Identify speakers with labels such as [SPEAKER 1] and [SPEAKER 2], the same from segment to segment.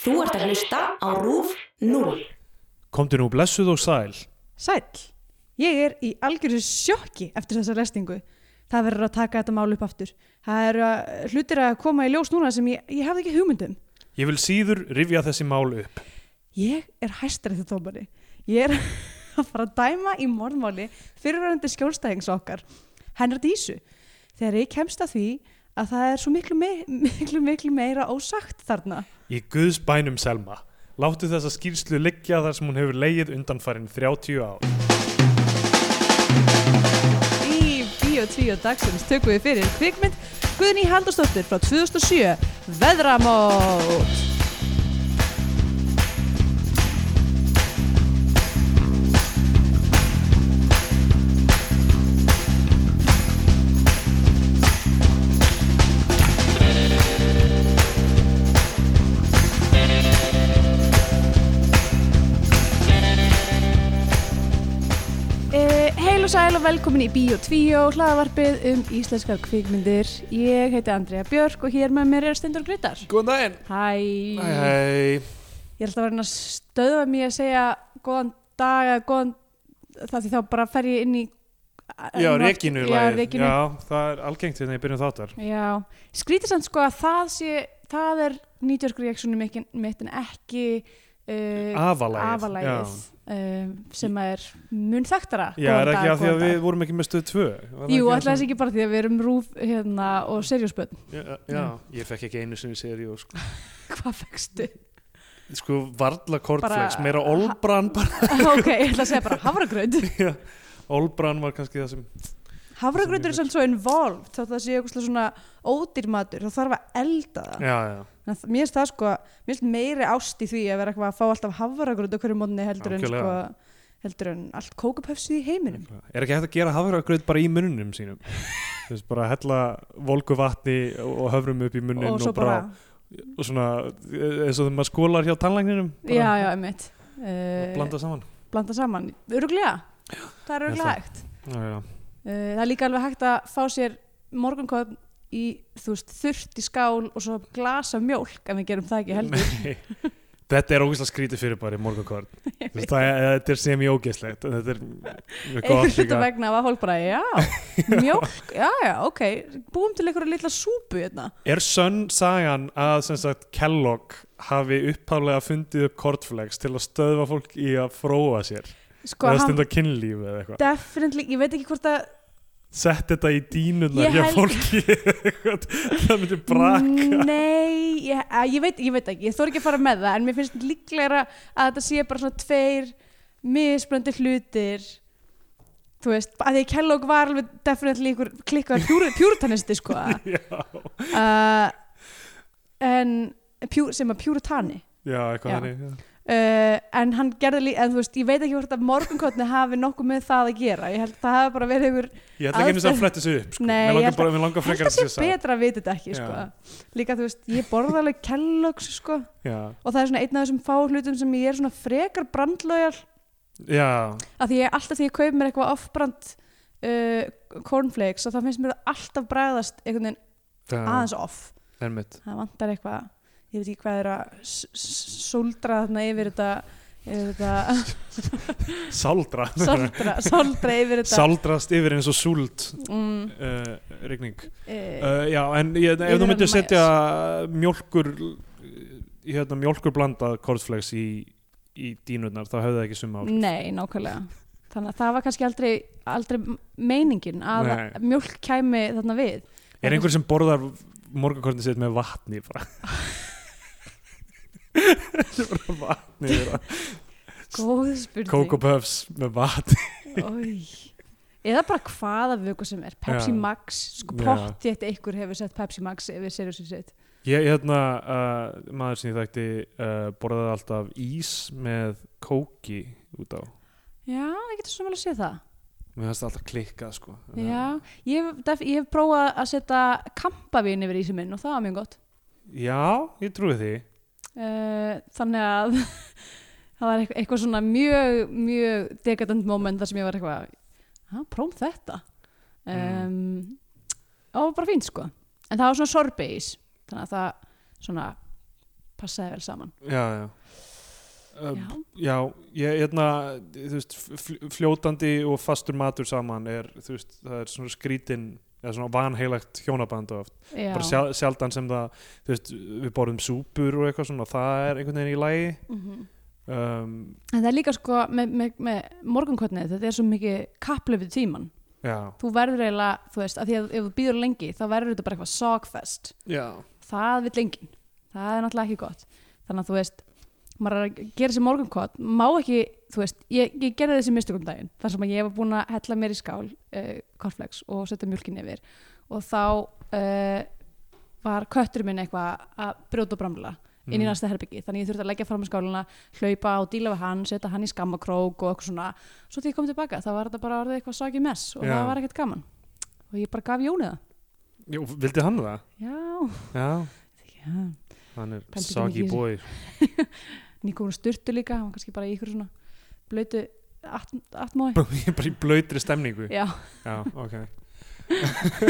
[SPEAKER 1] Þú ert að hlusta á RÚF 0.
[SPEAKER 2] Komdu nú blessuð og sæl.
[SPEAKER 3] Sæll, ég er í algjörðu sjokki eftir þessa lestingu. Það verður að taka þetta mál upp aftur. Það eru að- hlutir að koma í ljós núna sem ég, ég hafði ekki um. hugmyndum.
[SPEAKER 2] Ég vil síður rifja þessi mál upp.
[SPEAKER 3] Ég er hæstrættu tómari. Ég er að fara að dæma í morðmáli fyrirverandi skjólstæðings okkar, hennar Dísu. Þegar ég kemst að því að það er svo miklu, me miklu, miklu meira ósagt þarna.
[SPEAKER 2] Í Guðs bænum Selma. Láttu þessa skýrslu liggja þar sem hún hefur leið undanfærin 30 ár.
[SPEAKER 3] Í Bíó 2 dagsins tökum við fyrir kvikmynd Guðný Haldursdóttir frá 2007 Veðramót Eh,
[SPEAKER 4] Uh, heil og sæl og velkomin í Bíó 2 hlaðavarpið um íslenskar kvikmyndir. Ég heiti Andrea Björk og hér með mér er Stendur Grytar.
[SPEAKER 2] Góðan daginn.
[SPEAKER 4] Hæ.
[SPEAKER 2] Hei, hei.
[SPEAKER 3] Ég er alltaf að vera að stöðva mér að segja góðan dag eða góðan það því þá bara fer ég inn í eh, um
[SPEAKER 2] Já, rekinu
[SPEAKER 3] Já,
[SPEAKER 2] lagið.
[SPEAKER 3] rekinu Já,
[SPEAKER 2] Já, það er algengt hérna í byrjun þáttar.
[SPEAKER 3] skrítið samt sko að það sé það er nýtjörk reaksjónu mitt en ekki uh,
[SPEAKER 2] Afalægið.
[SPEAKER 3] afalægið
[SPEAKER 2] Já,
[SPEAKER 3] um, sem að er mun þekktara
[SPEAKER 2] já
[SPEAKER 3] góðan
[SPEAKER 2] er
[SPEAKER 3] dag,
[SPEAKER 2] ekki af því
[SPEAKER 3] góðan
[SPEAKER 2] að
[SPEAKER 3] dag.
[SPEAKER 2] við vorum ekki með stöð 2?
[SPEAKER 3] Jú, alltaf þessi ekki bara því að við erum rúf hérna, og serjósbönn
[SPEAKER 2] Já, já,
[SPEAKER 3] Mm.
[SPEAKER 2] ég fekk ekki einu sinni seri og sko,
[SPEAKER 3] Hvað fegstu?
[SPEAKER 2] sko varla kortflex,
[SPEAKER 3] Bara-
[SPEAKER 2] meira olbran bara.
[SPEAKER 3] ok, ég ætla að segja bara havragraut
[SPEAKER 2] Já, olbran var kannski það sem
[SPEAKER 3] Havragrautur er samt svo involved þótt það sé eitthvað svona ódýrmatur þá þarf að elda það
[SPEAKER 2] Já, já,
[SPEAKER 3] Þannig að mér finnst það sko, mér finnst meiri ást í því að vera eitthvað að fá alltaf havragraut okkur í mótni heldur en sko
[SPEAKER 2] Algjörlega.
[SPEAKER 3] heldur en allt kókupöfsið í heiminum
[SPEAKER 2] Er ekki hægt að gera hafragraut bara í munnunum sínum? Þú veist, bara hella volgu vatni og höfrum upp í munnin
[SPEAKER 3] og svo bara,
[SPEAKER 2] og svona, eins og þegar maður skólar hjá tannlækninum bara
[SPEAKER 3] já, já, einmitt
[SPEAKER 2] og
[SPEAKER 3] uh,
[SPEAKER 2] blanda saman
[SPEAKER 3] blanda saman, öruglega það er
[SPEAKER 2] Ég held
[SPEAKER 3] öruglega
[SPEAKER 2] það.
[SPEAKER 3] hægt
[SPEAKER 2] já, já.
[SPEAKER 3] Uh, það er líka alveg hægt að fá sér morgunkoðum í þú veist, þurft í skál og svo glasa mjólk en við gerum það ekki heldur
[SPEAKER 2] Nei. Þetta er ógeðslega skrítið fyrir bara í morgunkorn Þetta þetta er sem ég ógeðslegt en Þetta er mjög gott
[SPEAKER 3] einhvern hluta
[SPEAKER 2] líka
[SPEAKER 3] vegna var fólk bara, já, mjólk já, já, ok, búum til einhverja litla súpu hérna,
[SPEAKER 2] Er sönn sagan að sem sagt Kellogg hafi upphálega fundið upp kortflex til að stöðva fólk í að fróa sér
[SPEAKER 3] sko
[SPEAKER 2] eða
[SPEAKER 3] hann
[SPEAKER 2] stunda kynlíf eða eitthvað
[SPEAKER 3] definitely, ég veit ekki hvort að
[SPEAKER 2] sett þetta í dínunar
[SPEAKER 3] Ég
[SPEAKER 2] hjá
[SPEAKER 3] held- Mm.
[SPEAKER 2] fólki það myndi braka
[SPEAKER 3] nei, ég, að, ég veit, ég veit ekki, ég þór ekki að fara með það en mér finnst líklegra að þetta sé bara svona tveir misblöndi hlutir þú veist, að því Kellogg var alveg definitely einhver klikkar pjúrutanisti sko
[SPEAKER 2] já,
[SPEAKER 3] uh, en pjú, sem að pjúritani
[SPEAKER 2] já, eitthvað
[SPEAKER 3] Já.
[SPEAKER 2] þannig já.
[SPEAKER 3] uh, en hann gerði líka, en þú veist, ég veit ekki hvort að morgunkotni hafi nokkuð með það að gera ég held að það hafi bara verið einhver
[SPEAKER 2] ég ætla ekki einu sinni að
[SPEAKER 3] Aðferð-
[SPEAKER 2] fletta þessu upp sko.
[SPEAKER 3] Nei,
[SPEAKER 2] mér
[SPEAKER 3] ég
[SPEAKER 2] langar
[SPEAKER 3] held
[SPEAKER 2] bara, mér langar
[SPEAKER 3] held
[SPEAKER 2] frekar
[SPEAKER 3] að
[SPEAKER 2] að
[SPEAKER 3] sé
[SPEAKER 2] sé það
[SPEAKER 3] betra að vita þetta ekki, sko
[SPEAKER 2] Já.
[SPEAKER 3] líka, þú veist, ég borða alveg Kellogg's, sko
[SPEAKER 2] já,
[SPEAKER 3] og það er svona einn af þessum fá hlutum sem ég er svona frekar brandlöjal
[SPEAKER 2] já,
[SPEAKER 3] af því ég alltaf því ég kaup mér eitthvað off-brand uh, cornflakes og það finnst mér það alltaf bræðast einhvern veginn
[SPEAKER 2] já,
[SPEAKER 3] aðeins off
[SPEAKER 2] einmitt
[SPEAKER 3] það vantar eitthvað ég veit ekki hvað er að s- s- sóldra þarna yfir þetta yfir þetta
[SPEAKER 2] saldra,
[SPEAKER 3] sóldra, sóldra yfir þetta
[SPEAKER 2] saldrast yfir eins og súld
[SPEAKER 3] mm,
[SPEAKER 2] uh, rigning
[SPEAKER 3] e,
[SPEAKER 2] uh, já, en ég, ef
[SPEAKER 3] Yfir hérna
[SPEAKER 2] þú
[SPEAKER 3] að
[SPEAKER 2] myndir
[SPEAKER 3] majas.
[SPEAKER 2] setja mjólkur hérna, mjólkur blandað kortflex í, í dínunar, þá hefði það ekki summa áhrif.
[SPEAKER 3] nei, nákvæmlega þannig að það var kannski aldrei, aldrei meiningin að
[SPEAKER 2] Nei.
[SPEAKER 3] mjólk kæmi þarna við
[SPEAKER 2] Er einhver sem borðar morgunkornið sitt með vatni bara? Þetta er bara vatni
[SPEAKER 3] góð spurning
[SPEAKER 2] Coco Puffs með vatni
[SPEAKER 3] Oj. eða bara hvaða vöku sem er Pepsi
[SPEAKER 2] Já.
[SPEAKER 3] Max, sko
[SPEAKER 2] Já.
[SPEAKER 3] pott þetta einhver hefur sett Pepsi Max yfir seriðsins sitt
[SPEAKER 2] Ég, hérna, uh, maður sem ég þekkti uh, borðaði alltaf ís með kóki út á
[SPEAKER 3] já, ég getur svo vel að sé það
[SPEAKER 2] Mér finnst það alltaf klikkað sko
[SPEAKER 3] Já, ég, hef- def, ég hef prófað að setja kampavín yfir ísinn minn og það var mjög gott.
[SPEAKER 2] Já, ég trúi því
[SPEAKER 3] Uh, þannig að það var eitthvað, eitthvað svona mjög, mjög dekadent moment þar sem ég var eitthvað, hæ, prófum þetta. Um, Það var bara fínt sko. En það var svona sorbís, þannig að það svona passaði vel saman
[SPEAKER 2] já, já. Um,
[SPEAKER 3] Já.
[SPEAKER 2] já, ég hérna þú veist, fl- fljótandi og fastur matur saman er, þú veist, það er svona skrítin eða svona vanheilagt hjónaband og oft
[SPEAKER 3] Já.
[SPEAKER 2] bara sjal, sjaldan sem það, þú veist við borðum súpur og eitthvað svona það er einhvern veginn í lagi
[SPEAKER 3] Mhm.
[SPEAKER 2] um,
[SPEAKER 3] En það er líka sko með, með, með morgunkotnið, þetta er svo mikið kapplöf við tíman.
[SPEAKER 2] já,
[SPEAKER 3] Þú verður eiginlega, þú veist, af því að ef þú býður lengi þá verður þetta bara eitthvað sogfest.
[SPEAKER 2] já,
[SPEAKER 3] Það vill enginn. Það er náttúrulega ekki gott. Þannig að þú veist, maður er að gera sér morgunkot, má ekki, þú veist, ég, ég gerði þessi mistökum daginn, þar sem að ég var búin að hella mér í skál uh, korflex og setja mjölkin yfir og þá uh, var köttur minn eitthvað að brjóta og bramla inn í
[SPEAKER 2] Mm.
[SPEAKER 3] næsta herbyggi þannig ég þurfti að leggja fram í skáluna hlaupa og díla við hann, setja hann í skammakrók og eitthvað svona, svo því ég kom tilbaka þá var þetta bara orðið eitthvað sagi mess og
[SPEAKER 2] Já.
[SPEAKER 3] það var ekkert gaman og ég bara gaf Jóni það
[SPEAKER 2] já vildi hann það?
[SPEAKER 3] já,
[SPEAKER 2] já,
[SPEAKER 3] já.
[SPEAKER 2] hann er
[SPEAKER 3] Pældi ekki
[SPEAKER 2] soggy
[SPEAKER 3] mikið í
[SPEAKER 2] boy
[SPEAKER 3] Nikon styrtu líka, hann var kannski bara í ykkur svona blötu at- atmói
[SPEAKER 2] ég er bara í blöytri stemningu
[SPEAKER 3] já,
[SPEAKER 2] Já, ok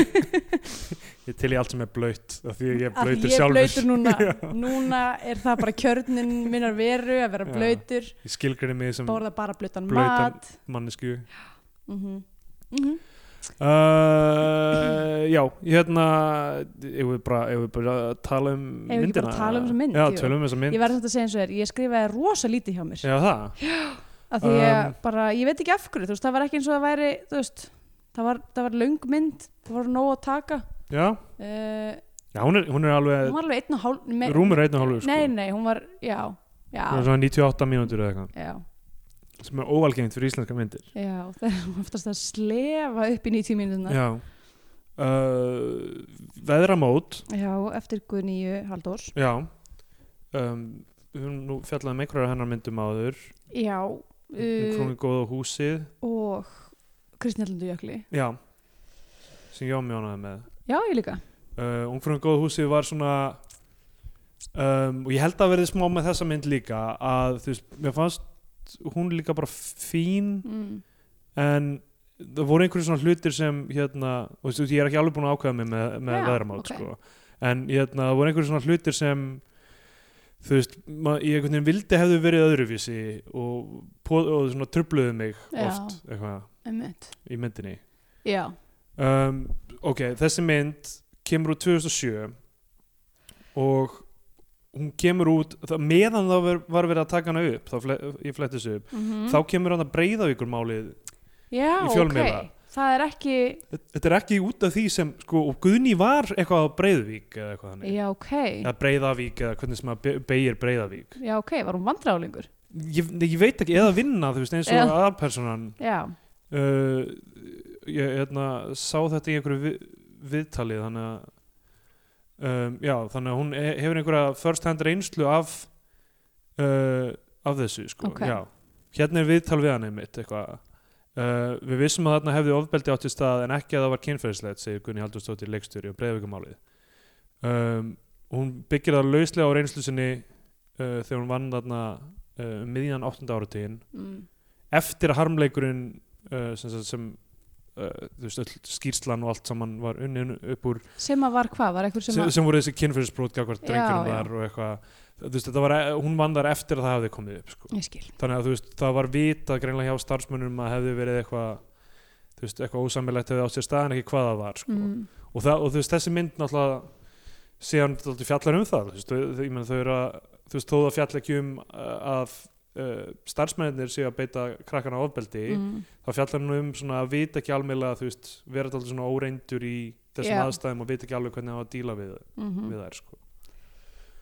[SPEAKER 2] Ég til í allt sem er blöyt af því að ég er
[SPEAKER 3] að
[SPEAKER 2] blöytur
[SPEAKER 3] ég er
[SPEAKER 2] sjálfur
[SPEAKER 3] blöytur núna
[SPEAKER 2] Já.
[SPEAKER 3] núna er það bara kjörnin minnar veru að vera
[SPEAKER 2] Já.
[SPEAKER 3] blöytur
[SPEAKER 2] Ég skilgrinni mig sem
[SPEAKER 3] borða bara blötan
[SPEAKER 2] Blautan.
[SPEAKER 3] mat
[SPEAKER 2] mannesku
[SPEAKER 3] mm -hmm. Mm -hmm.
[SPEAKER 2] uh, Já, hérna Ég við bara, ég við bara að tala um
[SPEAKER 3] Eigum við ekki
[SPEAKER 2] myndina
[SPEAKER 3] bara að tala um þessa mynd,
[SPEAKER 2] Já,
[SPEAKER 3] jú?
[SPEAKER 2] tölum um þessa mynd
[SPEAKER 3] ég verði þetta að segja eins og þér, ég skrifaði rosa lítið hjá mér
[SPEAKER 2] Já, það
[SPEAKER 3] af því ég
[SPEAKER 2] Um,
[SPEAKER 3] bara, ég veit ekki af hverju þú veist, það var ekki eins og það væri, þú veist það var, það var löng mynd, það voru nóg að taka
[SPEAKER 2] Já,
[SPEAKER 3] uh,
[SPEAKER 2] já hún, er, hún er alveg
[SPEAKER 3] hún var alveg einn og hálf me-
[SPEAKER 2] Rúmur einn og hálfur sko
[SPEAKER 3] nei, nei, hún var, já
[SPEAKER 2] Hún er
[SPEAKER 3] já,
[SPEAKER 2] svona 98 mínútur eða eitthvað
[SPEAKER 3] já,
[SPEAKER 2] sem er óalgengt fyrir íslenska myndir
[SPEAKER 3] já það er oftast að slefa upp í 90 mínútuna já.
[SPEAKER 2] Já uh, Veðramót
[SPEAKER 3] eftir Guðnýju Halldórs
[SPEAKER 2] Já um, Við höfum nú fjallaði með einhverjar af hennar myndum áður
[SPEAKER 3] já,
[SPEAKER 2] um
[SPEAKER 3] uh,
[SPEAKER 2] krónu góða húsið
[SPEAKER 3] og Kristnjallandu Jökli
[SPEAKER 2] já sem ég ámjónaði með
[SPEAKER 3] já, ég líka
[SPEAKER 2] uh, Ungfrúin góða húsið var svona um, og ég held að verði smá með þessa mynd líka að þú veist, mér fannst hún líka bara fín
[SPEAKER 3] mm.
[SPEAKER 2] en það voru einhverju svona hlutir sem hérna, og þú veist, ég er ekki alveg búin að ákveða mig með, með
[SPEAKER 3] Já,
[SPEAKER 2] veðramót,
[SPEAKER 3] ok.
[SPEAKER 2] sko en hérna, það voru einhverju svona hlutir sem þú veist, ma- ég einhvern veginn vildi hefðu verið öðruvísi og, po- og svona trubluðu mig
[SPEAKER 3] Já.
[SPEAKER 2] oft, eitthvað,
[SPEAKER 3] einmitt.
[SPEAKER 2] í myndinni
[SPEAKER 3] já,
[SPEAKER 2] um, ok, þessi mynd kemur út 2007 og hún kemur út það, meðan það var, var verið að taka hana upp þá fle, ég fletti þessu upp
[SPEAKER 3] mm
[SPEAKER 2] þá kemur hann að breyða ykkur málið
[SPEAKER 3] já,
[SPEAKER 2] í fjölmiðla.
[SPEAKER 3] ok það er ekki,
[SPEAKER 2] Þetta- þetta er ekki út af því sem sko, og Guðni var eitthvað á Breiðvík eða eitthvað þannig,
[SPEAKER 3] já, ok
[SPEAKER 2] eða Breiðavík eða hvernig sem að be- beygir Breiðavík
[SPEAKER 3] já, ok, var hún vandræðalingur
[SPEAKER 2] ég, nei, ég veit ekki, eða vinna þú veist, eins og
[SPEAKER 3] Já.
[SPEAKER 2] aðalpersonan
[SPEAKER 3] já,
[SPEAKER 2] uh, ég hérna, sá þetta í einhverju vi, viðtali þannig að um, já, þannig að hún he- hefur einhverja first hand reynslu af uh, af þessu sko,
[SPEAKER 3] Ok.
[SPEAKER 2] já hérna er viðtal við hann einmitt eitthvað Uh, við vissum að þarna hefði ofbeldi átti stað en ekki að það var kynferðislegt, segir Gunni Haldurstóttir leikstjóri og breyðvíkumálið um, hún byggir það lauslega á reynslu sinni uh, þegar hún vann þarna uh, um miðjan 8. áratíðin
[SPEAKER 3] mm.
[SPEAKER 2] eftir að harmleikurinn uh, sem, sem, sem uh, þú veist, öll skýrslan og allt saman var unnin upp úr
[SPEAKER 3] sem að var hvað, var einhver sem
[SPEAKER 2] sem,
[SPEAKER 3] að
[SPEAKER 2] sem voru þessi kynfyrirsbrót gagvart
[SPEAKER 3] Já,
[SPEAKER 2] drengurum
[SPEAKER 3] já.
[SPEAKER 2] þar og eitthvað þú veist, þetta var, e, hún vann þar eftir að það hafði komið upp sko.
[SPEAKER 3] ég skil,
[SPEAKER 2] þannig að þú veist, það var vita greinlega hjá starfsmönnum að hefði verið eitthvað þú veist, eitthvað ósamilegt hefði átt sér stað en ekki hvað það var sko.
[SPEAKER 3] mm.
[SPEAKER 2] og, það, og þú veist, þessi mynd náttúrulega síðan dálítið fjallar um það þú veist, þau- þau- ég meina þau eru að þú veist, þó það fjall ekki um uh, að uh, starfsmennir séu að beita krakkana ofbeldi
[SPEAKER 3] Mm.
[SPEAKER 2] þá fjallar hann um svona að vita ekki almeinlega þú veist, vera alltaf svona óreindur í þessum
[SPEAKER 3] Já.
[SPEAKER 2] aðstæðum og vita ekki alveg hvernig það var að díla við,
[SPEAKER 3] mhm.
[SPEAKER 2] við þær sko.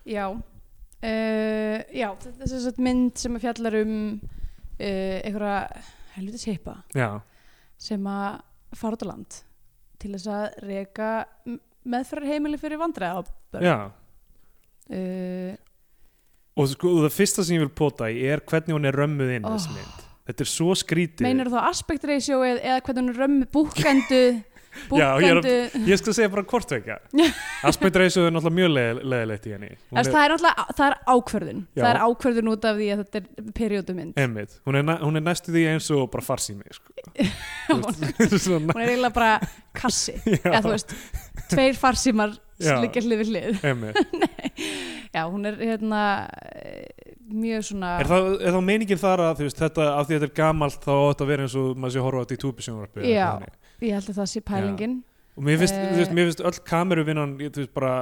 [SPEAKER 3] Já, uh, já þetta er þess að mynd sem að fjallar um uh, einhverja helvitis heipa
[SPEAKER 2] Já,
[SPEAKER 3] sem að fara út á land til þess að reka meðferðarheimili fyrir Uh, vandræða uh,
[SPEAKER 2] já og sko, og það fyrsta sem ég vil pota í er hvernig hún er römmuð inn
[SPEAKER 3] Oh.
[SPEAKER 2] þessi mynd þetta er svo skrítið
[SPEAKER 3] Meinar þá aspect ratio eð, eða hvernig hún römmu búkendu
[SPEAKER 2] Já, ég er að-
[SPEAKER 3] búkendu
[SPEAKER 2] ég skal segja bara hvort vekja Aspeit Reisu er náttúrulega mjög leið- leiðilegt í henni Hún
[SPEAKER 3] Þess,
[SPEAKER 2] er-
[SPEAKER 3] það er náttúrulega það er ákvörðun
[SPEAKER 2] Já.
[SPEAKER 3] það er ákvörðun út af því að þetta er periodumynd
[SPEAKER 2] Einmitt, hún er, næ- hún er næstu því eins og bara farsími sko. Þú veist, svona-
[SPEAKER 3] hún er eiginlega bara kassi
[SPEAKER 2] Já.
[SPEAKER 3] eða þú veist, tveir farsímar
[SPEAKER 2] Já.
[SPEAKER 3] slikja hlið við hlið
[SPEAKER 2] Einmitt.
[SPEAKER 3] já, hún er hérna eh, mjög svona
[SPEAKER 2] Er það, er það meiningin þar að þú veist, þetta, af því þetta er gamalt þá átt að vera eins og maður sé að horfa á þetta í túbisjónvarpi
[SPEAKER 3] Já. ég held að það sé pælingin
[SPEAKER 2] og mér finnst,
[SPEAKER 3] Eh.
[SPEAKER 2] þú veist, mér finnst öll kameruvinnan þú veist, bara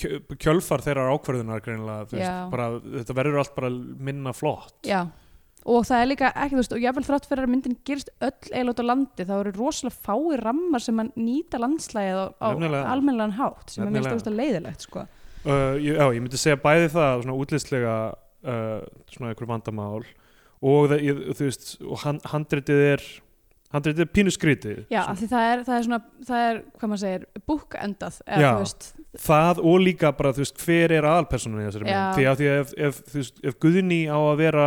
[SPEAKER 2] kjö- kjölfar þeirrar ákvörðunar greinilega, þú veist,
[SPEAKER 3] Já.
[SPEAKER 2] bara þetta verður allt bara minna flott
[SPEAKER 3] já. og það er líka ekki, þú veist, og jáfnvel þrátt fyrir að myndin gerist öll eiginlega út á landi þá eru rosalega fáir rammar sem að nýta landslægið á, á
[SPEAKER 2] Nefnilega.
[SPEAKER 3] almennilegan hátt sem er mér
[SPEAKER 2] Nefnilega.
[SPEAKER 3] stóðast að leiðilegt sko.
[SPEAKER 2] Uh, ég- já, ég myndi segja bæði það svona útlitslega uh, svona einhver vandamál og það, ég, þú veist, og hand, handritið er handritið er pínu skrítið
[SPEAKER 3] já,
[SPEAKER 2] Svona.
[SPEAKER 3] af því það er, það er svona það er, hvað maður segir, búkendað
[SPEAKER 2] Já.
[SPEAKER 3] eða, þú veist,
[SPEAKER 2] það og líka bara, þú veist, hver er aðalpersonan í þessari
[SPEAKER 3] Já.
[SPEAKER 2] mynd, því að því að ef, ef, þú veist, ef Guðni á að vera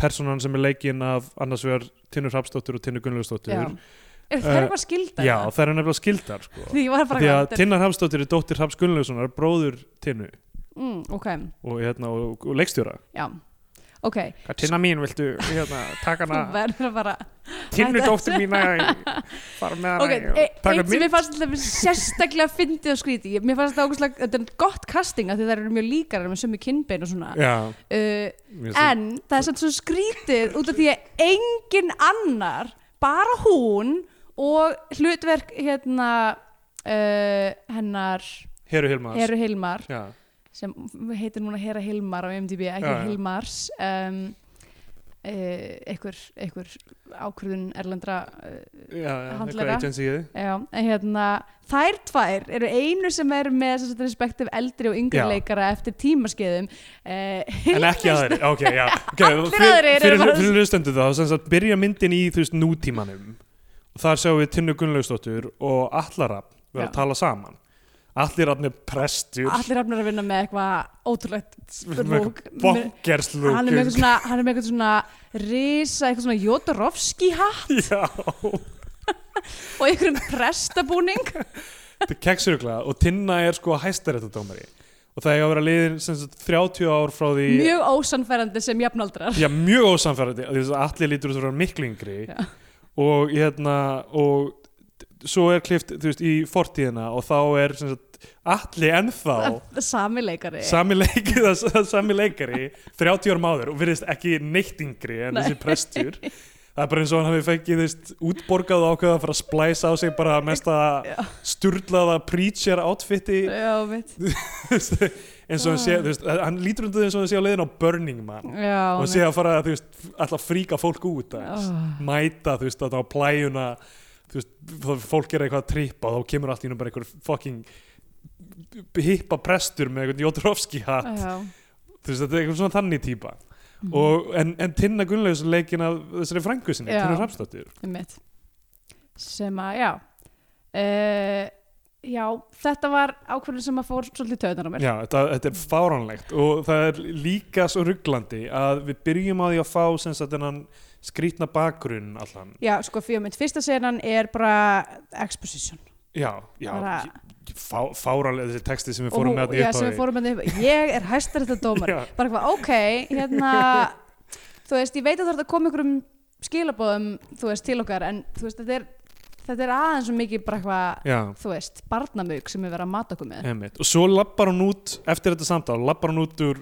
[SPEAKER 2] personan sem er leikinn af annars vegar Tinnu Hrafsdóttur og Tinnu Gunnlausdóttur
[SPEAKER 3] já.
[SPEAKER 2] já,
[SPEAKER 3] er það
[SPEAKER 2] Eh,
[SPEAKER 3] eitthvað skildar
[SPEAKER 2] það er nefnilega skildar sko.
[SPEAKER 3] því ég var bara
[SPEAKER 2] því að
[SPEAKER 3] þetta er-
[SPEAKER 2] Tinnar Hrafsdóttur er dóttir Hrafs Gunnlaussonar bróður Tinnu
[SPEAKER 3] mm, ok,
[SPEAKER 2] og, hérna, og, og leikstjóra
[SPEAKER 3] já ok,
[SPEAKER 2] Tinna mín, viltu hérna, taka
[SPEAKER 3] þú verður að fara
[SPEAKER 2] Tinnu dóttur mína fara með
[SPEAKER 3] ok, e eitt sem mér fannst alltaf sérstaklega fyndið og skríti mér fannst þetta ákvæmstlega, þetta er gott casting af því það eru mjög líkar með sömu kynbein og svona
[SPEAKER 2] Já,
[SPEAKER 3] uh,
[SPEAKER 2] mér finnst
[SPEAKER 3] en það er samt svo skrítið út af því að engin annar bara hún og hlutverk hérna uh, hennar
[SPEAKER 2] það- Heru Hilmas
[SPEAKER 3] Heru Hilmar
[SPEAKER 2] Já,
[SPEAKER 3] sem heitir núna Hera Hilmar á MDB, ekki
[SPEAKER 2] Já, já.
[SPEAKER 3] Hilmars um, uh, einhver, einhver ákvörðun erlendra uh,
[SPEAKER 2] já, já, eitthvað
[SPEAKER 3] Handlæra.
[SPEAKER 2] agencyið
[SPEAKER 3] Já, en hérna, þær tvær eru einu sem er með þess að respektiv eldri og yngri
[SPEAKER 2] Já.
[SPEAKER 3] leikara eftir tímaskeiðum uh,
[SPEAKER 2] En ekki aðri, ok, já okay,
[SPEAKER 3] Allir
[SPEAKER 2] fyr-
[SPEAKER 3] aðrir eru
[SPEAKER 2] Fyrir,
[SPEAKER 3] bara-
[SPEAKER 2] fyrir hlustendur þá, sem sagt, byrja myndin í þú veist nútímanum og þar sjáum við Tinnu Gunnlaugsdóttur og Allarab vera
[SPEAKER 3] Já.
[SPEAKER 2] að tala saman Allirab er prestur
[SPEAKER 3] allir hafnar að vinna með eitthvað ótrúlegt lúk Með-
[SPEAKER 2] Bonkerslúk
[SPEAKER 3] hann er með eitthvað svona, hann er með eitthvað svona risa, eitthvað svona Jodorowski hatt
[SPEAKER 2] Já,
[SPEAKER 3] og einhverjum prestabúning
[SPEAKER 2] þetta er keksurugla og Tinna er sko hæstaréttadómari og það er að vera liðin sem sagt 30 ár frá því
[SPEAKER 3] mjög ósanferandi sem jafnaldrar
[SPEAKER 2] Já, mjög ósamferðandi því að allir lítur út að vera miklu yngri
[SPEAKER 3] Já.
[SPEAKER 2] og hérna og t- svo er klift, þú veist, í fortíðina og þá er sem sagt allir ennþá
[SPEAKER 3] sami leikari
[SPEAKER 2] sami, leik, sami leikari 30 árum áður og virðist ekki neitt yngri en
[SPEAKER 3] Nei.
[SPEAKER 2] þessi prestur það er bara eins og hann hafi fengið þú veist, útborgað og ákveða að fara að splæsa á sig bara mesta
[SPEAKER 3] Já.
[SPEAKER 2] sturlaða preacher outfiti
[SPEAKER 3] já, mitt
[SPEAKER 2] eins og hann sé, þú veist, hann lítur undir eins og hann sé á leiðin á Burning Man
[SPEAKER 3] já,
[SPEAKER 2] og sé að fara þú veist, alltaf að fríka fólk út aðeins,
[SPEAKER 3] Oh.
[SPEAKER 2] mæta þú veist, þarna á plæjuna þú veist, þá fólk er eitthvað að trippa og þá kemur allt í nú bara einhver fucking hippa prestur með einhvern Jodorowski hatt
[SPEAKER 3] já,
[SPEAKER 2] þú veist, þetta er einhvern svona þannig típa og, en, en Tinna Gunnlaugs er leikin af þessari frængu sinni,
[SPEAKER 3] Já.
[SPEAKER 2] Tinna Hrafsdóttir
[SPEAKER 3] mitt Mm, sem að, já uh, já, þetta var ákvörðin sem að fór svolítið töðunar á mér
[SPEAKER 2] Já, þetta, þetta er fáránlegt og það er líka svo rugglandi að við byrjum á því að fá sem sagt þennan skrýtna bakgrunn allan.
[SPEAKER 3] já, sko, fyrir mitt fyrsta senan er bara exposition
[SPEAKER 2] Já, já,
[SPEAKER 3] bara,
[SPEAKER 2] fá, fáralega þessi texti sem við
[SPEAKER 3] og
[SPEAKER 2] fórum
[SPEAKER 3] hún-
[SPEAKER 2] með
[SPEAKER 3] já,
[SPEAKER 2] þetta
[SPEAKER 3] sem við fórum með þetta upp ég er hæstar þetta dómar
[SPEAKER 2] Já.
[SPEAKER 3] bara eitthvað, ok, hérna þú veist, ég veit að það er að koma ykkur um skilabóðum, þú veist, til okkar en þú veist, þetta er, þetta er aðeins og mikið bara eitthvað,
[SPEAKER 2] Já,
[SPEAKER 3] þú veist, barnamög sem við verðum að mata okkur með
[SPEAKER 2] einmitt. Og svo lappar hún út, eftir þetta samtal, lappar hún út úr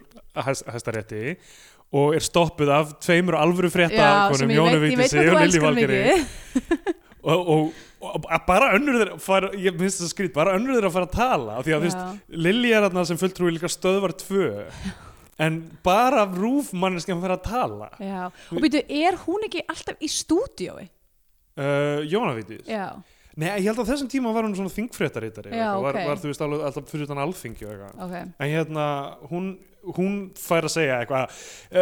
[SPEAKER 2] hæst, hæstarétti og er stoppuð af tveimur alvöru frétta
[SPEAKER 3] sem ég veit, ég veit hvað þú elskar mikið
[SPEAKER 2] og, og, og, og bara önnur þeirra fara, ég minnst það skrýt, bara önnur þeirra að fara að tala af því að þú veist,
[SPEAKER 3] Já.
[SPEAKER 2] Lilja er þarna sem fulltrúi líka stöðvar tvö en bara rúf manneskjan fara að tala
[SPEAKER 3] Já, og býtu, er hún ekki alltaf í stúdíói?
[SPEAKER 2] uh, Jónavítis
[SPEAKER 3] Já,
[SPEAKER 2] Nei, ég held að á þessum tíma var hún svona þingfréttarítari
[SPEAKER 3] Já,
[SPEAKER 2] var,
[SPEAKER 3] ok.
[SPEAKER 2] var, þú veist, alveg, alltaf fyrir utan alþingi og eitthvað
[SPEAKER 3] ok,
[SPEAKER 2] en hérna hún, hún fær að segja eitthvað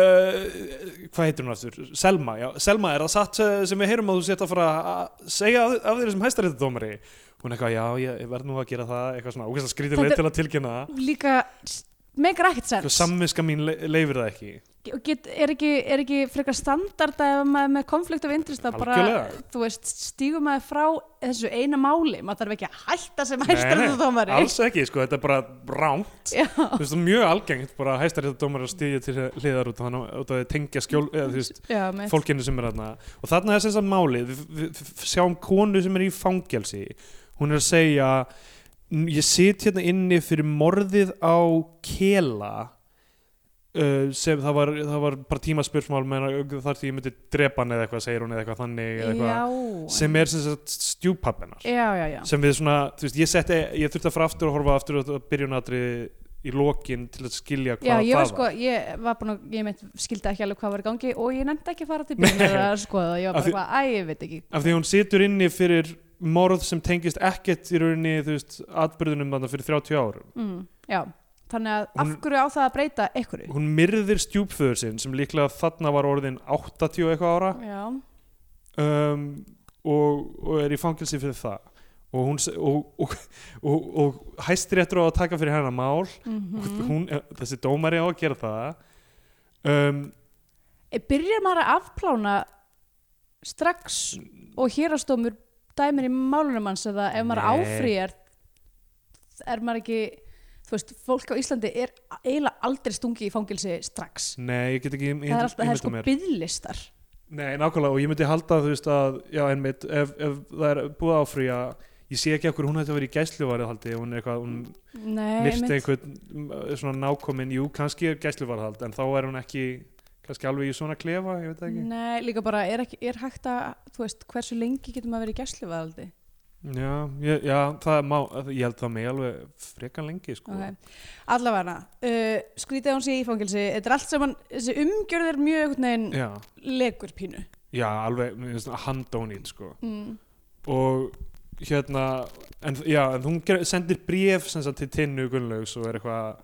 [SPEAKER 2] uh, hvað heitir hún aftur? Selma, já, Selma er það satt eh, sem við heyrum að þú sért að fara að segja af, af þeirra sem hæstaréttadómari hún er eitthvað, já, ég, ég verð nú að gera það eitthvað svona, ógæst að skrítið
[SPEAKER 3] Þetta-
[SPEAKER 2] leið til að tilkynna það.
[SPEAKER 3] líka s- megar ekkert
[SPEAKER 2] Eitthvað,
[SPEAKER 3] sens
[SPEAKER 2] samviska mín le leifir það ekki
[SPEAKER 3] og get, er, ekki, er ekki frekar standarda ef maður er með konflikt af interest að bara,
[SPEAKER 2] Algjörlega.
[SPEAKER 3] þú veist, stígur maður frá þessu eina máli, maður þarf ekki að hætta sem
[SPEAKER 2] Nei,
[SPEAKER 3] hæstarðu
[SPEAKER 2] nei,
[SPEAKER 3] dómari
[SPEAKER 2] alls ekki, sko, þetta er bara ránt
[SPEAKER 3] Já,
[SPEAKER 2] þú veist, það er mjög algengt bara hæstaréttadómari að stíðja til hliðar út af þannig út af því tengja skjól, eða þú veist
[SPEAKER 3] já, með
[SPEAKER 2] fólkinu sem er þarna og þarna er þess að málið, við, við, við sjáum konu sem er í fangelsi hún er að segja N- ég sit hérna inni fyrir morðið á Kela uh, sem það var, það var bara tímaspursmál menn þar til ég myndi drepa hann eða eitthvað segir hún eða eitthvað þannig eða eitthvað, sem er sem sagt stjúpappennar
[SPEAKER 3] já, já, já,
[SPEAKER 2] sem við svona, þú veist, ég setti ég þurfti að fara aftur og horfa aftur og byrjunatri í lokin til að skilja
[SPEAKER 3] já,
[SPEAKER 2] hvað
[SPEAKER 3] ég var
[SPEAKER 2] það
[SPEAKER 3] sko, ég var búin að, ég meint, skildi ekki alveg hvað var í gangi og ég nefndi ekki að fara til byrjun að skoða það, ég
[SPEAKER 2] Af
[SPEAKER 3] var bara
[SPEAKER 2] því-
[SPEAKER 3] eitthvað, æ, ég veit ekki,
[SPEAKER 2] af því að hún situr inni fyrir morð sem tengist ekkert í rauninni, þú veist, atbyrðunum þarna fyrir 30 árum
[SPEAKER 3] mm, já, þannig að af
[SPEAKER 2] Hún-
[SPEAKER 3] hverju á það að breyta ykkur,
[SPEAKER 2] hún myrðir stjúpföður sinn sem líklega þarna var orðin 80 og eitthvað ára
[SPEAKER 3] já,
[SPEAKER 2] um, og, og er í fangelsi fyrir það og, hún, s- og, og, og, og hæstir réttur á að taka fyrir hennar mál
[SPEAKER 3] mhm.
[SPEAKER 2] hún, eh, þessi dómari á að gera það um,
[SPEAKER 3] Eh, byrjar maður að afplána strax og hérastómur dæmir í málunum hans eða ef maður
[SPEAKER 2] Nei.
[SPEAKER 3] áfrýjar er maður ekki þú veist, fólk á Íslandi er eiginlega aldrei stungi í fangilsi strax
[SPEAKER 2] nei, ég get ekki
[SPEAKER 3] það er, alltaf, það er sko
[SPEAKER 2] mér
[SPEAKER 3] byðlistar
[SPEAKER 2] nei, nákvæmlega, og ég myndi halda þú veist að, já, einmitt, ef, ef það er búið áfrýja ég sé ekki okkur hún hætti að vera í gæsluvarðhaldi hún er eitthvað, hún myrti
[SPEAKER 3] Nei,
[SPEAKER 2] einhvern m- svona nákomin, jú, kannski er gæsluvarðhald en þá er hún ekki, kannski alveg í svona klefa, ég veit það ekki
[SPEAKER 3] Nei, líka bara er, ekki, er hægt að, þú veist, hversu lengi getur maður verið í gæsluvaraldi
[SPEAKER 2] já, ég, já, það má, ég held það mig alveg frekan lengi, sko
[SPEAKER 3] okay. Allavega, uh, skrítið að hún sé í fangilsi þetta er allt saman, þessi umgjörð er mjög einhvern veginn
[SPEAKER 2] já,
[SPEAKER 3] legur pínu
[SPEAKER 2] já, alveg, mér finnst það handónýtt, sko
[SPEAKER 3] mm.
[SPEAKER 2] og hérna en, já, en hún ger- sendir bréf sem sagt, til Tinnu Gunnlaugs og er eitthvað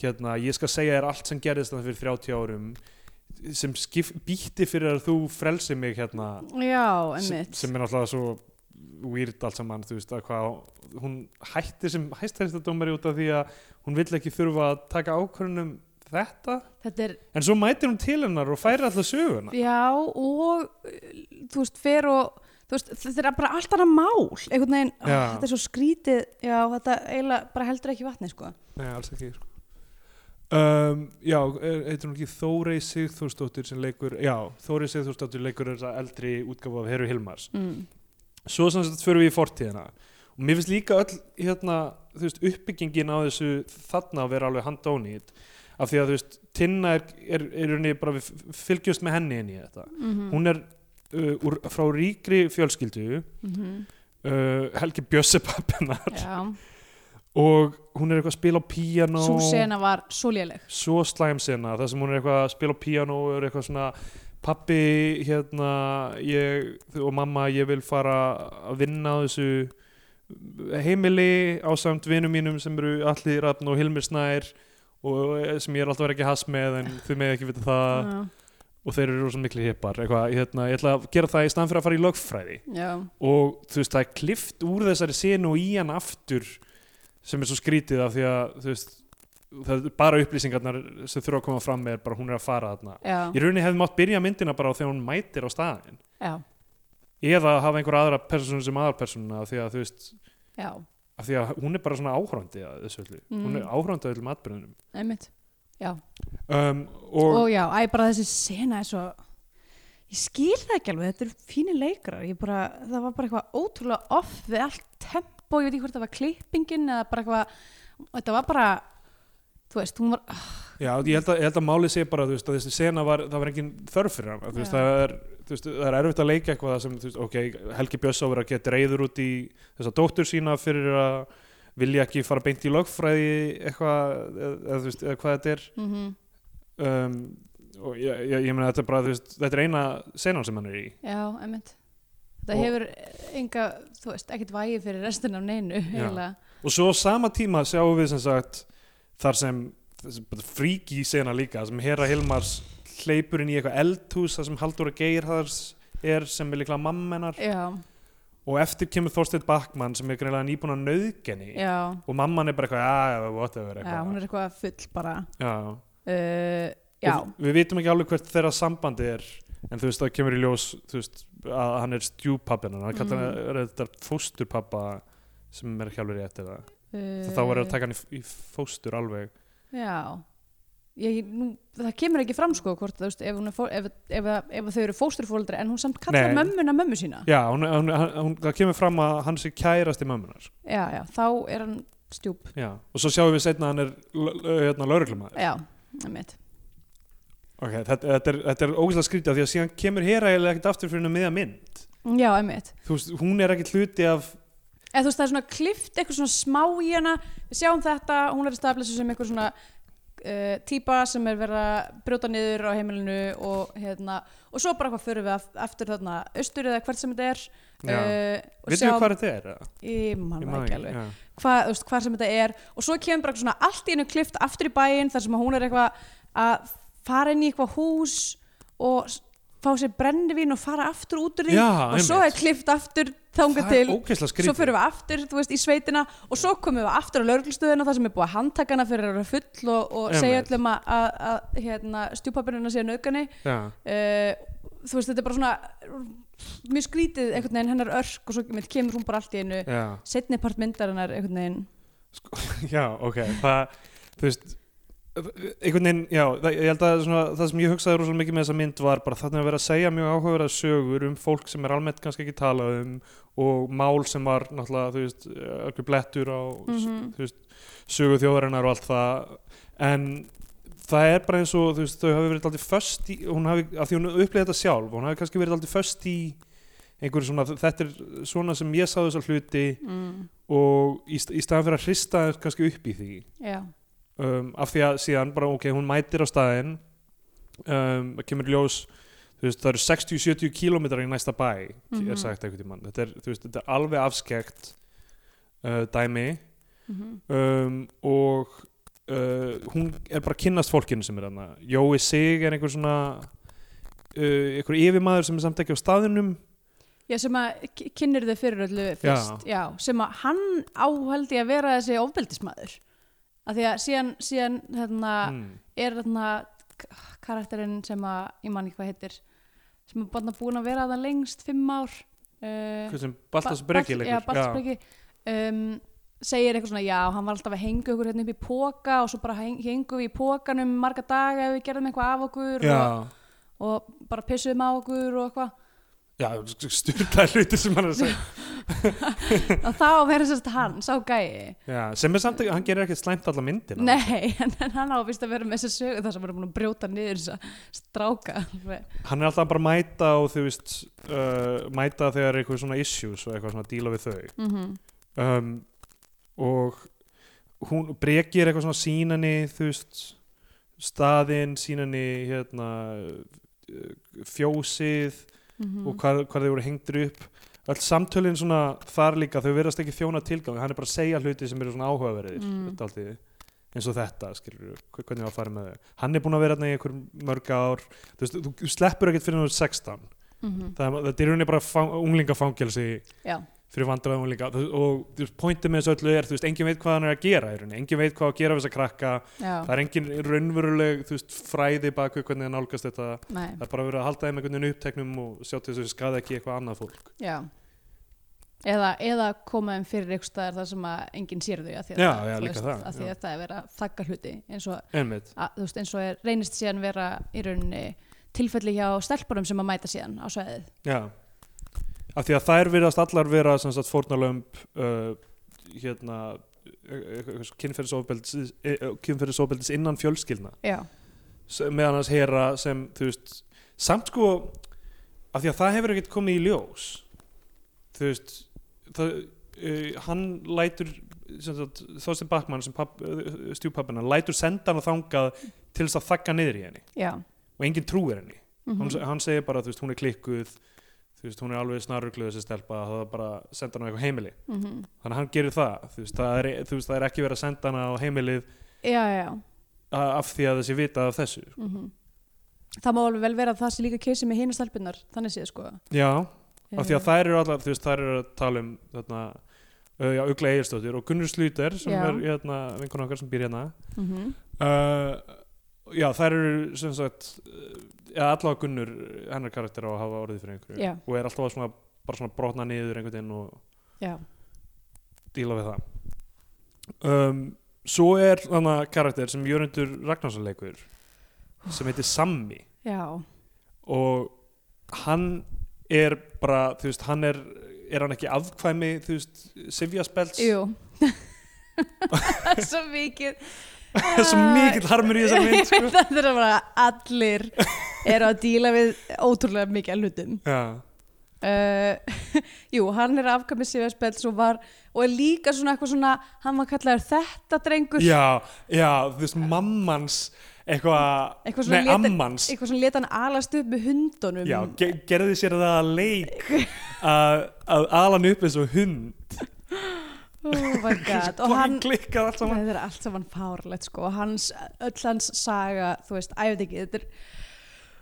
[SPEAKER 2] hérna, ég skal segja þér allt sem gerðist þannig fyrir 30 árum sem skip, býtti fyrir að þú frelsi mig hérna
[SPEAKER 3] Já,
[SPEAKER 2] sem,
[SPEAKER 3] emmitt
[SPEAKER 2] sem er náttúrulega svo weird allt saman, þú veist að hvað hún hætti sem hæstæðistadómari út af því að hún vill ekki þurfa að taka ákvörunum þetta,
[SPEAKER 3] Þetta er,
[SPEAKER 2] en svo mætir hún til hennar og færi alltaf söguna
[SPEAKER 3] já, og uh, þú veist, fer og þú veist, þetta er bara allt annað mál einhvern veginn, ó,
[SPEAKER 2] Já.
[SPEAKER 3] þetta er svo skrítið já, þetta eiginlega bara heldur ekki vatni sko.
[SPEAKER 2] Nei, alls ekki sko. um, Já, er- heitir hún ekki Þórey Sigþórsdóttir sem leikur Já, Þórey Sigþórsdóttir leikur þessa eldri útgáfa af Heru Hilmars
[SPEAKER 3] mm.
[SPEAKER 2] Svo sem þetta förum við í fortíðina og mér finnst líka öll hérna, þú veist, uppbyggingin á þessu þarna að vera alveg handónýtt af því að þú veist, Tinna er, er, er unni bara við fylgjumst með henni inn í þetta
[SPEAKER 3] Mhm. Mm.
[SPEAKER 2] hún er uh, úr, frá ríkri fjölskyldu uh, Helgi Bjössi pappinar
[SPEAKER 3] Mhm. já,
[SPEAKER 2] og hún er eitthvað að spila á píanó
[SPEAKER 3] svo sena var svo léleg
[SPEAKER 2] svo slæm sena þar sem hún er eitthvað að spila á píanó og er eitthvað svona pappi hérna ég, og mamma ég vil fara að vinna á þessu heimili á samt vinum mínum sem eru allir rafn og Hilmir Snær og eh, sem ég er alltaf verið ekki hass með en þau með ekki vita það
[SPEAKER 3] já,
[SPEAKER 2] og þeir eru rosa miklu hippar eitthvað, hérna, ég ætla að gera það í stand fyrir að fara í lögfræði
[SPEAKER 3] já,
[SPEAKER 2] og þú veist það er klift úr þessari senu og í hann aftur sem er svo skrítið af því að þú veist það er bara upplýsingarnar sem þurfa að koma fram með er bara hún er að fara þarna
[SPEAKER 3] já,
[SPEAKER 2] ég rauninni hefði mátt byrja myndina bara á þegar hún mætir á staðin
[SPEAKER 3] já,
[SPEAKER 2] eða hafa einhver aðra persónu sem aðalpersónuna af því að þú veist
[SPEAKER 3] já
[SPEAKER 2] af því að hún er bara svona áhrandi að þessu öllu hún er
[SPEAKER 3] Mm.
[SPEAKER 2] áhrandi að öllum atbyrðunum
[SPEAKER 3] einmitt
[SPEAKER 2] um,
[SPEAKER 3] og,
[SPEAKER 2] og,
[SPEAKER 3] já, æ, bara þessi sena er svo ég skil það ekki alveg, þetta eru fínir leikrar ég bara, það var bara eitthvað ótrúlega off við allt tempo, ég veit ekki hvort það var klippingin eða bara eitthvað, þetta var bara þú veist, hún var
[SPEAKER 2] já, ég, held að, ég held að málið sé bara þú veist, að þessi sena var, það var engin þörf fyrir hann þú veist,
[SPEAKER 3] Já.
[SPEAKER 2] það er þú veist, það er erfitt að leika eitthvað þar sem, þú veist, ok, Helgi Björns á verið að geta reyður út í þessa dóttur sína fyrir að vilja ekki fara beint í lögfræði eitthvað, eða, eða, þú veist, eða hvað þetta er
[SPEAKER 3] mm
[SPEAKER 2] Mhm. um, og ég, ég, ég meina þetta er bara, þú veist, þetta er eina senan sem hann er í
[SPEAKER 3] já, emitt þetta
[SPEAKER 2] Og-
[SPEAKER 3] hefur enga, þú veist, ekkert vægi fyrir restin af neinu
[SPEAKER 2] Já.
[SPEAKER 3] eiginlega.
[SPEAKER 2] og svo á sama tíma sjáum við sem sagt þar sem fríki sena líka sem Hera Hilmars hleypur inn í eitthvað eldhús þar sem Haldur Geirhars er sem er líklega mammenar
[SPEAKER 3] já,
[SPEAKER 2] og eftir kemur Þorsteinn Backmann sem er greinlega nýbúin að nauðgenni
[SPEAKER 3] já,
[SPEAKER 2] og mamman er bara eitthvað, já, whatever
[SPEAKER 3] já,
[SPEAKER 2] eitthvað.
[SPEAKER 3] hún er eitthvað full bara
[SPEAKER 2] Já,
[SPEAKER 3] uh, já,
[SPEAKER 2] Og við vitum ekki alveg hvert þeirra sambandi er en þú veist, það kemur í ljós þú veist, að hann er stjúpappin hann kallar
[SPEAKER 3] Mhm.
[SPEAKER 2] mm. þetta fósturpappa sem er ekki alveg rétt eða
[SPEAKER 3] uh,
[SPEAKER 2] þá var það að taka hann í, í fóstur alveg
[SPEAKER 3] já, ég, nú, það kemur ekki fram sko hvort, þú veist, ef, hún er fó, ef, ef, ef, ef þau eru fósturfóldri en hún samt kallar
[SPEAKER 2] Nei.
[SPEAKER 3] mömmuna mömmu sína
[SPEAKER 2] Já, hún, hún, hún, hún, það kemur fram að hann sé kærasti mömmunar
[SPEAKER 3] já, já, þá er hann stjúp
[SPEAKER 2] Já, og svo sjáum við seinna að hann er l- l- hérna lauruglumæður
[SPEAKER 3] já, einmitt.
[SPEAKER 2] Ok, þetta, þetta er, þetta er ógæslega skrítið af því að síðan kemur hér eiginlega ekkert aftur fyrir henni miða mynd
[SPEAKER 3] já, einmitt
[SPEAKER 2] Þú veist, hún er ekkert hluti af
[SPEAKER 3] eða þú veist það er svona klift eitthvað svona smá í hana við sjáum þetta, hún er að stafla sig sem eitthvað svona uh, típa sem er verið að brjóta niður á heimilinu og hérna, og svo bara hvað fyrir við af- aftur þarna, austur eða hvert sem þetta er
[SPEAKER 2] Já.
[SPEAKER 3] uh, og
[SPEAKER 2] Veitum við hvað þetta er? eða?
[SPEAKER 3] ég man
[SPEAKER 2] Ég
[SPEAKER 3] það
[SPEAKER 2] man
[SPEAKER 3] ekki alveg
[SPEAKER 2] já.
[SPEAKER 3] hvað, þú veist, hvað sem þetta er og svo kemur bara eitthvað svona allt í einu klift aftur í bæinn þar sem að hún er eitthvað að fara inn í eitthvað hús og s- fá sér brennivín og fara aftur út úr því
[SPEAKER 2] Já,
[SPEAKER 3] og svo er
[SPEAKER 2] einmitt.
[SPEAKER 3] klift aftur þangað
[SPEAKER 2] Það
[SPEAKER 3] til
[SPEAKER 2] er ógæslega
[SPEAKER 3] svo
[SPEAKER 2] skrítið
[SPEAKER 3] fyrir við aftur, þú veist, í sveitina og svo komum við aftur á lauruglustöðina þar sem er búið að handtaka hana fyrir að vera full og, og
[SPEAKER 2] Einmitt.
[SPEAKER 3] segja öllum að, að, að hérna, stjúpapirina sé nöðgani
[SPEAKER 2] Já,
[SPEAKER 3] uh, þú veist, þetta er bara svona mjög skrítið einhvern veginn hennar örk og svo einmitt kemur hún bara allt í einu
[SPEAKER 2] já,
[SPEAKER 3] setni part myndarinnar einhvern veginn
[SPEAKER 2] Sko, já, ok Það, þú veist einhvern veginn, já, það, ég held að svona, það sem ég hugsaði rosalega mikið með þessa mynd var bara þannig að vera að segja mjög áhugaverða sögur um fólk sem er almennt kannski ekki talað um og mál sem var náttúrulega, þú veist, algjör blettur á
[SPEAKER 3] Mhm.
[SPEAKER 2] þú veist, sögu þjóðarinnar og allt það en það er bara eins og þú veist, þau hafi verið alltaf föst í, hún hafi, af því hún upplýði þetta sjálf hún hafi kannski verið alltaf föst í einhverju svona, þetta er svona sem ég sá þessa hluti
[SPEAKER 3] mm.
[SPEAKER 2] og í, st- í staðan fyrir að hrista þær kannski upp í því
[SPEAKER 3] já,
[SPEAKER 2] um, af því að síðan bara ok, hún mætir á staðinn um, það kemur í ljós þú veist, það eru 60-70 kílómetrar í næsta bæ er
[SPEAKER 3] Mhm.
[SPEAKER 2] sagt einhvern tímann þetta er, þú veist, þetta er alveg afskekt uh, dæmi um, og uh, hún er bara að kynnast fólkinu sem er þarna Jói Sig er einhver svona uh, einhver yfirmaður sem er samt ekki á staðinum
[SPEAKER 3] já, sem að k- kynnir þau fyrir öllu fyrst já. sem að hann áhaldi að vera þessi ofbeldismæður af því að síðan, síðan hérna,
[SPEAKER 2] mm.
[SPEAKER 3] er hérna k- karakterinn sem að, ég man ekki hvað heitir sem er bara búin að vera að það lengst fimm ár uh,
[SPEAKER 2] Hvað sem Baltas
[SPEAKER 3] Ba-
[SPEAKER 2] Breki
[SPEAKER 3] Bal-
[SPEAKER 2] leikur.
[SPEAKER 3] já, Baltasbreki um, segir eitthvað svona, já, hann var alltaf að henga okkur hérna upp í póka og svo bara heng, hengum við í pókanum marga daga ef við gerðum eitthvað af okkur og,
[SPEAKER 2] já,
[SPEAKER 3] og bara pissuðum á okkur og eitthvað
[SPEAKER 2] já styrlaði hluti sem hann er að segja
[SPEAKER 3] og þá verður sérst hann, sá gæi
[SPEAKER 2] já, sem er samt ekki, hann gerir ekkert slæmt alla myndina
[SPEAKER 3] nei, en, en hann á vist að vera með þessi sögu þar sem hann er búin að brjóta niður þess að stráka alveg.
[SPEAKER 2] hann er alltaf bara að mæta og þú veist uh, mæta þegar er eitthvað svona issues og eitthvað svona að díla við þau
[SPEAKER 3] Mhm,
[SPEAKER 2] um, og hún brekir eitthvað svona sínani þú veist staðinn, sínani hérna, uh, fjósið
[SPEAKER 3] mhm.
[SPEAKER 2] og hvar, hvar þau voru hengdur upp öll samtölin svona þar líka þau verðast ekki þjóna tilgang hann er bara að segja hluti sem eru svona áhugaverðir
[SPEAKER 3] Mm.
[SPEAKER 2] mm. alltið, eins og þetta skilur, hvernig var að fara með þau hann er búin að vera þarna í einhver mörg ár þú, veist, þú, þú sleppur ekkert fyrir hann er 16 það, það er rauninni bara fang, unglingafangelsi
[SPEAKER 3] mhm. já,
[SPEAKER 2] fyrir vandræðum og líka og þú veist, pointið með þessu öllu er, þú veist, enginn veit hvað hann er að gera í rauninni, enginn veit hvað á að gera við þessa krakka
[SPEAKER 3] já,
[SPEAKER 2] það er enginn raunveruleg, þú veist, fræði baku hvernig hann nálgast þetta,
[SPEAKER 3] nei,
[SPEAKER 2] það er bara verið að halda þeim einhvern veginn uppteknum og sjá til þess að skada ekki eitthvað annað fólk.
[SPEAKER 3] já Eða, eða koma þeim fyrir eitthvað staðar þar sem að enginn sér þau að því að,
[SPEAKER 2] Já,
[SPEAKER 3] það,
[SPEAKER 2] já,
[SPEAKER 3] þú
[SPEAKER 2] líka
[SPEAKER 3] veist,
[SPEAKER 2] það,
[SPEAKER 3] að, því
[SPEAKER 2] já.
[SPEAKER 3] að það er verið að þakka hluti eins og,
[SPEAKER 2] Einmitt.
[SPEAKER 3] að, þú veist, eins og er, reynist síðan vera í rauninni tilfelli hjá stelpunum sem að mæta síðan á sveðið
[SPEAKER 2] Já. Af því að þær virðast allar vera sem sagt fórnalömb uh, hérna e, kynferðisofbeldis e, kynferðisofbeldis innan fjölskyldna
[SPEAKER 3] Já,
[SPEAKER 2] sem- meðan hans hera sem þú veist, samt sko af því að það hefur ekkert komið í ljós þú veist það, uh, hann lætur sem sagt, Þorstein Bakmann sem papp, uh, stjúpappina, lætur senda hann þangað til þess að þakka niður í henni
[SPEAKER 3] já
[SPEAKER 2] og enginn trúir henni
[SPEAKER 3] mm
[SPEAKER 2] hann, hann segir bara, þú veist, hún er klikkuð þú veist, hún er alveg snarugluð þessi stelpa það er bara að senda hann á eitthvað heimili
[SPEAKER 3] mhm.
[SPEAKER 2] þannig að hann gerir það, þú veist, það er, þú veist, það er ekki verið að senda hann á heimilið
[SPEAKER 3] Já, já, já
[SPEAKER 2] a- af því að þessi vita af þessu
[SPEAKER 3] mm Það má alveg vel vera að það sé líka keisi með hinu stelpunar þannig séð sko
[SPEAKER 2] já, af því að þær eru allar þú veist, þær eru að tala um þarna, uh, já, Ugla Egilstóttir og Gunnur Slúter sem
[SPEAKER 3] Já.
[SPEAKER 2] er hérna, vinkona okkar sem býr hérna
[SPEAKER 3] mm -hmm.
[SPEAKER 2] uh, já, þær eru sem sagt, uh, ja, allavega Gunnur hennar karakter á að hafa orðið fyrir einhverju
[SPEAKER 3] Já.
[SPEAKER 2] og er alltaf að svona, bara svona brotna niður einhvern veginn og
[SPEAKER 3] Já,
[SPEAKER 2] díla við það um, svo er þannig karakter sem Jörundur Ragnarsson leikur sem heitir Sammi
[SPEAKER 3] já,
[SPEAKER 2] og hann er bara, þú veist, hann er er hann ekki afkvæmi, þú veist Sivjaspels,
[SPEAKER 3] jú svo mikið
[SPEAKER 2] svo mikill harmur í þessari mynd sko.
[SPEAKER 3] það er bara allir eru að díla við ótrúlega mikið af hlutum
[SPEAKER 2] já,
[SPEAKER 3] uh, jú, hann er afkvæmið Sivjarspels og var og er líka svona eitthvað svona hann var kallaður þetta drengur
[SPEAKER 2] já, já, þú veist, mammans eitthvað,
[SPEAKER 3] Eitthvað svona
[SPEAKER 2] nei,
[SPEAKER 3] létt-
[SPEAKER 2] ammans
[SPEAKER 3] eitthvað svona leta hann alast upp með hundunum
[SPEAKER 2] já, ge gerði sér það að leik að að ala hann upp eins og hund
[SPEAKER 3] oh my god og hann
[SPEAKER 2] klikkað allt saman
[SPEAKER 3] það er allt saman fárlegt sko og hans, öll hans saga þú veist, að ég veit ekki þetta er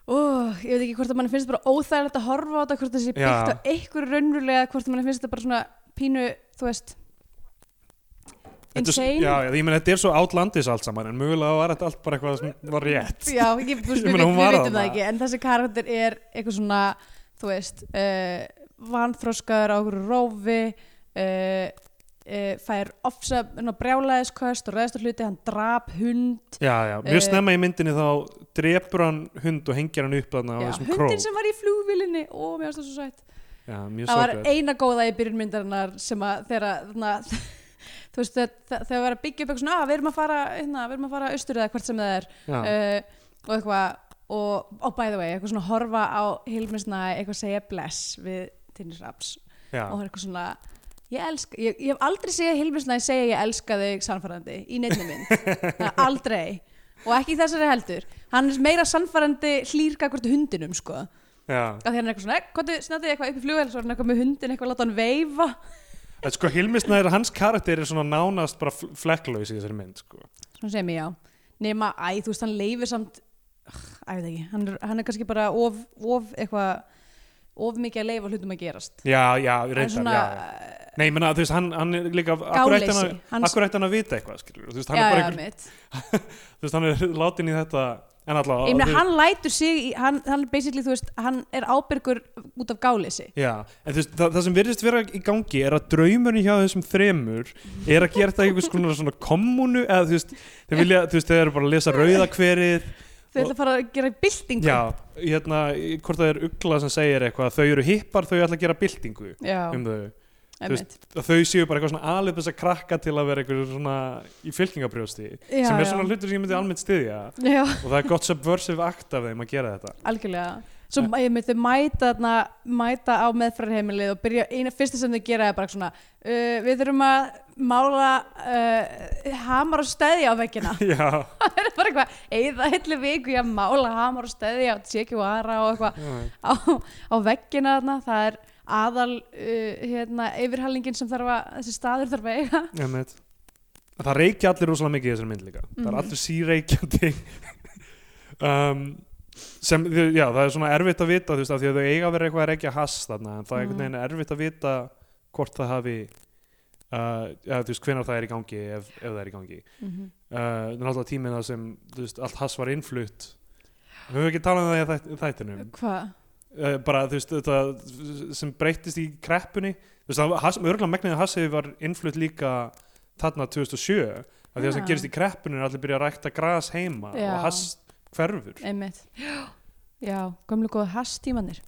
[SPEAKER 3] Oh, ég veit ekki hvort að mann finnst bara óþægilegt að horfa á þetta hvort það sé
[SPEAKER 2] Já.
[SPEAKER 3] byggt á einhverju raunrulega hvort að mann finnst þetta bara svona pínu þú veist
[SPEAKER 2] Þetta er s-
[SPEAKER 3] insane
[SPEAKER 2] já, já, ég meina þetta er svo átlandis allt saman en mögulega var þetta allt bara eitthvað sem var rétt
[SPEAKER 3] Já, ég, þú veist,
[SPEAKER 2] Ég
[SPEAKER 3] við,
[SPEAKER 2] meina,
[SPEAKER 3] við,
[SPEAKER 2] hún var
[SPEAKER 3] vitum
[SPEAKER 2] þarna.
[SPEAKER 3] það ekki en þessi karakter er eitthvað svona þú veist, uh, vanþróskaður á okkur rófi uh, uh, fær ofsa brjálæðiskvöst og ræðist á hluti hann drap hund
[SPEAKER 2] já, já, mjög
[SPEAKER 3] Eh,
[SPEAKER 2] snemma í myndinni þá drepur hann hund og hengir hann upp þarna á
[SPEAKER 3] Já,
[SPEAKER 2] þessum
[SPEAKER 3] hundin
[SPEAKER 2] kró
[SPEAKER 3] sem var í flugvilinni og mér varst það svo sætt
[SPEAKER 2] já, mjög
[SPEAKER 3] það var
[SPEAKER 2] sorglega
[SPEAKER 3] eina góða í byrjun myndarinnar sem að þeirra þarna, þú veist, þegar- þegar þegar var að byggja upp eitthvað svona, að við erum að fara hérna, við erum að fara austur eða hvert sem það er
[SPEAKER 2] já,
[SPEAKER 3] uh, og eitthvað og oh, by the way, eitthvað svona horfa á Hilmisna eitthvað segja bless við Tinnis Raps
[SPEAKER 2] já,
[SPEAKER 3] og það er eitthvað svona ég, elska, ég, ég hef aldrei segja Hilmisna segja ég elska þig sannfærandi í neittni mynd Það er aldrei og ekki í þessari heldur hann er meira sannfærandi hlýrka hvort hundinum sko að
[SPEAKER 2] já.
[SPEAKER 3] því hann er eitthvað svona, "Eh, hvað snætti ég eitthvað upp í flugvel svo er hann eitthvað með hundin, eitthvað að láta hann veifa
[SPEAKER 2] En sko Hilmisnæður, hans karakter er svona nánast bara fl- flekklaus í þessari mynd sko.
[SPEAKER 3] svona sem ég já nema, æ, þú veist, hann leifir samt æ, ég veit ekki, hann er, hann er kannski bara of, of eitthvað of mikið að leifa hlutum að gerast
[SPEAKER 2] já, já,
[SPEAKER 3] Hann er eh,
[SPEAKER 2] reyndar, já, já nei, ég meina, þú veist, hann, hann er líka akkur ætti hann,
[SPEAKER 3] gáleysi
[SPEAKER 2] að-
[SPEAKER 3] hans,
[SPEAKER 2] af hverju ætti hann að vita eitthvað skilur, þú veist,
[SPEAKER 3] já,
[SPEAKER 2] hann er
[SPEAKER 3] já,
[SPEAKER 2] bara einhver,
[SPEAKER 3] mitt
[SPEAKER 2] þú veist, hann er látin í þetta en allavega,
[SPEAKER 3] ég meina,
[SPEAKER 2] þú-
[SPEAKER 3] hann lætur sig, í- hann, hann er basically, þú veist, hann er ábyrgur út af gáleysi
[SPEAKER 2] Já, en þú veist, það, það sem virðist vera í gangi er að draumurinn hjá þessum þremur er að gera þetta í einhvers konar svona kommunu eða þú veist, þeir vilja, þú veist, þeir eru bara að lesa rauðakverið,
[SPEAKER 3] þau ætla að fara að gera byltingu
[SPEAKER 2] já, hérna í- hvort það er ugla sem segir eitthvað að þau eru hippar, þau ætla að gera byltingu
[SPEAKER 3] já
[SPEAKER 2] um þau,
[SPEAKER 3] einmitt.
[SPEAKER 2] veist, að þau séu bara eitthvað svona alveg þess að krakka til að vera eitthvað svona í fylkingabrjósti,
[SPEAKER 3] já,
[SPEAKER 2] sem er
[SPEAKER 3] já.
[SPEAKER 2] svona hlutur sem ég myndi almennt styðja
[SPEAKER 3] já,
[SPEAKER 2] og það er gott subversive act af þeim að gera þetta
[SPEAKER 3] algjörlega svo ég með þau mæta, þarna, mæta á meðfrarheimilið og byrja, eina fyrsta sem þau gera er bara svona uh, við þurfum að mála uh, hamar og stæði á veggina
[SPEAKER 2] Já,
[SPEAKER 3] það er bara eitthvað, eða heilli viku ég að mála hamar og stæði á tjekkjúara og eitthvað
[SPEAKER 2] já,
[SPEAKER 3] á, á veggina þarna, það er aðal uh, hérna, yfirhalningin sem þarf að þessi staður þarf að eiga
[SPEAKER 2] Emmett. Það reykja allir rosalega mikið í þessari mynd líka. Það er
[SPEAKER 3] Mhm.
[SPEAKER 2] allir síreykjandi. um, sem, þau- já, það er svona erfitt að vita, þú veist, af því að þau eiga að vera eitthvað að reykja hass þarna, en það er einhvern
[SPEAKER 3] Mhm.
[SPEAKER 2] veginn erfitt að vita hvort það hafi, uh, já, þú veist, hvenar það er í gangi, ef, ef það er í gangi. Uh, það er náttúrulega tíminn það sem, þú veist, allt hass var innflutt. Við höfum ekki talað um það í þætt- þættinum.
[SPEAKER 3] hvað?
[SPEAKER 2] Uh, bara, þú veist, þetta sem breyttist í kreppunni, þú veist, það hass, örgulega megniði hassi var innflutt líka þarna 2007 af því að það sem
[SPEAKER 3] Já.
[SPEAKER 2] gerist í kreppunni er allir byrja að rækta gras heima
[SPEAKER 3] Ah. Já.
[SPEAKER 2] og hass hverfur
[SPEAKER 3] einmitt já, gömlu góðu hastímanir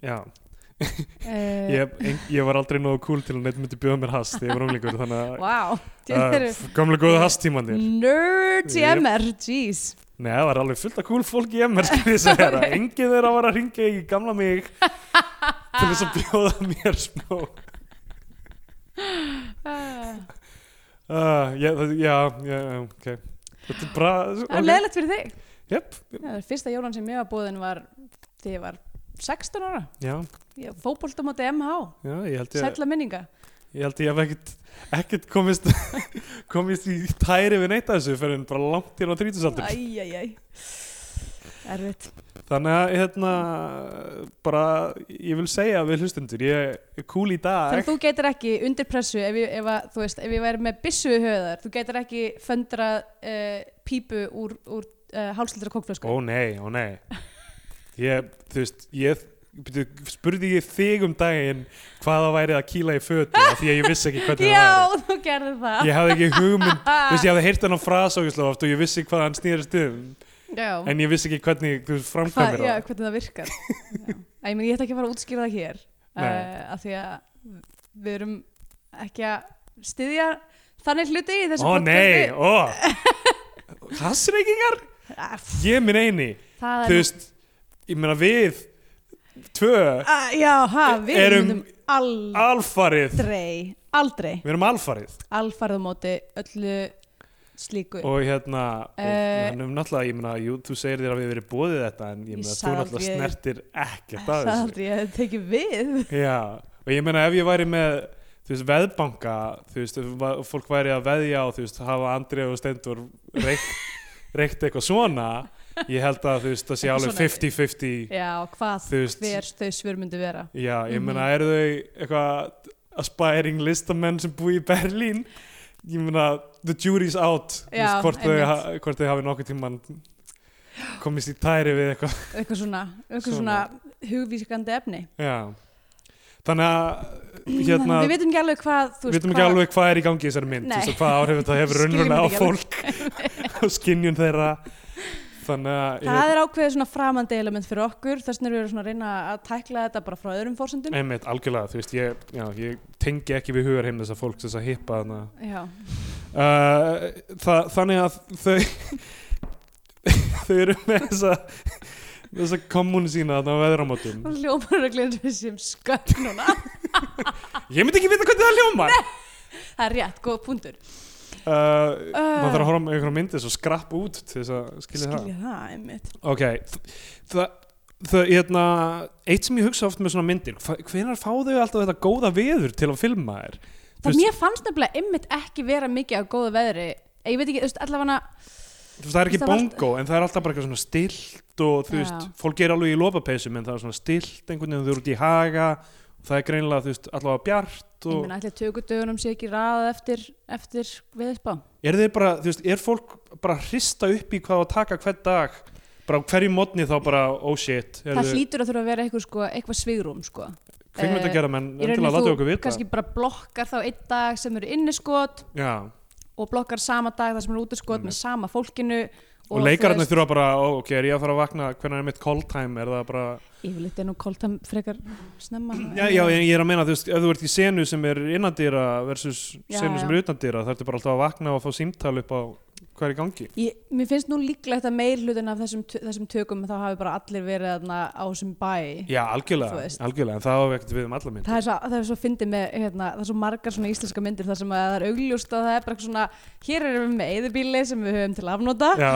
[SPEAKER 2] já,
[SPEAKER 3] uh,
[SPEAKER 2] ég, ein, ég var aldrei nógu cool til að neitt myndi bjóða mér hass þegar ég var umlingur þannig
[SPEAKER 3] wow,
[SPEAKER 2] að
[SPEAKER 3] þetta eru Mm.
[SPEAKER 2] uh, gamla góða hasstímandir
[SPEAKER 3] Nerds í
[SPEAKER 2] Yep.
[SPEAKER 3] MR, jeez
[SPEAKER 2] Nei, það var alveg fullt af cool fólk í MR skil þess að vera, enginn er að vara að ringja í gamla mig til þess að bjóða mér smá uh, já, það- já, já, ok þetta er bara
[SPEAKER 3] Það er leðilegt fyrir þig
[SPEAKER 2] Jep.
[SPEAKER 3] Já, það er Fyrsta jólan sem ég var búðin var þegar ég var 16 ára
[SPEAKER 2] já,
[SPEAKER 3] Ég fótbolta móti MH,
[SPEAKER 2] já, ég held ég
[SPEAKER 3] sætla minninga
[SPEAKER 2] Ég held ég hef ekkert, ekkert komist, komist í tæri við neitt af þessu fyrir en bara langt hérna á 30 saldur.
[SPEAKER 3] Æjæjæj Erfitt
[SPEAKER 2] Þannig að hérna, bara, ég vil segja við hlustundur, ég er cool í dag.
[SPEAKER 3] Þannig að þú getur ekki undir pressu ef ég, ef að, þú veist, ef ég væri með byssu í höfðar þú getur ekki föndrað uh, pípu eh, úr, úr uh, hálslitra kókflösku
[SPEAKER 2] Ó nei, ó nei. Ég, þú veist, ég byrju, spurði ég þig um daginn hvað það væri að kýla í fötu af því að ég vissi ekki hvernig það
[SPEAKER 3] Já, þú gerði það Ah.
[SPEAKER 2] væri ég hafði ekki hugmynd þú veist, ég hafði heyrt hennar frasa ógeðslega oft og ég vissi hvað hann snýrist um
[SPEAKER 3] Já,
[SPEAKER 2] en ég vissi ekki hvernig þú veist,
[SPEAKER 3] Hvað,
[SPEAKER 2] framkvæmir
[SPEAKER 3] já,
[SPEAKER 2] það
[SPEAKER 3] hvernig það virkar Já. Æ, ég, meni, ég ætla ekki að fara að útskýra það hér
[SPEAKER 2] Nei.
[SPEAKER 3] uh, af því að við erum ekki að styðja þannig hluti í þessu
[SPEAKER 2] ó nei, ó hassreikingar,
[SPEAKER 3] podcasti.
[SPEAKER 2] ég minn eini
[SPEAKER 3] Æ, Ah, það
[SPEAKER 2] þú
[SPEAKER 3] er
[SPEAKER 2] veist, ég meina við tvö,
[SPEAKER 3] Ah,
[SPEAKER 5] Uh, já, ha, við
[SPEAKER 2] Erum-
[SPEAKER 5] myndum aldrei,
[SPEAKER 2] alfarið
[SPEAKER 5] aldrei
[SPEAKER 2] við erum alfarið
[SPEAKER 3] alfarðu móti öllu slíku
[SPEAKER 2] og hérna og
[SPEAKER 3] Eh.
[SPEAKER 2] hann um náttúrulega, ég meina, jú, þú segir þér að við verið bóðið þetta en ég
[SPEAKER 3] Ég
[SPEAKER 2] meina, þú
[SPEAKER 3] sagði
[SPEAKER 2] náttúrulega
[SPEAKER 3] aldrei-
[SPEAKER 2] snertir ekkert
[SPEAKER 3] það
[SPEAKER 2] að
[SPEAKER 3] er
[SPEAKER 2] þessu
[SPEAKER 3] aldrei að þetta ekki við
[SPEAKER 2] já, og ég meina ef ég væri með þú veist, veðbanka, þú veist ef va- fólk væri að veðja og þú veist, hafa Andrið og Stendur reykt, reykt eitthvað svona ég held að þú veist, það sé
[SPEAKER 3] Eitthvað
[SPEAKER 2] alveg 50-50
[SPEAKER 3] svona- já, hvað
[SPEAKER 2] Þú veist-
[SPEAKER 3] hver þau svör myndi vera
[SPEAKER 2] já, ég
[SPEAKER 3] Mhm.
[SPEAKER 2] meina, eru þau eitthvað aspiring listamenn sem búi í Berlín ég meina, the jury's out þú
[SPEAKER 3] Já,
[SPEAKER 2] veist, hvort, þau,
[SPEAKER 3] einmitt.
[SPEAKER 2] ha- hvort þau hafi nokkuð tímann komist í tæri við eitthvað
[SPEAKER 3] eitthvað svona, eitthvað
[SPEAKER 2] Svona.
[SPEAKER 3] svona. hugvískandi efni
[SPEAKER 2] Já Þannig að hérna,
[SPEAKER 3] við veitum ekki alveg hvað
[SPEAKER 2] við
[SPEAKER 3] þú veist,
[SPEAKER 2] veitum ekki
[SPEAKER 3] hvað-
[SPEAKER 2] alveg hvað er í gangi í þessari mynd
[SPEAKER 3] Nei.
[SPEAKER 2] þú veist, og hvað áhrif þetta hefur
[SPEAKER 3] Skilum
[SPEAKER 2] raunverulega á
[SPEAKER 3] þetta
[SPEAKER 2] fólk og skinnjun þeirra Þannig að
[SPEAKER 3] Það er ákveðið svona framandi element fyrir okkur þess vegna erum við svona að reyna að tækla þetta bara frá öðrum fórsendum
[SPEAKER 2] einmitt, algjörlega, þú veist, ég, já, ég tengi ekki við hugar heim þessa fólk þess að hippa þarna
[SPEAKER 3] Já,
[SPEAKER 2] uh, það, Þannig að þau þau eru með þessa þessa kommun sína þarna á veðramótum
[SPEAKER 3] það hljómar að glinda við sem skökk núna
[SPEAKER 2] Ég myndi ekki vita hvernig það hljómar uh,
[SPEAKER 3] Það er rétt, góð punktur
[SPEAKER 2] Maður þarf að horfa með einhverjum myndið svo skrapp út til þess að skilja það
[SPEAKER 3] Uh. Skilja það, einmitt
[SPEAKER 2] Ok, það Það, hérna, eitt sem ég hugsa oft með svona myndir hvenar fá þau alltaf þetta góða veður til að filma þér? Þú
[SPEAKER 3] Það
[SPEAKER 2] veist-
[SPEAKER 3] mér fannst nefnilega einmitt ekki vera mikið á góðu veðri Ég veit ekki, þú veist, allavega
[SPEAKER 2] Þú veist, það er ekki
[SPEAKER 3] Það var allt-
[SPEAKER 2] bongo, en það er alltaf bara eitthvað svona stilt og þú
[SPEAKER 3] Já.
[SPEAKER 2] veist, fólk er alveg í lopapeysum en það er svona stilt einhvern veginn, þau eru út í haga og það er greinilega, þú veist, allavega bjart
[SPEAKER 3] Ég
[SPEAKER 2] og
[SPEAKER 3] meina, ætli tökutögunum sé ekki raðað eftir, eftir veðspá
[SPEAKER 2] er þeir bara, þú veist, er fólk bara að hrista upp í hvað á að taka hvern dag bara á hverju modni þá bara, oh shit
[SPEAKER 3] Það hlýtur að þurfa að vera eitthvað, sko, eitthvað svigrúm, sko
[SPEAKER 2] Hvernig þetta gera, menn,
[SPEAKER 3] eh, Í
[SPEAKER 2] endilega
[SPEAKER 3] rauninni
[SPEAKER 2] láta
[SPEAKER 3] þú
[SPEAKER 2] okkur vita
[SPEAKER 3] kannski bara blokkar þá einn dag sem eru sko, inniskot
[SPEAKER 2] Já,
[SPEAKER 3] og blokkar sama dag þar sem eru útiskot með
[SPEAKER 2] Einmitt.
[SPEAKER 3] sama fólkinu
[SPEAKER 2] Mhm. og, og leikararnir
[SPEAKER 3] þú veist,
[SPEAKER 2] þurfa bara, ó, ok, er ég að fara að vakna hvernig er mitt call time, er það bara
[SPEAKER 3] yfirleitt er nú koltam frekar snemma
[SPEAKER 2] Já, já, ég ég er að meina, þú veist, ef þú ert í senu sem er innandýra versus
[SPEAKER 3] Já,
[SPEAKER 2] senu
[SPEAKER 3] já.
[SPEAKER 2] sem er utandýra, það ertu bara alltaf að vakna og fá símtal upp á hvað er í gangi.
[SPEAKER 3] Ég, mér finnst nú líklegt að meir hlutin af þessum, tö- þessum tökum þá hafi bara allir verið þarna á þessum bæ
[SPEAKER 2] Já,
[SPEAKER 3] Þú
[SPEAKER 2] algjörlega,
[SPEAKER 3] veist.
[SPEAKER 2] algjörlega, en það á ekkert við um alla mynd.
[SPEAKER 3] það er svo, það er svo fyndið með hérna, það er svo margar svona íslenska myndir þar sem að það er augljóst að það er bara eitthvað svona hér erum við með eðubíli sem við höfum til afnóta
[SPEAKER 2] Já,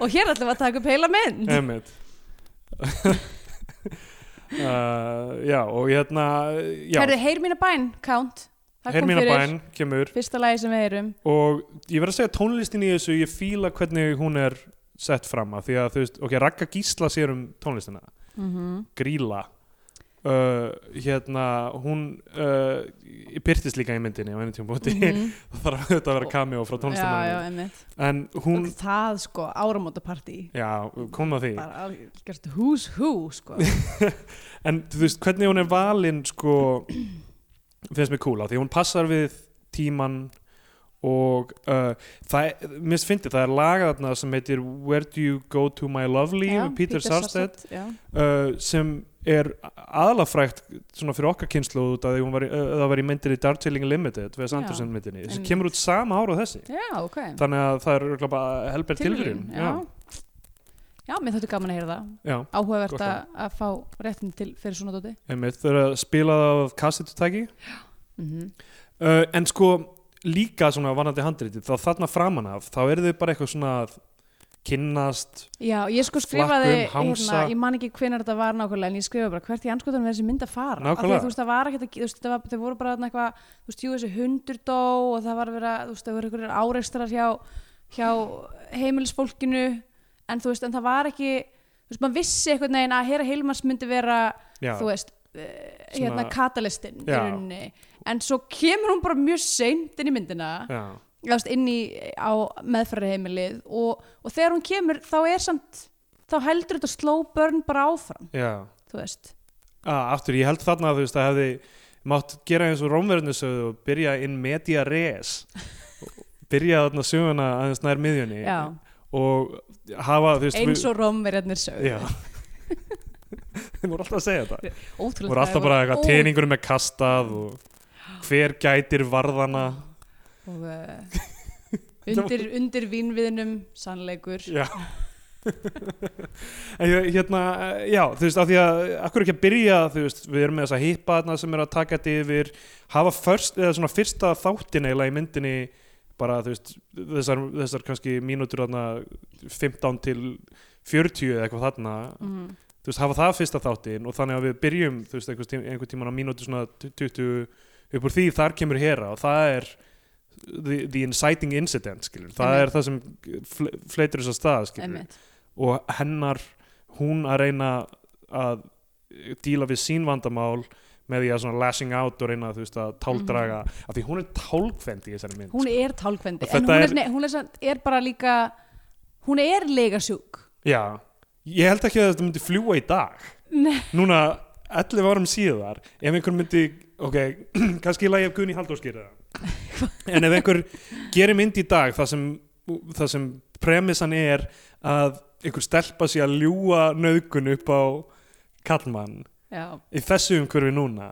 [SPEAKER 3] og hér ætlum við að taka upp heila mynd
[SPEAKER 2] emmitt. uh, já, og hérna, já,
[SPEAKER 3] Herðu, heyr mína bæn, count Það kom
[SPEAKER 2] Hermína
[SPEAKER 3] fyrir.
[SPEAKER 2] Bæn kemur
[SPEAKER 3] Fyrsta lagi sem við heyrum
[SPEAKER 2] og ég verð að segja tónlistin í þessu, ég fíla hvernig hún er sett fram að því að, þú veist, ok, Ragga Gísla sér um tónlistina.
[SPEAKER 3] mm
[SPEAKER 2] Mhm.
[SPEAKER 3] -hmm.
[SPEAKER 2] Gríla uh, hérna hún uh, byrtist líka í myndinni á einu tíma búti mm það þarf auðvitað að vera cameo frá
[SPEAKER 3] Já, Mhm. já,
[SPEAKER 2] tónlistamann
[SPEAKER 3] einmitt
[SPEAKER 2] en hún,
[SPEAKER 3] Og það sko, áramótapartí
[SPEAKER 2] já, kom að því
[SPEAKER 3] bara algjört who's who sko.
[SPEAKER 2] en þú veist, hvernig hún er valin sko, finnst mér cool á því hún passar við tíman og uh, það, minnst fyndi, það er laga þarna sem heitir Where do you go to my lovely
[SPEAKER 3] Já,
[SPEAKER 2] með Peter, Peter Sarstedt
[SPEAKER 3] já.
[SPEAKER 2] uh, sem er aðlafrægt svona fyrir okkar kynslu út að hún var, í- uh, það var í myndinni Darjeeling Limited Wes
[SPEAKER 3] Já,
[SPEAKER 2] Anderson myndinni sem
[SPEAKER 3] einmitt.
[SPEAKER 2] kemur út sama ára og þessi
[SPEAKER 3] já, ok
[SPEAKER 2] þannig að það er örugglega bara helber tilvíðin
[SPEAKER 3] já. já, mér þóttu gaman að heyra það
[SPEAKER 2] já,
[SPEAKER 3] áhugavert
[SPEAKER 2] Gott
[SPEAKER 3] að, að fá réttin til fyrir svona dóti
[SPEAKER 2] einmitt þau eru að spila það af kassetutæki
[SPEAKER 3] mm
[SPEAKER 2] uh, en sko líka svona vanandi handriti þá þarna framan af þá eru þau bara eitthvað svona að kynnast
[SPEAKER 3] já, ég sko
[SPEAKER 2] Flakkum,
[SPEAKER 3] skrifaði
[SPEAKER 2] hamsa.
[SPEAKER 3] ég man ekki hvenar þetta var nákvæmlega en ég skrifaði bara hvert í anskotunum er þessi mynd að fara Af því
[SPEAKER 2] Nákvæmlega.
[SPEAKER 3] að þú veist, það var ekki, þú veist, það var, þau voru bara þarna eitthvað, þú veist, jú, þessi hundur dó og það var að vera, þú veist, það voru einhverjir áreikstrar hjá, hjá heimilisfólkinu en þú veist, en það var ekki þú veist, maður vissi einhvern veginn að heyra heilmars myndi vera
[SPEAKER 2] já,
[SPEAKER 3] þú veist, uh, hérna
[SPEAKER 2] Svona-
[SPEAKER 3] katalistinn í
[SPEAKER 2] Já.
[SPEAKER 3] rauninni en svo kemur hún bara mjög seint inn í myndina
[SPEAKER 2] já,
[SPEAKER 3] þú veist, inn í á meðferðarheimilið og, og þegar hún kemur þá er samt þá heldur þetta slow burn bara áfram
[SPEAKER 2] já,
[SPEAKER 3] Þú þú veist
[SPEAKER 2] Ah, aftur, ég held þarna að þú veist að hefði mátt gera eins og rómverðinu sögðu og byrja in media res byrja þarna söguna aðeins nær miðjunni
[SPEAKER 3] já,
[SPEAKER 2] og hafa þú veist
[SPEAKER 3] eins og romverjarnir sög
[SPEAKER 2] já þeim voru alltaf að segja þetta
[SPEAKER 3] ótrúlega
[SPEAKER 2] voru alltaf bara eitthvað teiningunum með kastað og hver gætir varðana
[SPEAKER 3] og uh, undir, undir vínviðnum sannleikur
[SPEAKER 2] já En ég- hérna, já, þú veist, af því að akkur ekki að byrja, þú veist, við erum með þessa hippa þarna sem er að taka þetta yfir hafa först, eða svona fyrsta þáttin eiginlega í myndinni bara, þú veist, þessar, þessar kannski mínútur þarna 15 til 40 eða eitthvað þarna
[SPEAKER 3] mm.
[SPEAKER 2] þú veist, hafa það fyrsta þáttin og þannig að við byrjum, þú veist, einhvers tíma, einhver tíman á mínútu svona 20 upp úr því, þar kemur hera og það er the, the inciting incident, skilur það
[SPEAKER 3] Einmitt.
[SPEAKER 2] er það sem fle- fleitur þess að stað, skilur
[SPEAKER 3] einmitt
[SPEAKER 2] og hennar, hún að reyna að díla við sín vandamál með því að svona lashing out og reyna þú veist að táldraga af því hún er tálkvend í þessari mynd
[SPEAKER 3] Mhm. hún er tálkvendi
[SPEAKER 2] Og
[SPEAKER 3] en
[SPEAKER 2] þetta
[SPEAKER 3] hún, er,
[SPEAKER 2] er-
[SPEAKER 3] nei, hún er, samt- er bara líka hún er legasjúk
[SPEAKER 2] Já, ég held ekki að þetta myndi fljúa í dag
[SPEAKER 3] Nei.
[SPEAKER 2] Núna 11 árum síðar ef einhver myndi, ok, kannski lægi af Gunni Halldórskýrða en ef einhver gerir mynd í dag það sem, það sem premissan er að einhver stelpa sér að ljúa nöðgun upp á kallmann
[SPEAKER 3] já,
[SPEAKER 2] í þessu umhverfi núna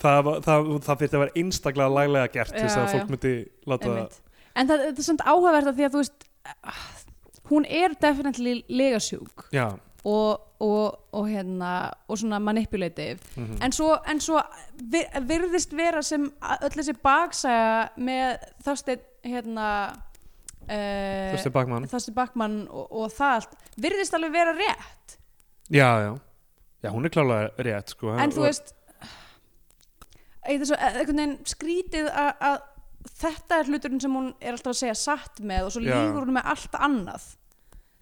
[SPEAKER 2] það, var- það, það fyrir að vera einstaklega laglega gert til þess
[SPEAKER 3] Já,
[SPEAKER 2] að fólk
[SPEAKER 3] já.
[SPEAKER 2] myndi láta
[SPEAKER 3] einmitt en það, þetta er svona áhugavert af því að þú veist ah, hún er definitely legasjúk
[SPEAKER 2] Já,
[SPEAKER 3] og, og, og hérna og svona manipulative
[SPEAKER 2] mm
[SPEAKER 3] en svo, en svo vir- virðist vera sem að- öll þessi baksaga með þásteinn hérna
[SPEAKER 2] þú veist
[SPEAKER 3] uh,
[SPEAKER 2] er bakmann
[SPEAKER 3] þásteinn Bakmann og, og það allt virðist alveg vera rétt
[SPEAKER 2] Já, já, já, hún er klálega rétt sko.
[SPEAKER 3] en þú
[SPEAKER 2] Og-
[SPEAKER 3] veist eitthvað svo eh, einhvern veginn skrítið að, að þetta er hluturinn sem hún er alltaf að segja satt með og svo
[SPEAKER 2] Já.
[SPEAKER 3] lígur hún með allt annað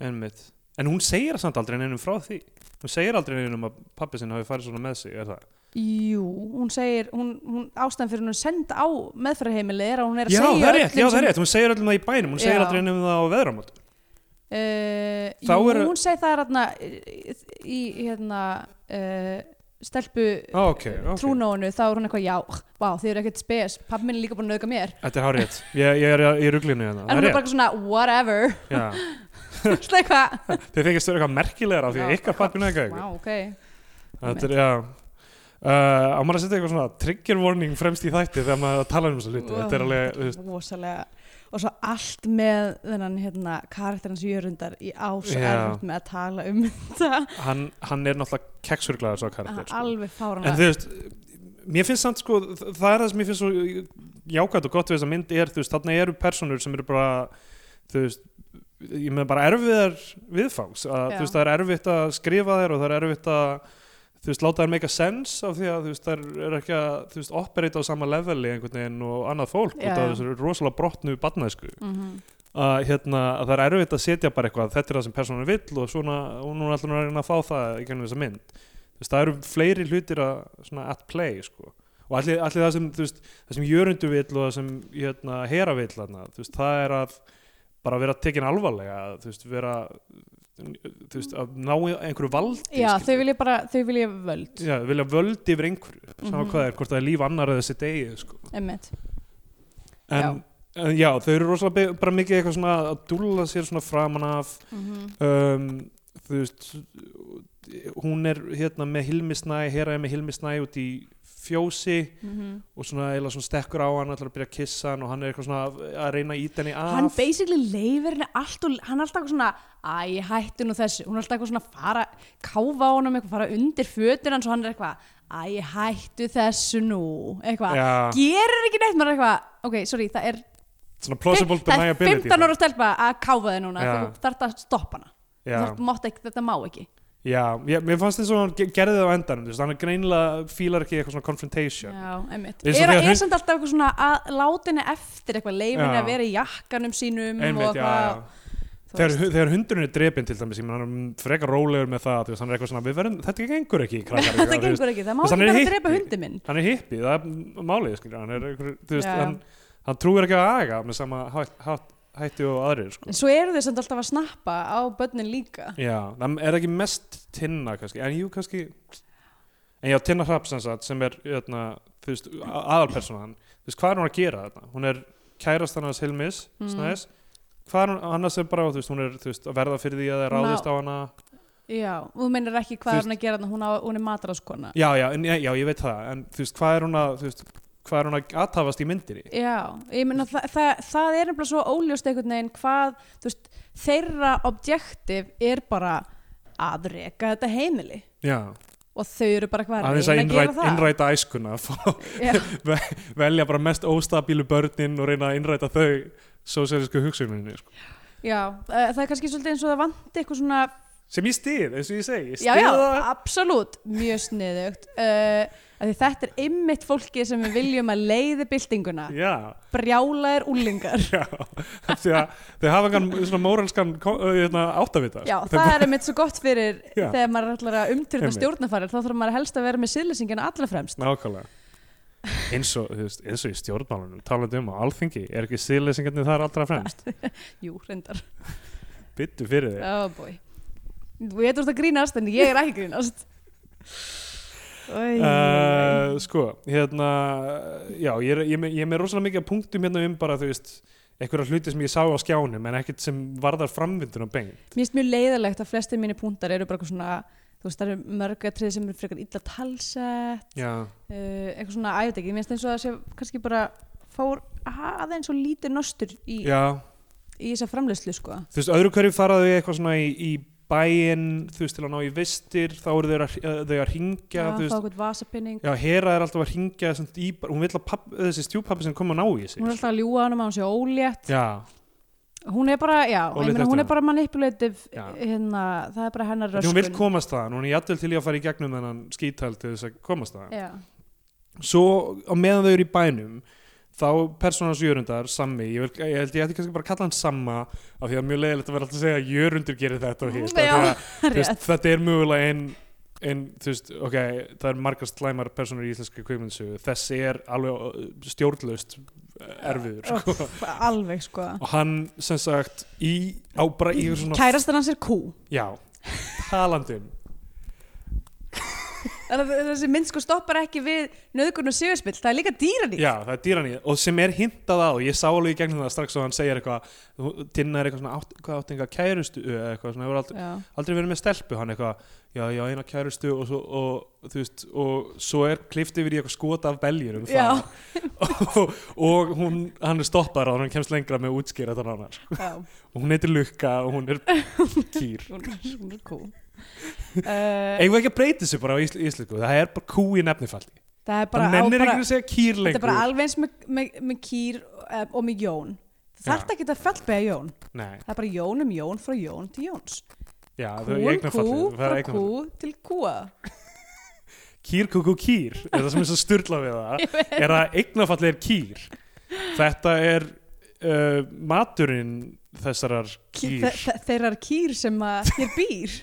[SPEAKER 2] Einmitt. En hún segir samt aldrei neinum frá því. Hún segir aldrei neinum að pappi sinn hafi farið svona með sig, er það?
[SPEAKER 3] Jú, hún segir, hún, hún ástæðan fyrir hún er send á meðfæraheimili er að hún er að
[SPEAKER 2] Já,
[SPEAKER 3] segja
[SPEAKER 2] það er rétt, já,
[SPEAKER 3] öllum
[SPEAKER 2] það
[SPEAKER 3] sem-
[SPEAKER 2] er rétt. Hún segir öllum það í bænum, hún segir
[SPEAKER 3] Já.
[SPEAKER 2] aldrei neinum það á veðramót.
[SPEAKER 3] Uh,
[SPEAKER 2] Þá
[SPEAKER 3] jú,
[SPEAKER 2] eru-
[SPEAKER 3] hún segi það er hérna í hérna uh, stelpu
[SPEAKER 2] Á, ok, ok.
[SPEAKER 3] trúnónu þá er hún eitthvað já, vá, þið eru ekkert spes pappi minn er líka búin að nauðga mér
[SPEAKER 2] Þetta er hár rétt. Ég, ég er í ruglinu hérna.
[SPEAKER 3] en
[SPEAKER 2] Það er
[SPEAKER 3] hún er bara
[SPEAKER 2] rétt.
[SPEAKER 3] eitthvað svona whatever
[SPEAKER 2] Já.
[SPEAKER 3] Alltaf eitthvað
[SPEAKER 2] Þið þykist þau eitthvað merkilegra af því að
[SPEAKER 3] Já.
[SPEAKER 2] ykkar pappi nöðgæði
[SPEAKER 3] Vá,
[SPEAKER 2] ykkur.
[SPEAKER 3] ok
[SPEAKER 2] Þetta er, já. Uh, á maður að setja eitthvað svona trigger warning fremst í þætti þegar maður er að tala um þessu hluti. Þetta er alveg, þú veist,
[SPEAKER 3] rosalega og svo allt með þennan hérna karakterin sem jörundar í ás
[SPEAKER 2] Já.
[SPEAKER 3] erfitt með að tala um þetta
[SPEAKER 2] hann, hann er náttúrulega keksurglaður svo karakter. sko.
[SPEAKER 3] alveg fárana
[SPEAKER 2] En þú veist, mér finnst samt sko, þ- það er það sem mér finnst svo jákvæmt og gott við þess að mynd er, þú veist, þarna eru personur sem eru bara, þú veist, ég með bara erfiðar viðfangs, að
[SPEAKER 3] Já.
[SPEAKER 2] þú veist, það er erfitt að skrifa þær og það er erfitt að, þú veist, láta þær make a sense af því að, þú veist, það er ekki að, þú veist, operate á sama leveli einhvern veginn og annað fólk,
[SPEAKER 3] Já,
[SPEAKER 2] út af
[SPEAKER 3] já.
[SPEAKER 2] þessu rosalega brotnu barnæsku
[SPEAKER 3] mm -hmm.
[SPEAKER 2] að hérna, að það er erfitt að setja bara eitthvað þetta er það sem personan vill og svona og núna ætlum við að reyna að fá það í gennum þessa mynd þú veist, það eru fleiri hlutir að, svona, at play sko. og allir, allir það sem þú veist, það sem jörundu vill og það sem hérna, hera vill þarna, þú veist, það er að bara vera tekin alvarlega þú veist, vera þú veist, að ná einhverju valdi
[SPEAKER 3] já,
[SPEAKER 2] skilur.
[SPEAKER 3] þau vilja bara, þau vilja völd
[SPEAKER 2] Já, vilja völd yfir einhverju sama
[SPEAKER 3] Mhm.
[SPEAKER 2] hvað er, hvort það er líf annar eða þessi degi sko
[SPEAKER 3] emmitt
[SPEAKER 2] en, en já, þau eru rosalega be- bara mikið eitthvað svona að dúlla sér svona framan af um, þú veist hún er hérna með hilmisnæ hér er með hilmisnæ út í fjósi
[SPEAKER 3] Mhm.
[SPEAKER 2] og svona eila svona stekkur á hann ætlar að byrja að kissa hann og hann er eitthvað svona að reyna að íta henni af
[SPEAKER 3] hann basically leifir henni allt og hann er alltaf eitthvað svona æ, hættu nú þessu, hún er alltaf eitthvað svona að fara káfa á honum, eitthvað fara undir fötun hans og hann er eitthvað, æ, hættu þessu nú, eitthvað
[SPEAKER 2] Já.
[SPEAKER 3] gerir ekki neitt, maður er eitthvað, ok, sorry það er,
[SPEAKER 2] svona plausible
[SPEAKER 3] það er
[SPEAKER 2] deniability
[SPEAKER 3] 15 ára stelpa að káfa þig núna,
[SPEAKER 2] Já.
[SPEAKER 3] þú þarf að stoppa hana
[SPEAKER 2] já,
[SPEAKER 3] Þú mátt ekki, þetta má ekki
[SPEAKER 2] já, já, mér fannst eins og hann ge- gerði það á endanum þú veist, hann er greinilega fílar ekki eitthvað svona confrontation
[SPEAKER 3] Já, einmitt.
[SPEAKER 2] Eins og
[SPEAKER 3] Er,
[SPEAKER 2] þegar
[SPEAKER 3] er
[SPEAKER 2] hún-
[SPEAKER 3] samt alltaf eitthvað svona að láta henni eftir eitthvað leifinni
[SPEAKER 2] Já.
[SPEAKER 3] að vera í jakkanum sínum og
[SPEAKER 2] einmitt, já,
[SPEAKER 3] eitthvað,
[SPEAKER 2] já
[SPEAKER 3] þú
[SPEAKER 2] Þegar,
[SPEAKER 3] veist.
[SPEAKER 2] hu- þegar hundurinn er drepinn til dæmis, ég meina, hann er frekar rólegur með það, þú veist, hann er eitthvað svona, við verðum, þetta gengur ekki, krakkar.
[SPEAKER 3] Þetta
[SPEAKER 2] þú veist.
[SPEAKER 3] gengur ekki, það
[SPEAKER 2] Þú
[SPEAKER 3] má
[SPEAKER 2] veist, hann
[SPEAKER 3] ekki
[SPEAKER 2] er
[SPEAKER 3] bara
[SPEAKER 2] hippi.
[SPEAKER 3] drepa hundi minn
[SPEAKER 2] hann er hippi, það er m- málið skilja, hann er einhver, þú veist,
[SPEAKER 3] Já.
[SPEAKER 2] hann, hann trúir ekki að aga með sama hætt, hætt, hætti og aðrir sko.
[SPEAKER 3] En svo eru þau samt alltaf að snappa á börnin líka.
[SPEAKER 2] já, það er ekki mest tinna kannski, en jú kannski en já, Tinna Hrapsansat sem er jötna, veist, a- aðalpersonan þú veist, hvað er hún að gera þarna? hún er kærastan hans Hilmis
[SPEAKER 3] Mm.
[SPEAKER 2] Snæs. hvað er hún annars sem bara þú veist, hún er þú veist, að verða fyrir því að það er
[SPEAKER 3] Hún á-
[SPEAKER 2] ráðist á hana
[SPEAKER 3] já, og þú meinar ekki
[SPEAKER 2] Þú
[SPEAKER 3] hvað er hún að gera þarna, hún, á, hún er matraskona
[SPEAKER 2] já, já, en, já, ég veit það en þú veist, hvað er hún að þú veist, hvað er hún að aðtafast í myndinni
[SPEAKER 3] Já, ég meina þa það, það er nefnilega svo óljóst einhvern veginn hvað, þú veist, þeirra objektiv er bara að reka þetta heimili
[SPEAKER 2] já,
[SPEAKER 3] og þau eru bara hvað
[SPEAKER 2] aðeins að innræta, innræta æskuna fá,
[SPEAKER 3] Já,
[SPEAKER 2] velja bara mest óstabílu börnin og reyna að innræta þau sósíalisku hugsuninni sko.
[SPEAKER 3] já eh, það er kannski svolítið eins og það vanti eitthvað svona
[SPEAKER 2] sem ég stið, eins og ég segi ég
[SPEAKER 3] Já, já,
[SPEAKER 2] styð það.
[SPEAKER 3] absolutt, mjög sniðugt uh, af því Þetta er ymmit fólki sem við viljum að leiði byltinguna
[SPEAKER 2] já,
[SPEAKER 3] brjálaðir úlingar
[SPEAKER 2] já af því að þau hafa engan svona móralskan ko- uh, hérna, áttavita
[SPEAKER 3] Já,
[SPEAKER 2] sko.
[SPEAKER 3] það er einmitt svo gott fyrir
[SPEAKER 2] Já.
[SPEAKER 3] þegar maður ætlar að umtyrna
[SPEAKER 2] Einmitt.
[SPEAKER 3] stjórnafarir þá þarf maður helst að vera með siðlýsingina allra fremst
[SPEAKER 2] nákvæmlega eins og, þú veist, eins og í stjórnmálunum talandi um á alþingi, er ekki sýðleysingarnir þar allra fremst,
[SPEAKER 3] Jú, reyndar,
[SPEAKER 2] byttu fyrir þig
[SPEAKER 3] oh boy Þú veitur þetta grínast en ég er ekki grínast Oj,
[SPEAKER 2] Uh, sko, hérna já, ég er, ég, er með- ég er með rosalega mikið af punktum hérna um bara, þú veist einhverja hluti sem ég sá á skjánum en ekkert sem varðar framvindunum bein
[SPEAKER 3] Mér finnst mjög leiðilegt að flestir mínir púntar eru bara eitthvað svona þú veist, það eru mörg atrið sem eru frekar illa talsett
[SPEAKER 2] já,
[SPEAKER 3] uh, eitthvað svona æfði ekki, mér finnst eins og það sé kannski bara fór aðeins og lítið nostur í,
[SPEAKER 2] já,
[SPEAKER 3] í þessa framleiðslu sko
[SPEAKER 2] þú veist, öðru hverju faraðu eitthvað svona í, í bæinn þú veist, til að ná í vistir, þá eru þau að, eh, þau að ringja,
[SPEAKER 3] að
[SPEAKER 2] þú
[SPEAKER 3] fá
[SPEAKER 2] veist
[SPEAKER 3] eitthvað vasapinning,
[SPEAKER 2] já, Hera er alltaf að ringja í, bara- hún vil að papp, þessi stjúpappi sem kom að ná í sig sko.
[SPEAKER 3] hún er alltaf að ljúga hann um að hún sé ólétt
[SPEAKER 2] já,
[SPEAKER 3] hún er bara, já,
[SPEAKER 2] Ólétt
[SPEAKER 3] ég meina hún
[SPEAKER 2] eftir
[SPEAKER 3] er bara manipulative
[SPEAKER 2] Já.
[SPEAKER 3] hérna, það er bara hennar
[SPEAKER 2] Röskun.
[SPEAKER 3] röskun
[SPEAKER 2] hún vil komast það, hún er jættil til í að fara í gegnum þennan skítal til þess að komast það
[SPEAKER 3] já,
[SPEAKER 2] svo á meðan þau eru í bænum þá persónans Jörundar, Sammi ég, vil, ég held ég ætti kannski bara að kalla hann Samma af því að mjög leiðilegt að vera alltaf að segja að Jörundur gerir þetta og hitt af því
[SPEAKER 3] Já,
[SPEAKER 2] að, þú
[SPEAKER 3] rétt
[SPEAKER 2] veist, þetta er mögulega ein, ein þú veist, ok, það er margar slæmar persónur í íslenska kvikmyndsögu þessi er alveg uh, stjórnlaust uh, erfiður sko.
[SPEAKER 3] Öff, alveg sko
[SPEAKER 2] og hann sem sagt í, á bara í svona
[SPEAKER 3] kærastan hans er kú
[SPEAKER 2] já, talandum
[SPEAKER 3] Það er- þessi mynd sko stoppar ekki við nöðgun og sigurspill, það er líka dýran í
[SPEAKER 2] Já, það er dýran í og sem er hintað á, ég sá alveg í gegnum það strax og hann segir eitthvað, Tinna er eitthvað svona átt, hvað átti eitthvað kærustu eða eitthvað svona, hefur aldrei,
[SPEAKER 3] já,
[SPEAKER 2] aldrei verið með stelpu hann eitthvað, já, já, eina kærustu og svo, og, þú veist, og svo er klift yfir í eitthvað skota af beljurum
[SPEAKER 3] Já.
[SPEAKER 2] það og, og hún, hann er stoppar og hann kemst lengra með að útskýra þetta nánar
[SPEAKER 3] já.
[SPEAKER 2] og hún heitir Lukka og hún er kýr
[SPEAKER 3] Hún, er- hún er kú uh,
[SPEAKER 2] eigum við ekki að breyta þessu bara á ísl, íslensku það er bara kú í nefnifalli
[SPEAKER 3] það er bara
[SPEAKER 2] það
[SPEAKER 3] á
[SPEAKER 2] mennir
[SPEAKER 3] bara-
[SPEAKER 2] ekki að segja kýr
[SPEAKER 3] Þetta er
[SPEAKER 2] lengur
[SPEAKER 3] bara alveg eins með, með, með kýr eh, og með Jón. Það
[SPEAKER 2] Já.
[SPEAKER 3] þarf ekki að fjallbega Jón.
[SPEAKER 2] Nei,
[SPEAKER 3] Það er bara Jón um Jón frá Jón til Jóns.
[SPEAKER 2] já, það er í
[SPEAKER 3] Kún kú
[SPEAKER 2] eignarfalli, það er
[SPEAKER 3] frá
[SPEAKER 2] í eignarfalli.
[SPEAKER 3] kú til kúa.
[SPEAKER 2] kýr kúkú kýr er það sem er svo styrla við það er að eignafalli er kýr þetta er uh, maturinn þessarar
[SPEAKER 3] Kýr.
[SPEAKER 2] kýr
[SPEAKER 3] Þe þeirra er kýr sem að hér býr.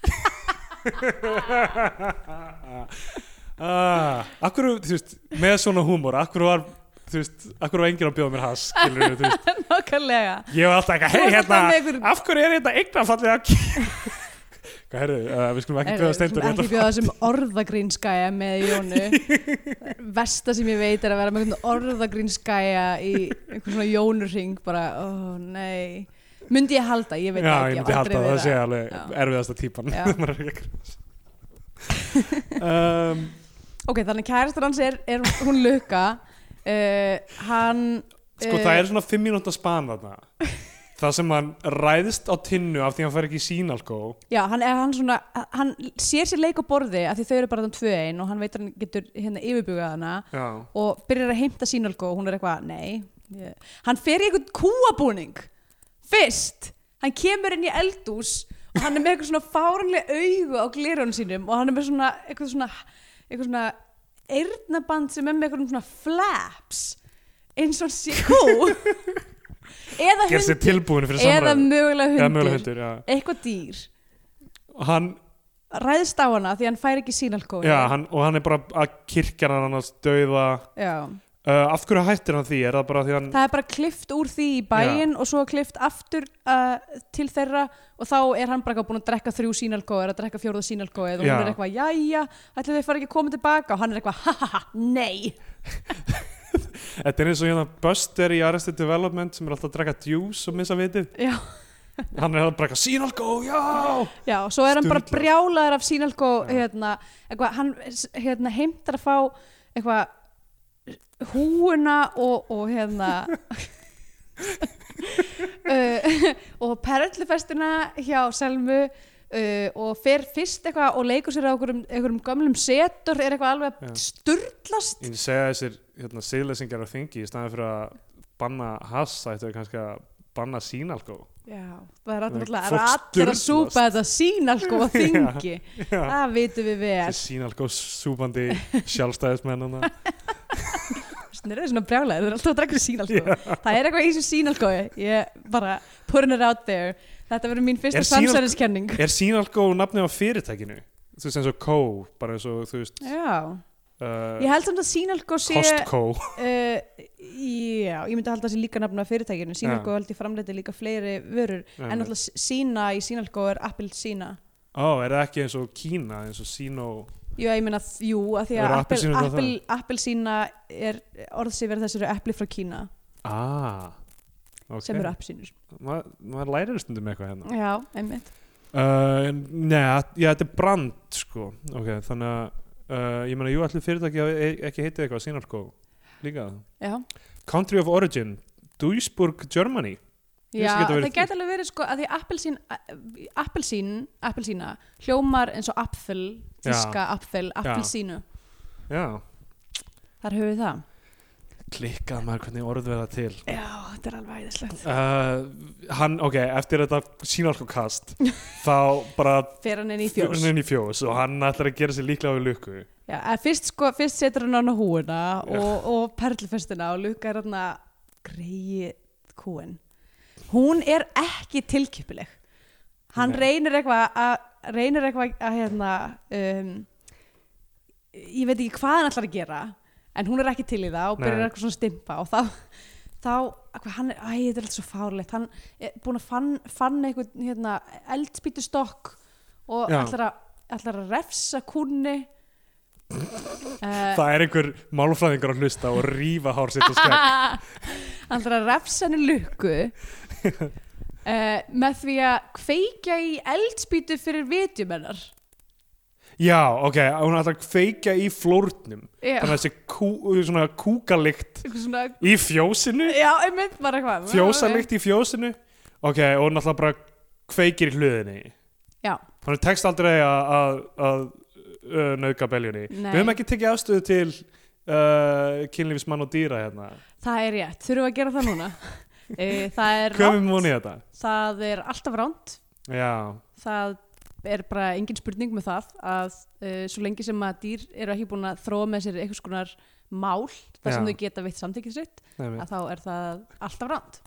[SPEAKER 2] ah, akkur, þú veist, með svona húmor akkur var, þú veist, akkur var enginn að bjóða mér has skilur þú veist,
[SPEAKER 3] Nákvæmlega.
[SPEAKER 2] ég var alltaf eitthvað,
[SPEAKER 3] Þú
[SPEAKER 2] hei
[SPEAKER 3] varst alltaf með
[SPEAKER 2] hérna
[SPEAKER 3] einhver-
[SPEAKER 2] af hverju er þetta eignafallið að kýr hvað herðu, uh, við skulum ekki bjóða
[SPEAKER 3] Ekki
[SPEAKER 2] steindur
[SPEAKER 3] ekki bjóða þessum orðagrínskæja með Jónu. Vesta sem ég veit er að vera með einhvern orðagrínskæja í einhvern svona Jónurring. Bara, ó nei. Myndi ég halda, ég veit
[SPEAKER 2] já,
[SPEAKER 3] það ekki.
[SPEAKER 2] ég myndi halda að það sé alveg
[SPEAKER 3] Já.
[SPEAKER 2] erfiðasta típan
[SPEAKER 3] Já.
[SPEAKER 2] Maður er ekki að grínast. um,
[SPEAKER 3] Ok, þannig kærastur hans er, er hún lukka uh, Hann
[SPEAKER 2] sko
[SPEAKER 3] eh,
[SPEAKER 2] það er svona 5 mínúta span þarna það sem hann ræðist á tinnu af því hann fær ekki í sínalkó
[SPEAKER 3] Já, hann, er- hann, svona, hann sér sér leik á borði af því þau eru bara þann tvö ein og hann veit að hann getur hérna yfirbugað hana
[SPEAKER 2] já,
[SPEAKER 3] og byrjar að heimta sínalko og hún er eitthvað, nei ég. Hann fer í eitthvað kúabúning Fyrst Hann kemur inn í eldús og hann er með eitthvað svona fáranlega augu á glirun sínum og hann er með svona eitthvað svona, eitthvað svona eyrnaband sem er með eitthvað svona flaps eins og hann sé kú eða
[SPEAKER 2] gerð sér
[SPEAKER 3] hundur
[SPEAKER 2] tilbúin fyrir
[SPEAKER 3] eða
[SPEAKER 2] samræðu
[SPEAKER 3] mögulega
[SPEAKER 2] eða
[SPEAKER 3] hundur,
[SPEAKER 2] mögulega hundur, já
[SPEAKER 3] eitthvað dýr
[SPEAKER 2] Og hann,
[SPEAKER 3] ræðist á hana því hann fær ekki sínalkóin
[SPEAKER 2] já, hann, og hann er bara að kirkja hann annars dauða
[SPEAKER 3] já.
[SPEAKER 5] uh, af hverju hættir hann því, er það bara því hann
[SPEAKER 3] það er bara klift úr því í bæinn og svo klift aftur uh, til þeirra og þá er hann bara eitthvað búinn að drekka þrjú sínalgóð er að drekka fjórða sínalgóð og
[SPEAKER 5] Já.
[SPEAKER 3] hún er eitthvað, jæja, ætli þið fara ekki að koma tilbaka og hann er eitthvað, hahaha, nei
[SPEAKER 5] þetta er eins og hérna Buster í Arrested Development sem er alltaf að drekka djús og missa vitið
[SPEAKER 3] já,
[SPEAKER 5] hann er að bara eitthvað sínalgó, já
[SPEAKER 3] já, og svo er hann bara
[SPEAKER 5] Sturlað.
[SPEAKER 3] brjálaður af sínalgóð
[SPEAKER 5] Já.
[SPEAKER 3] hérna, eitthvað, hann hérna, heimtar að fá eitthvað húuna og, og hérna uh, og perlufestina hjá Selmu uh, og fer fyrst eitthvað og leikur sér á einhverjum, einhverjum gömlum setur er eitthvað alveg
[SPEAKER 5] Já.
[SPEAKER 3] að sturlast
[SPEAKER 5] ég segja þessir hérna, siðleysingar á þingi í staðan fyrir að banna hass ættu við kannski að banna sínalgó
[SPEAKER 3] Já, það er allir
[SPEAKER 5] Fólk
[SPEAKER 3] alltaf- það er allir að
[SPEAKER 5] sturlast.
[SPEAKER 3] súpa þetta sínalko og þingi
[SPEAKER 5] Já.
[SPEAKER 3] það vitum við vel
[SPEAKER 5] sínalgó súbandi sjálfstæðismennuna
[SPEAKER 3] Þeir eru svona brjálæðir, þeir eru alltaf að drekka sínalko Það er eitthvað í þessu sínalko Ég bara putting it out there Þetta verður mín
[SPEAKER 5] Er
[SPEAKER 3] fyrsta
[SPEAKER 5] sýnalk-
[SPEAKER 3] samsæðiskenning
[SPEAKER 5] er sínalgó nafnið á fyrirtækinu þú veist eins og Kó bara eins og þú veist
[SPEAKER 3] Já,
[SPEAKER 5] uh,
[SPEAKER 3] ég held samt að sínalko sé
[SPEAKER 5] Costco
[SPEAKER 3] uh, Já, ég myndi að halda þessi líka nafn af fyrirtækinu Sínalko held ég framleiti líka fleiri vörur
[SPEAKER 5] Já,
[SPEAKER 3] En
[SPEAKER 5] mitt.
[SPEAKER 3] alltaf sína í sínalko er appelsína
[SPEAKER 5] ó, er það ekki eins og Kína eins og Sino
[SPEAKER 3] Jú, ég meina, jú, að því að
[SPEAKER 5] Eru
[SPEAKER 3] appel-
[SPEAKER 5] appelsínurnar
[SPEAKER 3] appel- appelsína er orðsifir þessari epli frá Kína
[SPEAKER 5] ah, okay.
[SPEAKER 3] sem eru appelsínur
[SPEAKER 5] Ma- maður lærir stundum eitthvað hérna
[SPEAKER 3] Já, einmitt
[SPEAKER 5] uh, Nei, já, þetta er brand sko. ok, þannig að uh, ég meina, jú, allir fyrirtæki hafi e- ekki heitið eitthvað sínalkó líka
[SPEAKER 3] Já,
[SPEAKER 5] Country of Origin, Duisburg, Germany Ég
[SPEAKER 3] Já
[SPEAKER 5] veist ekki þetta
[SPEAKER 3] það
[SPEAKER 5] verið-
[SPEAKER 3] gæti alveg verið sko að því appelsín, appelsín, appelsína hljómar eins og apfel,
[SPEAKER 5] Já.
[SPEAKER 3] tíska apfel, appelsínu
[SPEAKER 5] Já,
[SPEAKER 3] Þar höfum við það
[SPEAKER 5] klikkað maður hvernig orð verða til
[SPEAKER 3] Já, þetta er alveg æðislegt
[SPEAKER 5] uh, Hann, ok, eftir þetta sínalkókast þá bara
[SPEAKER 3] Fer hann inn í
[SPEAKER 5] fyrir
[SPEAKER 3] fjós
[SPEAKER 5] hann inn í fjós og hann ætlar að gera sér líklega við lukku
[SPEAKER 3] Já, að fyrst, sko, fyrst setur hann hann á húuna
[SPEAKER 5] Já.
[SPEAKER 3] og, og perlfestina og lukka er hann að greiði kúin Hún er ekki tilkipileg Hann
[SPEAKER 5] Nei.
[SPEAKER 3] reynir eitthvað að reynir eitthvað að hérna um, ég veit ekki hvað hann ætlar að gera en hún er ekki til í það og
[SPEAKER 5] Nei.
[SPEAKER 3] byrjar eitthvað svona að stimpa og þá, þá hvað, hann er, æ, þetta er alltaf svo fárlegt hann er búin að fann, fann eitthvað hérna, eldspýtustokk og
[SPEAKER 5] Já.
[SPEAKER 3] ætlar að, ætlar að refsa kunni uh,
[SPEAKER 5] Það er einhver málfræðingur að hlusta og rífa hár sitt og skegg
[SPEAKER 3] Eh, ætlar að refsa henni lukku uh, með því að kveikja í eldspýtu fyrir vitjumennar
[SPEAKER 5] Já, ok, hún ætlar að kveika í flórnum
[SPEAKER 3] Já,
[SPEAKER 5] þannig að þessi kú, svona kúkalikt
[SPEAKER 3] eitthvað svona
[SPEAKER 5] í fjósinu
[SPEAKER 3] Já, einmitt bara eitthvað Eh,
[SPEAKER 5] fjósalikt í fjósinu ok, og náttúrulega bara kveikir í hluðinni
[SPEAKER 3] Já.
[SPEAKER 5] þannig tekst aldrei að- að að, uh, nauðga beljunni
[SPEAKER 3] Nei.
[SPEAKER 5] við höfum ekki tekið afstöðu til uh, kynlífismann og dýra hérna
[SPEAKER 3] Það er rétt, þurfum við að gera það núna Eh, Það er
[SPEAKER 5] hvað um- við
[SPEAKER 3] rangt.
[SPEAKER 5] múnið þetta
[SPEAKER 3] það er alltaf ránt
[SPEAKER 5] já,
[SPEAKER 3] það er bara engin spurning með það að uh, svo lengi sem að dýr eru ekki búin að þróa með sér einhvers konar mál þar sem
[SPEAKER 5] Já.
[SPEAKER 3] þau geta veitt samþykkið sitt
[SPEAKER 5] nefnir,
[SPEAKER 3] að þá er það alltaf ránt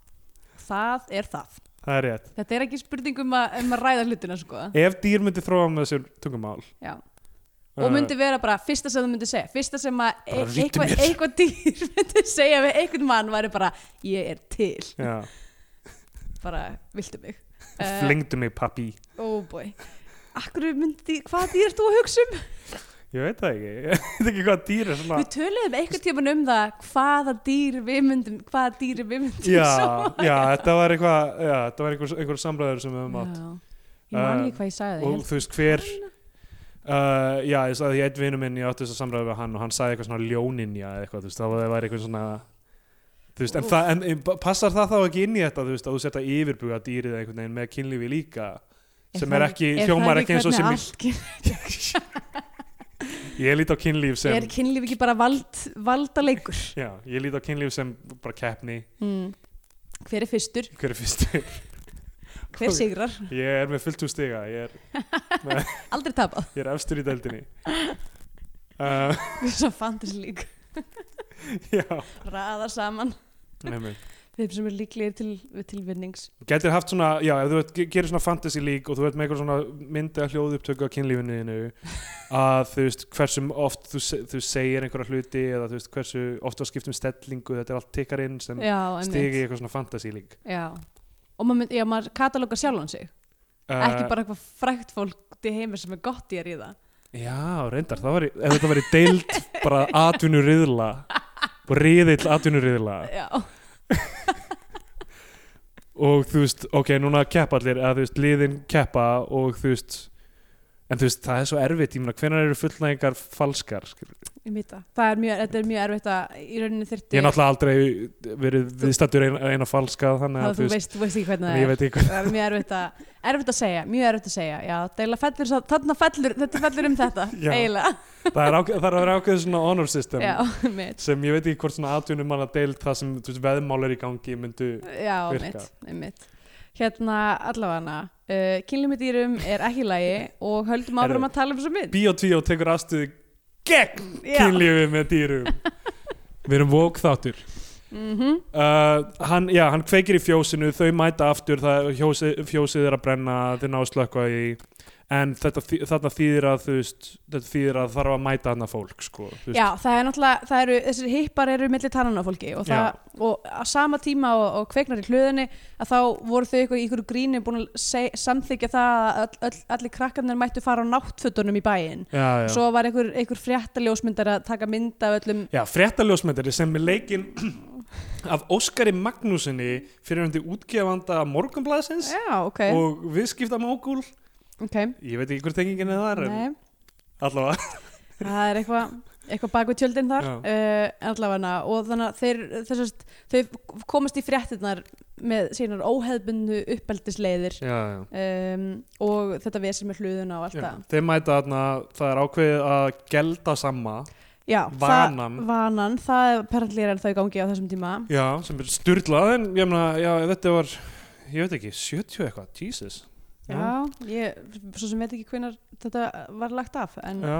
[SPEAKER 3] það er það
[SPEAKER 5] það er rétt
[SPEAKER 3] þetta er ekki spurning um að, um að ræða hlutina sko.
[SPEAKER 5] ef dýr myndi þróa með sér tungumál
[SPEAKER 3] Já. og myndi vera bara fyrsta sem þau myndi segja fyrsta sem að e
[SPEAKER 5] Uh. Bara rýttu
[SPEAKER 3] eitthvað,
[SPEAKER 5] mér.
[SPEAKER 3] eitthvað dýr myndi segja við einhvern mann væri bara ég er til
[SPEAKER 5] já,
[SPEAKER 3] bara viltu mig Eh, Oh,
[SPEAKER 5] flengdu mig pappi
[SPEAKER 3] óbúi Akkur myndi, hvað dýr ert þú að hugsa um?
[SPEAKER 5] ég veit það ekki, ég veit ekki hvað dýr er svona
[SPEAKER 3] Við töluðum einhvern tíman um það hvaða dýr við myndum, hvaða dýr við myndum
[SPEAKER 5] já, já, þetta var eitthvað já, þetta var einhver, einhver samræður sem við höfum átt
[SPEAKER 3] Já. Ég man
[SPEAKER 5] Eh,
[SPEAKER 3] ekki hvað ég sagði
[SPEAKER 5] og
[SPEAKER 3] og,
[SPEAKER 5] þú veist hver uh, já, ég sagði ég eitt vinnu minn ég átti þess að samræða við hann og hann sagði eitthvað svona ljóninja eða eitthvað, þú veist, það var, það var eitthvað svona þú veist, en,
[SPEAKER 3] Úff.
[SPEAKER 5] það, en, en pa- passar það þá ekki inn í þetta, þú veist, að þú setja yfirbuga dýrið einhvern veginn með kynlífi líka sem er ekki, hljómar ekki eins og sem ég,
[SPEAKER 3] allt,
[SPEAKER 5] ég lít á kynlíf sem
[SPEAKER 3] Er kynlíf ekki bara vald, valda leikur?
[SPEAKER 5] já, ég lít á kynlíf sem bara keppni
[SPEAKER 3] Mm. Hver er fyrstur?
[SPEAKER 5] hver er fyrst,
[SPEAKER 3] Hver sigrar?
[SPEAKER 5] ég er með fullt úr stiga ég er,
[SPEAKER 3] Aldrei tapað
[SPEAKER 5] ég er efstur í deildinni uh,
[SPEAKER 3] Svo fantasy lík
[SPEAKER 5] já,
[SPEAKER 3] Raða saman
[SPEAKER 5] nefnir
[SPEAKER 6] þeim sem er líklegir til, til vinnings
[SPEAKER 5] Gætir haft svona, já, ef þú ert- ge- gerir svona fantasy league og þú ert með eitthvað svona myndið að hljóðu upptöku á kynlífinu þínu að þú veist hversu oft þú, se- þú segir einhverja hluti eða þú veist hversu oft þú skiptum stellingu, þetta er allt tikkar inn sem
[SPEAKER 3] já,
[SPEAKER 5] stigi
[SPEAKER 3] einmitt.
[SPEAKER 5] eitthvað svona fantasy league
[SPEAKER 3] já. og maður, mynd, já, maður katalógar sjálfan sig
[SPEAKER 5] uh,
[SPEAKER 3] ekki bara eitthvað frækt fólk til heimir sem er gott í að ríða
[SPEAKER 5] Já, reyndar, það var, ef þetta væri deild bara atvinnuriðla og riðill atvinnuriðla
[SPEAKER 3] já,
[SPEAKER 5] og þú veist, ok, núna keppa allir eða þú veist, liðin keppa og þú veist en þú veist, það er svo erfitt, ég meina, hvenær eru fullnægingar falskar? skilur?
[SPEAKER 3] ég veit það það er mjög, þetta er mjög erfitt að í rauninni
[SPEAKER 5] Ég
[SPEAKER 3] þyrfti
[SPEAKER 5] er náttúrulega aldrei verið viðstattur eina, eina falska þannig
[SPEAKER 3] það
[SPEAKER 5] að þú veist,
[SPEAKER 3] veist, þú veist ekki hvernig
[SPEAKER 5] þannig
[SPEAKER 3] það er
[SPEAKER 5] að ég veit ekki
[SPEAKER 3] það er mjög erfitt að, erfitt að segja mjög erfitt að segja, já, deila fellur sá- þarna fellur, þetta fellur um þetta
[SPEAKER 5] Já.
[SPEAKER 3] eiginlega,
[SPEAKER 5] hvað það er, ákveð, það er að vera ákveðið svona honor system
[SPEAKER 3] já, mitt
[SPEAKER 5] sem ég veit ekki hvort svona atvinnum manna deild það sem þú veist, veðmál er í gangi myndu
[SPEAKER 3] já,
[SPEAKER 5] Virka.
[SPEAKER 3] mitt, mitt hérna, allavega uh, kynlum í dýrum er ekki í lagi og höldum áfram
[SPEAKER 5] Herðu.
[SPEAKER 3] að tala um þessu mynd
[SPEAKER 5] Bíotvíó tekur afstuði gegn
[SPEAKER 3] Já.
[SPEAKER 5] kynlífi með dýrum Við erum vók þáttur
[SPEAKER 3] mm
[SPEAKER 5] uh, hann, já, hann kveikir í fjósinu þau mæta aftur, það, fjósi, fjósið er að brenna þeir ná að slökka í en þetta, þý- þarna þýðir að þú veist, þetta þýðir að þarf að mæta hana fólk sko, þú veist.
[SPEAKER 3] já, það er náttúrulega, það eru þessir hippar eru milli tannan á fólki og, það, og á sama tíma og, og kveiknar í hlöðinni að þá voru þau eitthvað í ykkur gríni búin að seg, samþykja það að all, all, allir krakkarnir mættu fara á náttfötunum í bæinn
[SPEAKER 5] já, já.
[SPEAKER 3] svo var einhver, einhver fréttaljósmyndar að taka mynd af öllum
[SPEAKER 5] já fréttaljósmyndari sem er leikinn af Óskari Magnúsinni fyrir hundi útgefanda morgunblæðsins
[SPEAKER 3] já, ok,
[SPEAKER 5] og viðskipta mógul
[SPEAKER 3] ok
[SPEAKER 5] ég veit ekki hver tengingin er þar en
[SPEAKER 3] Nei,
[SPEAKER 5] allavega
[SPEAKER 3] það er eitthvað eitthvað bak við tjöldin þar
[SPEAKER 5] Já.
[SPEAKER 3] uh, allavega og þannig að þeir, þessast, þau komast í fréttinnar með sínar óheðbundu uppeldisleiðir
[SPEAKER 5] já, já.
[SPEAKER 3] um, og þetta vesir með hluðuna og allt
[SPEAKER 5] Já,
[SPEAKER 3] það
[SPEAKER 5] þeir mæta þarna, það er ákveðið að gelda samma
[SPEAKER 3] já,
[SPEAKER 5] Vanan.
[SPEAKER 3] það, vanan, það er perallir en þau gangi á þessum tíma
[SPEAKER 5] já, sem er styrlað en ég meina, já, þetta var ég veit ekki, 70 eitthvað, Jesus
[SPEAKER 3] já, ég, svo sem veit ekki hvenar þetta var lagt af en
[SPEAKER 5] já.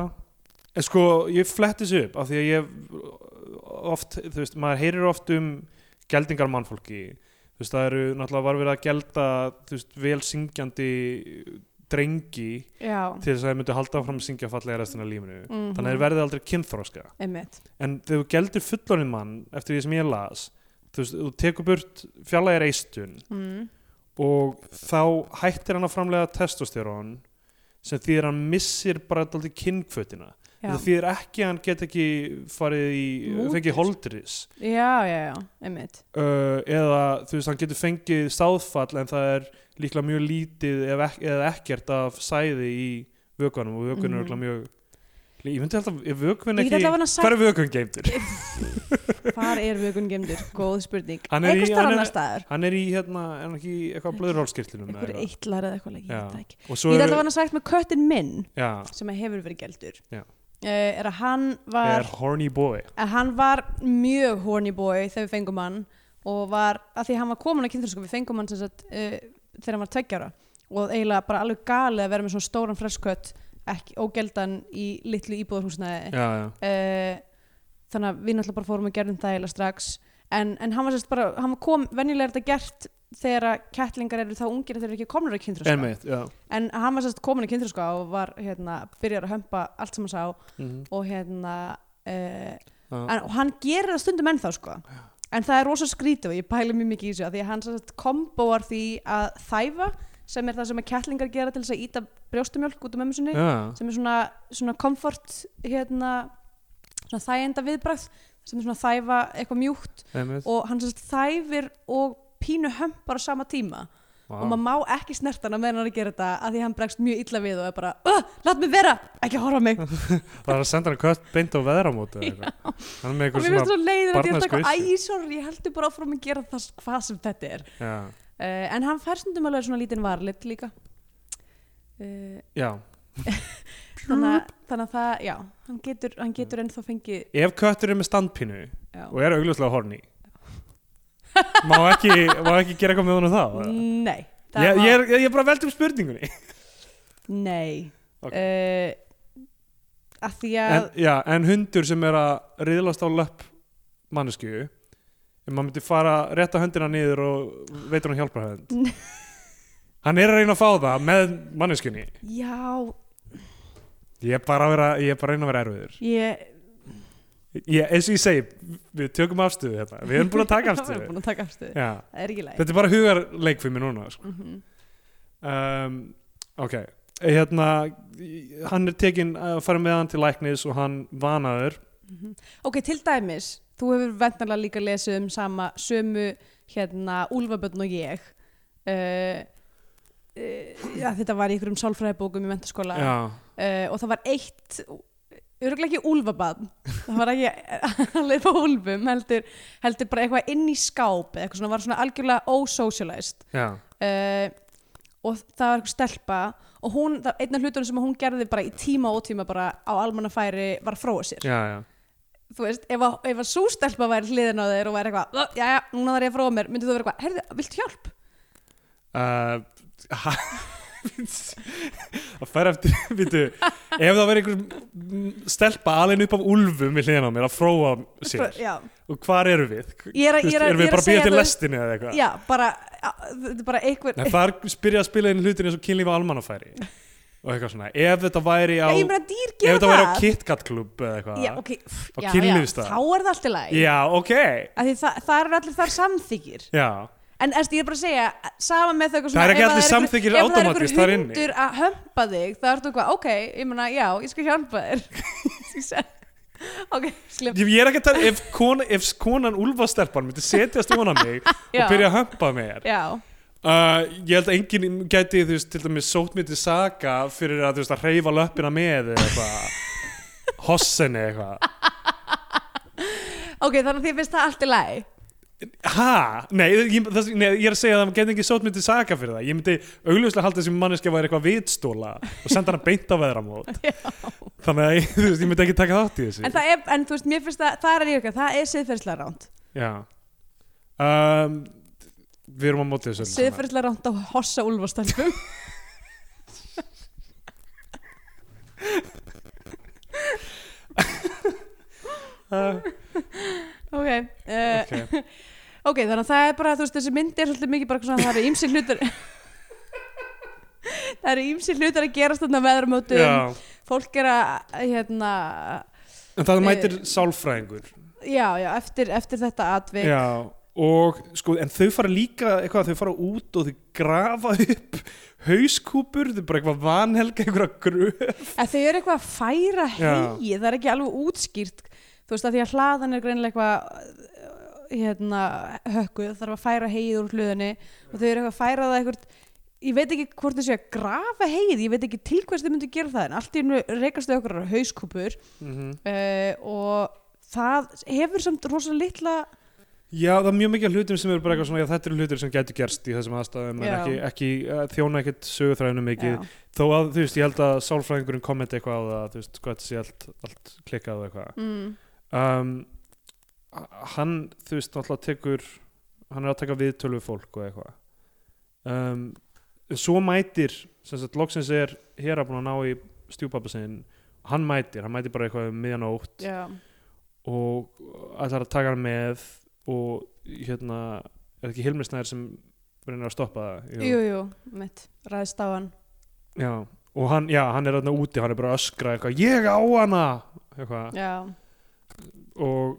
[SPEAKER 5] en sko, ég fletti þessu upp af því að ég oft, þú veist, maður heyrir oft um geldingar mannfólki þú veist, það eru náttúrulega var verið að gelda þú veist, vel syngjandi drengi
[SPEAKER 3] já,
[SPEAKER 5] til þess að þeir myndu halda áfram að syngja fallega restina af lífinu
[SPEAKER 3] Mhm.
[SPEAKER 5] þannig að þeir verði aldrei kynþróska
[SPEAKER 3] einmitt
[SPEAKER 5] en þegar þú geldur fullorinn mann eftir því sem ég las þú, veist, þú tekur burt fjarlægir eistun
[SPEAKER 3] mm.
[SPEAKER 5] og þá hættir hann að framlega testosterón sem þýðir að hann missir bara alltaf kynkvötina
[SPEAKER 3] já.
[SPEAKER 5] þetta þýðir ekki að hann get ekki farið í,
[SPEAKER 3] Mútur.
[SPEAKER 5] fengið holdris
[SPEAKER 3] já, já, já, einmitt
[SPEAKER 5] uh, eða þú veist hann getur fengið sáðfall en það er líklega mjög lítið ef ek eða ekkert af sæði í vökunum og vökunum
[SPEAKER 3] Mhm.
[SPEAKER 5] er líklega mjög ég myndi alltaf, er vökun
[SPEAKER 3] Ég get
[SPEAKER 5] ekki
[SPEAKER 3] allavega sagt-
[SPEAKER 5] hver er vökun geimtur?
[SPEAKER 3] Hvar er vökun gemdur? Góð spurning
[SPEAKER 5] Hann er í-
[SPEAKER 3] Einhvers staðar
[SPEAKER 5] hann er-
[SPEAKER 3] annar staðar
[SPEAKER 5] Hann er í hérna, er hann ekki í eitthvað blöðurhálskirtlunum
[SPEAKER 3] Einhver eitlar eða eitthvað, ég veit það ekki
[SPEAKER 5] Og svo
[SPEAKER 3] Ég
[SPEAKER 5] er,
[SPEAKER 3] ætla að hann sagt með köttin minn
[SPEAKER 5] já,
[SPEAKER 3] sem hefur verið geldur Eh,
[SPEAKER 5] Já.
[SPEAKER 3] er að hann
[SPEAKER 5] er
[SPEAKER 3] var,
[SPEAKER 5] horny boy.
[SPEAKER 3] að hann var mjög horny boy þegar við fengum hann og var, að því hann var komin á kynþrösku við fengum hann sem sagt uh, þegar hann var tveggjara og eiginlega bara alveg galið að vera með svona stóran freskött ekki ógeldan í litlu íbúðarhúsnaði
[SPEAKER 5] Já, já.
[SPEAKER 3] uh, þannig að við náttúrulega bara fórum og gerðum það eiginlega strax en, en hann var sérst bara, hann var kom venjulega er þetta gert þegar að kettlingar eru þá ungir að þeir eru ekki komnur á kynþröska
[SPEAKER 5] Einmitt, já.
[SPEAKER 3] en hann var sérst komin á kynþröska og var hérna, byrjar að hömpa allt sem hann sá
[SPEAKER 5] Mm
[SPEAKER 3] og hérna uh,
[SPEAKER 5] Já.
[SPEAKER 3] en, og hann gerir það stundum ennþá sko en það er rosa skrítið og ég pæli mjög mikið í þessu af því að hann sérst komboar því að þæfa sem er það sem að kettlingar gera til þess að íta brjóstumjólk út um ömmu sinni
[SPEAKER 5] já.
[SPEAKER 3] sem er svona, svona comfort hérna, svona þægenda viðbragð sem er svona þæfa eitthvað mjúkt
[SPEAKER 5] Einmitt.
[SPEAKER 3] og hann sérst þæfir og pínu hömpar á sama tíma
[SPEAKER 5] Vá.
[SPEAKER 3] og maður má ekki snerta hann meðan hann er að gera þetta að því hann bregst mjög illa við og er bara "Ugh, lát mig vera, ekki horfa á mig og
[SPEAKER 5] Það er að senda hann kött beint á veðramóti eða eitthvað. Hann er með
[SPEAKER 3] mér
[SPEAKER 5] eitthvað
[SPEAKER 3] finnst
[SPEAKER 5] svona,
[SPEAKER 3] svo leiður að ég er
[SPEAKER 5] barnæsku
[SPEAKER 3] eitthvað,
[SPEAKER 5] issue.
[SPEAKER 3] æ, sorry, ég heldur bara áfram að gera það hvað sem þetta er
[SPEAKER 5] já,
[SPEAKER 3] uh, en hann fær stundum alveg svona lítinn varlit líka uh,
[SPEAKER 5] já.
[SPEAKER 3] þannig, að, þannig að það, já hann getur, hann getur ennþá fengið
[SPEAKER 5] Ef köttur er með standpínu
[SPEAKER 3] já.
[SPEAKER 5] og er augljóslega horny, má ekki, má ekki gera eitthvað með honum þá? eða?
[SPEAKER 3] nei það
[SPEAKER 5] Ég,
[SPEAKER 3] má-
[SPEAKER 5] ég, er, ég er bara að velta um spurningunni.
[SPEAKER 3] Nei
[SPEAKER 5] Ok.
[SPEAKER 3] okay. að því að
[SPEAKER 5] En, já, en hundur sem er að riðlast á löpp mannesku, en maður myndi fara rétta höndina niður og veitur hann hjálpar hönd hann er að reyna að fá það með manneskunni
[SPEAKER 3] Já,
[SPEAKER 5] ég er bara að, vera, ég er bara að reyna að vera erfiður
[SPEAKER 3] ég
[SPEAKER 5] ég, eins og ég segi, við tökum afstöðu hérna. við erum búin að taka
[SPEAKER 3] Við erum
[SPEAKER 5] afstöðu
[SPEAKER 3] búin að taka afstöðu.
[SPEAKER 5] Já.
[SPEAKER 3] Það er ekki læg.
[SPEAKER 5] þetta er bara hugarleik fyrir mig núna sko.
[SPEAKER 3] Mm
[SPEAKER 5] um, ok hérna, hann er tekin að fara með hann til læknis og hann vanaður
[SPEAKER 3] Ok, til dæmis, þú hefur vendanlega líka lesið um sama sömu hérna Úlfabötn og ég. Uh, uh, já, þetta var í einhverjum sálfræðibókum í mentaskóla
[SPEAKER 5] Já.
[SPEAKER 3] uh, og það var eitt örgulega ekki úlfabann það var ekki alveg på úlfum heldur, heldur bara eitthvað inn í skáp eða eitthvað svona, var svona algjörlega ósocialized
[SPEAKER 5] Já.
[SPEAKER 3] uh, og það var eitthvað stelpa og hún, það, einn af hlutunum sem hún gerði bara í tíma og tíma bara á almannafæri var að fróa sér
[SPEAKER 5] Já, já.
[SPEAKER 3] þú veist, ef að, ef að svo stelpa væri hliðin á þér og væri eitthvað, já já, núna þarf ég að fróa mér myndi þú vera eitthvað, heyrðu, viltu hjálp?
[SPEAKER 5] Uh, ha- það fær eftir býtu, ef það verður einhver mm, stelpa alveg upp af úlfum við hliðan á mér að fróa sér
[SPEAKER 3] Já,
[SPEAKER 5] og hvar eru við?
[SPEAKER 3] Ég er að-
[SPEAKER 5] Þú veist,
[SPEAKER 3] ég er að-
[SPEAKER 5] erum
[SPEAKER 3] ég er að
[SPEAKER 5] við bara að býja
[SPEAKER 3] segja,
[SPEAKER 5] til
[SPEAKER 3] þú veist-
[SPEAKER 5] lestinni eða eitthvað?
[SPEAKER 3] já, bara þetta er bara einhver
[SPEAKER 5] Nei, þar byrja að spila inn hlutin eins og kynlífa almannafæri og eitthvað svona ef þetta væri á,
[SPEAKER 3] Já, ég meina dýr
[SPEAKER 5] ef
[SPEAKER 3] gera
[SPEAKER 5] þetta væri á
[SPEAKER 3] það.
[SPEAKER 5] KitKat klub eða eitthvað
[SPEAKER 3] Já, ok, pff,
[SPEAKER 5] Á
[SPEAKER 3] já, já,
[SPEAKER 5] kynlífsstað.
[SPEAKER 3] þá er það allt í lagi
[SPEAKER 5] Já, ok.
[SPEAKER 3] Af því það, það eru allir þar samþykir
[SPEAKER 5] Já.
[SPEAKER 3] En eftir ég er bara að segja, sama með þau eitthvað
[SPEAKER 5] Það er
[SPEAKER 3] svona,
[SPEAKER 5] ekki
[SPEAKER 3] ef
[SPEAKER 5] allir
[SPEAKER 3] einhver-
[SPEAKER 5] samþykkir automatískt
[SPEAKER 3] Ef það
[SPEAKER 5] þar
[SPEAKER 3] er
[SPEAKER 5] inni.
[SPEAKER 3] einhver hundur að hömpa þig Það ertu eitthvað, ok, ég meina, já, ég skal hjálpa þér Ég seg- Ok, slepp
[SPEAKER 5] Ég, ég er ekki að tala, ef, kona, ef konan úlfastelpan myndi setjast ofan á mig og
[SPEAKER 3] Já.
[SPEAKER 5] byrja að hömpa mér
[SPEAKER 3] Já,
[SPEAKER 5] Uh, ég held að enginn gæti þú veist, til dæmis sótt mér til saga fyrir að, þú veist, að reyfa löppina með eða eitthvað hossen eða eitthvað
[SPEAKER 3] ok, þannig að því finnst það allt í lagi
[SPEAKER 5] ha, nei, ég, það, nei, ég er að segja að það gæti enginn sótt mér til saga fyrir það ég myndi augljóslega halda þessi manneskja væri eitthvað vitstóla og senda hana beint á veðramót þannig að ég, þú veist, ég myndi ekki taka þátt í þessu
[SPEAKER 3] En það er, en þú veist, mér finnst það, það er ég ekki Það er siðferðslega ránt
[SPEAKER 5] já um, við erum á móti þessu öllu saman.
[SPEAKER 3] Siðferðslega ránt á hossa úlfastelfum
[SPEAKER 5] uh,
[SPEAKER 3] Ok, uh,
[SPEAKER 5] okay.
[SPEAKER 3] Ok, þannig að það er bara, þú veist, þessi mynd er svolítið mikið bara eitthvað svona, það eru ímsi hlutur það eru ímsi hlutur að gerast þarna veðramótum,
[SPEAKER 5] já,
[SPEAKER 3] fólk er að hérna,
[SPEAKER 5] en það mætir sálfræðingur
[SPEAKER 3] já, já, eftir, eftir þetta atvik
[SPEAKER 5] Já, og sko, en þau fara líka eitthvað, þau fara út og þau grafa upp hauskúpur, þau bara eitthvað vanhelga einhverja gröf.
[SPEAKER 3] að þau eru eitthvað að færa hegi það er ekki alveg útskýrt þú veist, að því að hlaðan er greinilega eitthvað eh, hérna, hökkuð þarf að færa hegið úr hluðinni og þau eru eitthvað að færa það eitthvað ég veit ekki hvort þau séu að grafa hegið ég veit ekki til hvers þau myndu gera það en allt í einu reikast þau okkur á hauskúpur uh, og það hefur samt rosa litla
[SPEAKER 5] Já, það er mjög mikið af hlutum sem eru bara eitthvað svona, já, þetta eru hlutir sem gætu gerst í þessum aðstæðum, en
[SPEAKER 3] Já.
[SPEAKER 5] ekki, ekki eh, þjóna ekkert sögutræðinu mikið.
[SPEAKER 3] Já.
[SPEAKER 5] Þó að, þú veist, ég held að sálfræðingurinn kommenti eitthvað á það, þú veist, hvað þetta sé allt, allt klikkað og eitthvað.
[SPEAKER 3] mm.
[SPEAKER 5] Um, hann, þú veist, náttúrulega tekur, hann er að taka viðtölu við fólk og eitthvað. um, en svo mætir sem sagt, loksins er hér að búin að ná í stjúpappa sinn hann mætir, hann mætir bara eitthvað um miðjanótt
[SPEAKER 3] Já.
[SPEAKER 5] og ætlar að taka hann með og hérna er ekki Hilmisnæður sem reynir að stoppa það
[SPEAKER 3] Jú, jú, mitt, ræðist á hann
[SPEAKER 5] Já, og hann, já, hann er þarna úti hann er bara að öskra eitthvað, ég á hana eitthvað,
[SPEAKER 3] Já,
[SPEAKER 5] og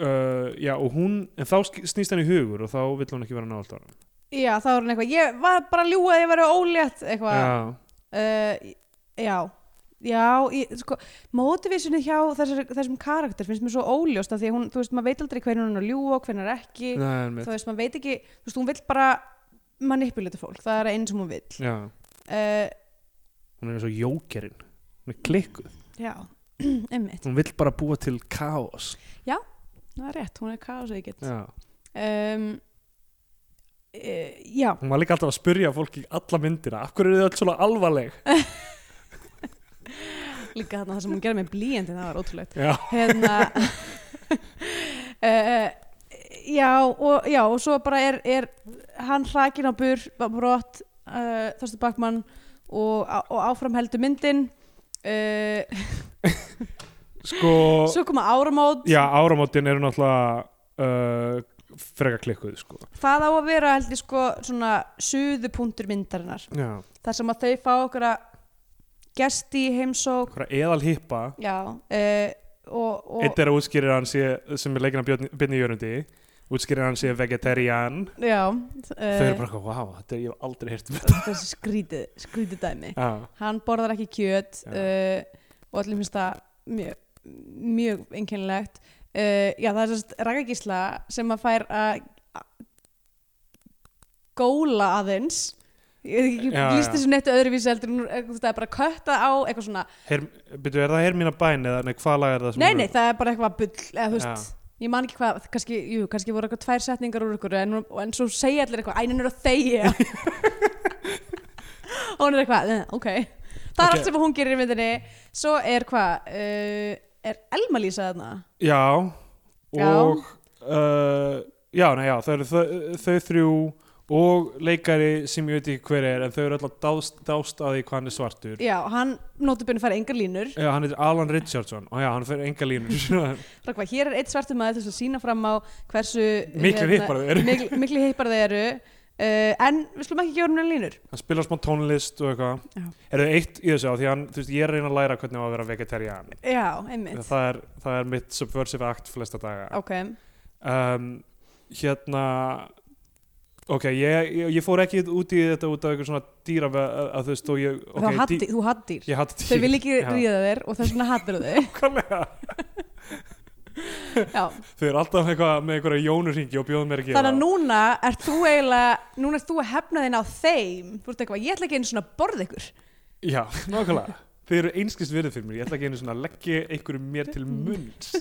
[SPEAKER 5] uh, já, og hún, en þá sk- snýst hann í hugur og þá vill hún ekki vera nált á hann
[SPEAKER 3] já þá er hann eitthvað Ég var bara að ljúga að ég verið ólétt eitthvað
[SPEAKER 5] Já,
[SPEAKER 3] uh, Já, já ég, sko, Mótivísunni hjá þessar, þessum karakter finnst mér svo óljóst af því að hún, þú veist, maður veit aldrei hvernig hún er að ljúga og hvernig ekki
[SPEAKER 5] það er mitt
[SPEAKER 3] þú veist, maður veit ekki, þú veist, hún vill bara manipulita fólk, það er einn sem hún vill
[SPEAKER 5] Já,
[SPEAKER 3] uh,
[SPEAKER 5] hún er eins og jókerinn hún er klikkuð
[SPEAKER 3] Já, einmitt
[SPEAKER 5] hún vill bara búa til káos
[SPEAKER 3] Það er rétt, hún er kaosveikitt
[SPEAKER 5] já.
[SPEAKER 3] um, uh, já,
[SPEAKER 5] hún var líka alltaf að spyrja fólk í alla myndina af hverju eru þið öll svona alvarleg
[SPEAKER 3] líka þarna það sem hún gerði með blíjandi það var ótrúlegt
[SPEAKER 5] já,
[SPEAKER 3] hérna uh, já, og, já og svo bara er, er hann hrakin á bur brott uh, Þorstu Bakmann og, og áfram heldur myndin uh,
[SPEAKER 5] sko
[SPEAKER 3] svo koma áramót
[SPEAKER 5] já, áramótin eru náttúrulega uh, freka klikkuð sko.
[SPEAKER 3] það á að vera held ég sko svona suðupunktur myndarinnar
[SPEAKER 5] Já,
[SPEAKER 3] þar sem að þau fá okkur að gesti í heimsók
[SPEAKER 5] hvað eðal hippa
[SPEAKER 3] já, uh, og,
[SPEAKER 5] Eitt
[SPEAKER 3] og
[SPEAKER 5] er að útskýrir hann sé, sem er leikina Björn í Jörundi útskýrir hann sé vegetarian
[SPEAKER 3] já,
[SPEAKER 5] Þau eru
[SPEAKER 3] uh,
[SPEAKER 5] bara eitthvað, wow, þetta er ég hef aldrei heyrt um þetta
[SPEAKER 3] þetta er skrítið skrítið dæmi
[SPEAKER 5] Já,
[SPEAKER 3] hann borðar ekki kjöt
[SPEAKER 5] Já.
[SPEAKER 3] uh, og allir finnst það mjög, mjög einkennilegt uh, já það er sérst rakagísla sem að fær að að góla aðeins ég veit ekki
[SPEAKER 5] Já,
[SPEAKER 3] líst
[SPEAKER 5] já.
[SPEAKER 3] þessu nettu öðruvísi heldur en hún er- þú veist, það er bara kötta á eitthvað svona
[SPEAKER 5] Her, byrju, er það Hermína Bæn eða nei, hvað lag er það sem
[SPEAKER 3] nei
[SPEAKER 5] hún-
[SPEAKER 3] nei það er bara eitthvað bull eða, þú veist,
[SPEAKER 5] Já.
[SPEAKER 3] ég man ekki hvað, kannski, jú, kannski voru eitthvað tvær setningar úr ykkur en, og en svo segja allir eitthvað, ænin er að þegja og hún er eitthvað "Eh, ok, það
[SPEAKER 5] Ok.
[SPEAKER 3] er allt sem hún gerir í myndinni svo er hvað uh, er Elma Lísa þarna
[SPEAKER 5] Já,
[SPEAKER 3] Já.
[SPEAKER 5] og uh, já, nei, já, þau eru þau, þau þrjú og leikari sem ég veit ekki hver er en þau eru alltaf dást, dást að því hvað hann er svartur
[SPEAKER 3] já, hann notabunni fær engar línur
[SPEAKER 5] Já, hann heitir Alan Richardson og já, hann fer enga línur
[SPEAKER 3] Rakva, hér er eitt svartur maður til þess að sína fram á hversu
[SPEAKER 5] Miklir
[SPEAKER 3] Hérna-
[SPEAKER 5] hippar þau eru.
[SPEAKER 3] mikli, mikli hippar þau eru uh, en við slum ekki gefa hún línur
[SPEAKER 5] Hann spilar smá tónlist og
[SPEAKER 3] Já.
[SPEAKER 5] eitthvað Er það eitt í þessu á því hann, þú veist, ég er að reyna að læra hvernig á að vera vegetarian
[SPEAKER 3] já, einmitt
[SPEAKER 5] það er, það er mitt subversive act flesta daga
[SPEAKER 3] ok,
[SPEAKER 5] um, hérna ok, ég, ég, ég fór ekki út í þetta út af einhver svona dýra að, að þú veist og ég,
[SPEAKER 3] þá
[SPEAKER 5] ok,
[SPEAKER 3] haddi, þú haddýr
[SPEAKER 5] ég hatt
[SPEAKER 3] þau vil ekki
[SPEAKER 5] Já.
[SPEAKER 3] ríða þér og þess vegna hattir þau
[SPEAKER 5] Nákvæmlega.
[SPEAKER 3] Já,
[SPEAKER 5] þau eru alltaf eitthvað með einhverja jónurhingi og bjóðum mér ekki í
[SPEAKER 3] þannig að
[SPEAKER 5] það.
[SPEAKER 3] núna ert þú eiginlega, núna ert þú að hefna þinn á þeim, þú ert eitthvað, ég ætla ekki einu svona að borða ykkur.
[SPEAKER 5] já, nákvæmlega þau eru einskist virðið fyrir mér, ég ætla ekki einu svona að leggja einhverju mér til munns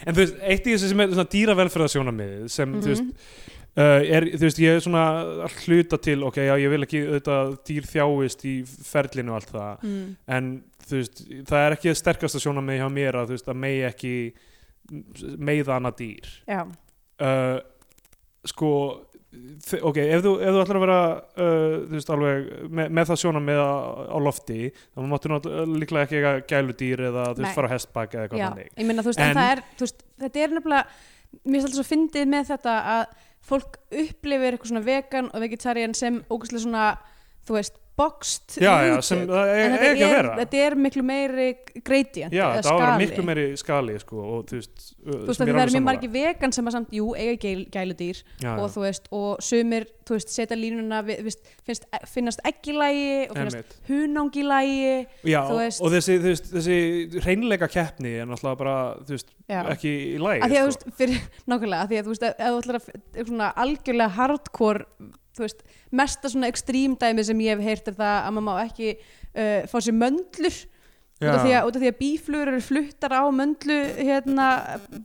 [SPEAKER 5] en þú veist, eitt í þessu sem er svona dýravelferðarsjónamiðið sem Mm, þú veist Uh, er, þú veist, ég er svona að hluta til ok, já, ég vil ekki auðvitað dýr þjáist í ferlinu og allt það
[SPEAKER 3] Mm.
[SPEAKER 5] en þú veist, það er ekki sterkasta sjónamið hjá mér að þú veist, að megi ekki meiða annað dýr
[SPEAKER 3] Já,
[SPEAKER 5] uh, sko þ- ok, ef þú, ef þú ætlar að vera uh, þú veist, alveg með, með það sjónamið á, á lofti, þá máttu náttúrulega líklega ekki eiga gæludýr eða
[SPEAKER 3] Nei.
[SPEAKER 5] þú veist, fara á hestbak eða eitthvað
[SPEAKER 3] já,
[SPEAKER 5] þannig
[SPEAKER 3] ég meina þú veist, en,
[SPEAKER 5] En-
[SPEAKER 3] það er, þú veist, þetta er nefnilega, mér finnst alltaf svo fyndið með þetta að fólk upplifir eitthvað svona vegan og vegetarian sem ógustlega svona, þú veist, boxed
[SPEAKER 5] já, já,
[SPEAKER 3] hugtök.
[SPEAKER 5] sem það
[SPEAKER 3] En
[SPEAKER 5] er,
[SPEAKER 3] þetta
[SPEAKER 5] er ekki að
[SPEAKER 3] er-
[SPEAKER 5] vera
[SPEAKER 3] Þetta er miklu meiri gradient
[SPEAKER 5] já,
[SPEAKER 3] eða
[SPEAKER 5] það á að vera
[SPEAKER 3] skali.
[SPEAKER 5] miklu meiri skali sko, og þú veist, uh,
[SPEAKER 3] Þú veist
[SPEAKER 5] sem
[SPEAKER 3] að
[SPEAKER 5] ég
[SPEAKER 3] það eru
[SPEAKER 5] alveg
[SPEAKER 3] mjög
[SPEAKER 5] sammála.
[SPEAKER 3] margir vegan sem að samt, jú, eiga gæl, gæludýr
[SPEAKER 5] Já,
[SPEAKER 3] og
[SPEAKER 5] já,
[SPEAKER 3] þú veist, og sumir þú veist, setja línuna, við, við, finnst, finnast eggilægi og finnast
[SPEAKER 5] einmitt.
[SPEAKER 3] hunangilægi
[SPEAKER 5] Já,
[SPEAKER 3] þú veist-
[SPEAKER 5] og þessi, þú veist, þessi reynleika keppni er náttúrulega bara, þú veist,
[SPEAKER 3] Já.
[SPEAKER 5] ekki í sko. lægi.
[SPEAKER 3] að því að þú veist, fyrir, nákvæmlega, að því að þú veist ef ef þú ætlar að f- svona algjörlega hardcore þú veist, mesta svona ekstrím dæmi sem ég hef heyrt er það að maður má ekki uh, fá sér möndlur út af, því að, út af því að bíflugur eru fluttar á möndlu hérna,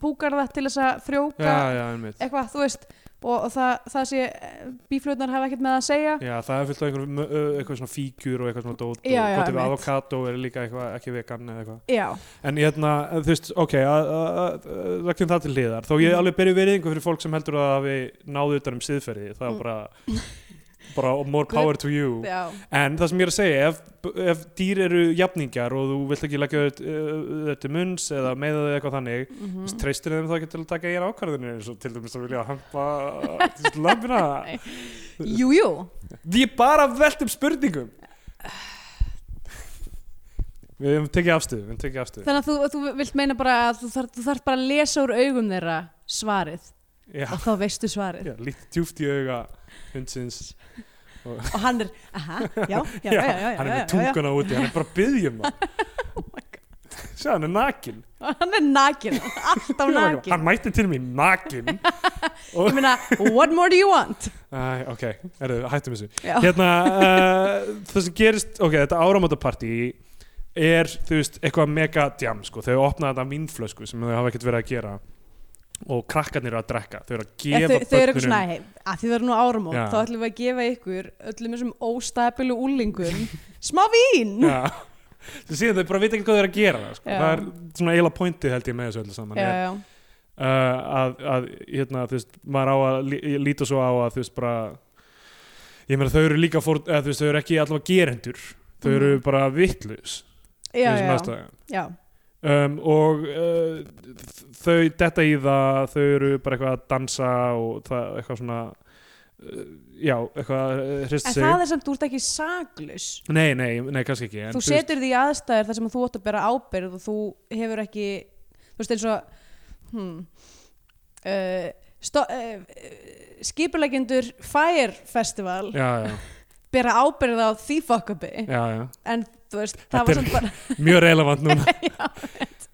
[SPEAKER 3] búkar það til þess að frjóka
[SPEAKER 5] Já, já, einmitt.
[SPEAKER 3] eitthvað, þú veist og, og það, það sé, bíflugurnar hafa ekkert með að segja
[SPEAKER 5] Já, það er fullt af einhverjum, uh, eitthvað svona fígjur og eitthvað svona dót
[SPEAKER 3] Já,
[SPEAKER 5] og
[SPEAKER 3] já,
[SPEAKER 5] gott ef
[SPEAKER 3] einmitt.
[SPEAKER 5] avokado er líka eitthvað ekki vegan eða eitthvað.
[SPEAKER 3] Já,
[SPEAKER 5] En ég hérna, þú veist, ok, að- að- að- að- leggjum það til hliðar. Þó ég
[SPEAKER 3] Mhm.
[SPEAKER 5] alveg byrju veriðingu fyrir fólk sem heldur að hafi náðu utan um siðferði. Það
[SPEAKER 3] Mm.
[SPEAKER 5] er bara, bara more
[SPEAKER 3] Good.
[SPEAKER 5] power to you.
[SPEAKER 3] já,
[SPEAKER 5] En það sem ég er að segja, ef, ef dýr eru jafningjar og þú vilt ekki leggja þau- þau þau til munns eða meiða þau eitthvað þannig,
[SPEAKER 3] mm
[SPEAKER 5] Þú veist, treystir þeim þá ekki til að taka ég ákvarðinu eins og til dæmis að vilja hampa þú veist, lampina
[SPEAKER 3] Nei. jú, jú
[SPEAKER 5] Við bara veltum spurningum Við hefum tekið afstöðu, við hefum tekið afstöðu
[SPEAKER 3] Þannig að þú, þú vilt meina bara að þú þarf, þú þarf bara að lesa úr augum þeirra svarið
[SPEAKER 5] Já,
[SPEAKER 3] og þá veistu svarið
[SPEAKER 5] já lítið djúft í auga hundsins
[SPEAKER 3] og hann er, aha, já, já, já, já, já, já, já, Oh
[SPEAKER 5] Hann er með
[SPEAKER 3] já,
[SPEAKER 5] tunguna úti, hann er bara að byggjum það Sjá, hann er nakin
[SPEAKER 3] já. hann er nakin, alltaf nakin
[SPEAKER 5] Hann mætti til mér nakin
[SPEAKER 3] ég meina, what more do you want
[SPEAKER 5] Æ, ok, erðu, hættum þessu
[SPEAKER 3] já,
[SPEAKER 5] hérna, uh, það sem gerist ok, þetta áramótapartí er, þú veist, eitthvað mega djam sko. þau opna þetta vínflösku sem þau hafa ekkert verið að gera og krakkarnir eru að drekka, þau eru að
[SPEAKER 3] Ef
[SPEAKER 5] gefa
[SPEAKER 3] þau, þau eru eitthvað
[SPEAKER 5] börnunum-
[SPEAKER 3] svona, hei, að þið verður nú áramót
[SPEAKER 5] Já.
[SPEAKER 3] þá ætlum við að gefa ykkur öllum þessum óstabilu úlingum smá vín
[SPEAKER 5] já, þau síðan þau bara veit ekki hvað þau eru að gera sko.
[SPEAKER 3] Já.
[SPEAKER 5] það er svona eiginlega pointið held ég með þessu öllu saman
[SPEAKER 3] já,
[SPEAKER 5] er,
[SPEAKER 3] já,
[SPEAKER 5] uh, að, að hérna, þú veist, maður á að lí- ég líta svo á að þú veist bara ég meina þau eru líka fór, eða, þú veist, þau eru ekki allavega gerendur þau eru bara vittlus
[SPEAKER 3] Mhm. já, já, já,
[SPEAKER 5] uh, um, og uh, þau detta í það þau eru bara eitthvað að dansa og það eitthvað svona uh, já, eitthvað uh, hrist
[SPEAKER 7] En
[SPEAKER 5] sig
[SPEAKER 7] það er samt, þú ert ekki saglaus.
[SPEAKER 5] nei, nei, nei, kannski ekki en
[SPEAKER 7] Þú
[SPEAKER 5] þú veist-
[SPEAKER 7] setur því aðstæður þar sem þú átt að bera ábyrð og þú hefur ekki, þú veist eins og, hmm, uh, sto, uh, skipulegendur Fire Festival
[SPEAKER 5] já, já,
[SPEAKER 7] bera ábyrð á því fokkabi.
[SPEAKER 5] já, já
[SPEAKER 7] En þú veist,
[SPEAKER 5] Þetta
[SPEAKER 7] það var
[SPEAKER 5] er-
[SPEAKER 7] samt bara, uh,
[SPEAKER 5] mjög relevant núna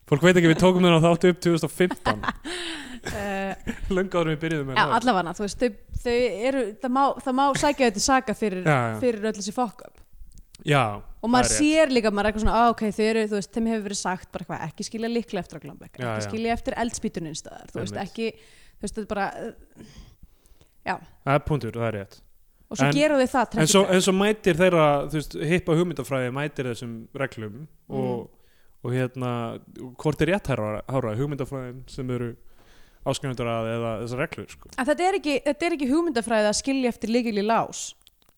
[SPEAKER 5] fólk veit ekki við tókum þennan þátt upp 2015
[SPEAKER 7] uh,
[SPEAKER 5] löngu áður en við byrjuðum með
[SPEAKER 3] Já,
[SPEAKER 5] það.
[SPEAKER 3] allavega, þú veist, þau, þau eru, það má, það má sækja þetta saga fyrir,
[SPEAKER 5] Já, já.
[SPEAKER 3] fyrir öll þessi fokk
[SPEAKER 5] já,
[SPEAKER 3] og maður
[SPEAKER 5] það er rétt.
[SPEAKER 3] sér líka, maður er eitthvað svona, "Á, ok, þau eru, þú veist, þeim hefur verið sagt bara eitthvað, ekki skilja líklega eftir að glambekka,
[SPEAKER 5] Já,
[SPEAKER 3] ekki
[SPEAKER 5] já.
[SPEAKER 3] skilja eftir eldspýtunin staðar, þú veist,
[SPEAKER 5] Einmitt.
[SPEAKER 3] ekki, þú veist, þetta er bara,
[SPEAKER 5] það er punktur, það er rétt
[SPEAKER 3] og svo
[SPEAKER 5] En-
[SPEAKER 3] gera þau það,
[SPEAKER 5] en svo,
[SPEAKER 3] trekkingar.
[SPEAKER 5] en svo mætir þeirra þú veist, hippa hugmyndafræði mætir þessum reglum
[SPEAKER 3] Mhm.
[SPEAKER 5] og, og hérna og hvort er rétt hára, hára hugmyndafræðin sem eru áskrifundur að eða þessar reglur sko.
[SPEAKER 3] En þetta er ekki, þetta er ekki hugmyndafræði að skilja eftir líkil í lás.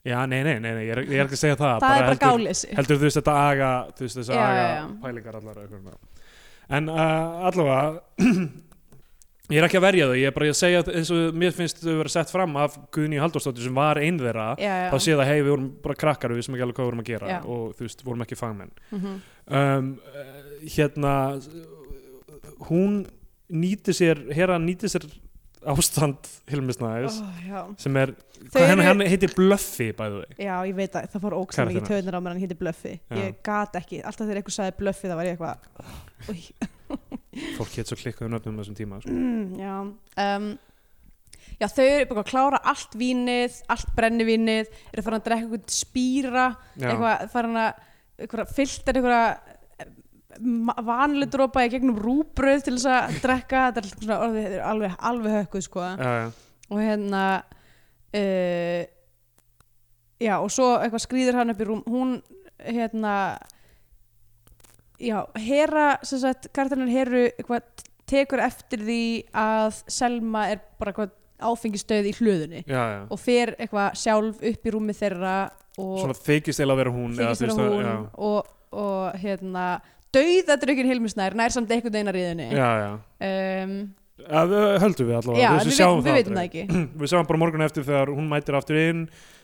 [SPEAKER 5] já, nei, nei, nei, nei ég, er, ég er ekki að segja
[SPEAKER 3] Það
[SPEAKER 5] það
[SPEAKER 3] er bara
[SPEAKER 5] heldur,
[SPEAKER 3] gáleysi.
[SPEAKER 5] heldur þú veist þetta aga þú veist þess
[SPEAKER 3] Já,
[SPEAKER 5] að aga
[SPEAKER 3] já, já.
[SPEAKER 5] pælingar allar eða eitthvað. en uh, allavega ég er ekki að verja þau ég er bara að segja eins og mér finnst þau vera sett fram af Guðni Halldórsdóttir sem var einn þeirra
[SPEAKER 3] Já, já.
[SPEAKER 5] þá sé það hei við vorum bara krakkar og við sem ekki alveg hvað við vorum að gera
[SPEAKER 3] Já.
[SPEAKER 5] og þú veist vorum ekki fagmenn
[SPEAKER 3] Mhm.
[SPEAKER 5] um, eh, hérna s- hún nýti sér hérna nýti sér ástand Hilmisnæðis
[SPEAKER 3] Ah.
[SPEAKER 7] oh, já.
[SPEAKER 5] sem er,
[SPEAKER 7] Þau
[SPEAKER 5] hvað, hann,
[SPEAKER 7] eru-
[SPEAKER 5] hann heitir Bluffy bæðu þau
[SPEAKER 7] Já, ég veit að það fór ókslega mikið
[SPEAKER 5] Karakterinn.
[SPEAKER 7] töðnir á mér, hann hitti Blöffi.
[SPEAKER 5] Já.
[SPEAKER 7] Ég gat ekki, alltaf þegar einhver sagði Blöffi þá var ég eitthvað, "Új,
[SPEAKER 5] fólk heit svo klikkuðu nöfnum á þessum tíma sko.
[SPEAKER 7] mm, já,
[SPEAKER 3] um, já, þau eru bara að klára allt vínið, allt brennivínið eru farin að drekka eitthvað spýra
[SPEAKER 5] Já.
[SPEAKER 3] eitthvað farin að eitthvað fylltar eitthvað vanlutrópa í gegnum rúbröð til þess að drekka þetta er allt svona orðið, þetta er alveg, alveg hökkuð sko.
[SPEAKER 5] Já, já.
[SPEAKER 3] og hérna uh, já og svo eitthvað skrýður hann upp í rúm hún hérna já, Hera sem sagt, kartanir Heru eitthvað t- tekur eftir því að Selma er bara eitthvað áfengistöð í hlöðunni
[SPEAKER 5] já, já.
[SPEAKER 3] og fer eitthvað sjálf upp í rúmi þeirra og
[SPEAKER 5] svona þykist eila að vera hún eða
[SPEAKER 3] þykist
[SPEAKER 5] þú
[SPEAKER 3] vera
[SPEAKER 5] veist
[SPEAKER 3] hún
[SPEAKER 5] það-
[SPEAKER 3] og, og hérna dauða drukkin Hilmisnær nær samt einhvern veginn að riðunni
[SPEAKER 5] já, já, já.
[SPEAKER 3] um,
[SPEAKER 5] Að, eh, höldum við allavega
[SPEAKER 3] já
[SPEAKER 5] þú
[SPEAKER 3] en
[SPEAKER 5] veist,
[SPEAKER 3] við,
[SPEAKER 5] sjáum
[SPEAKER 3] veit, við veitum það
[SPEAKER 5] aldrei.
[SPEAKER 3] ekki
[SPEAKER 5] við sjáum bara morgun eftir þegar hún mætir aftur inn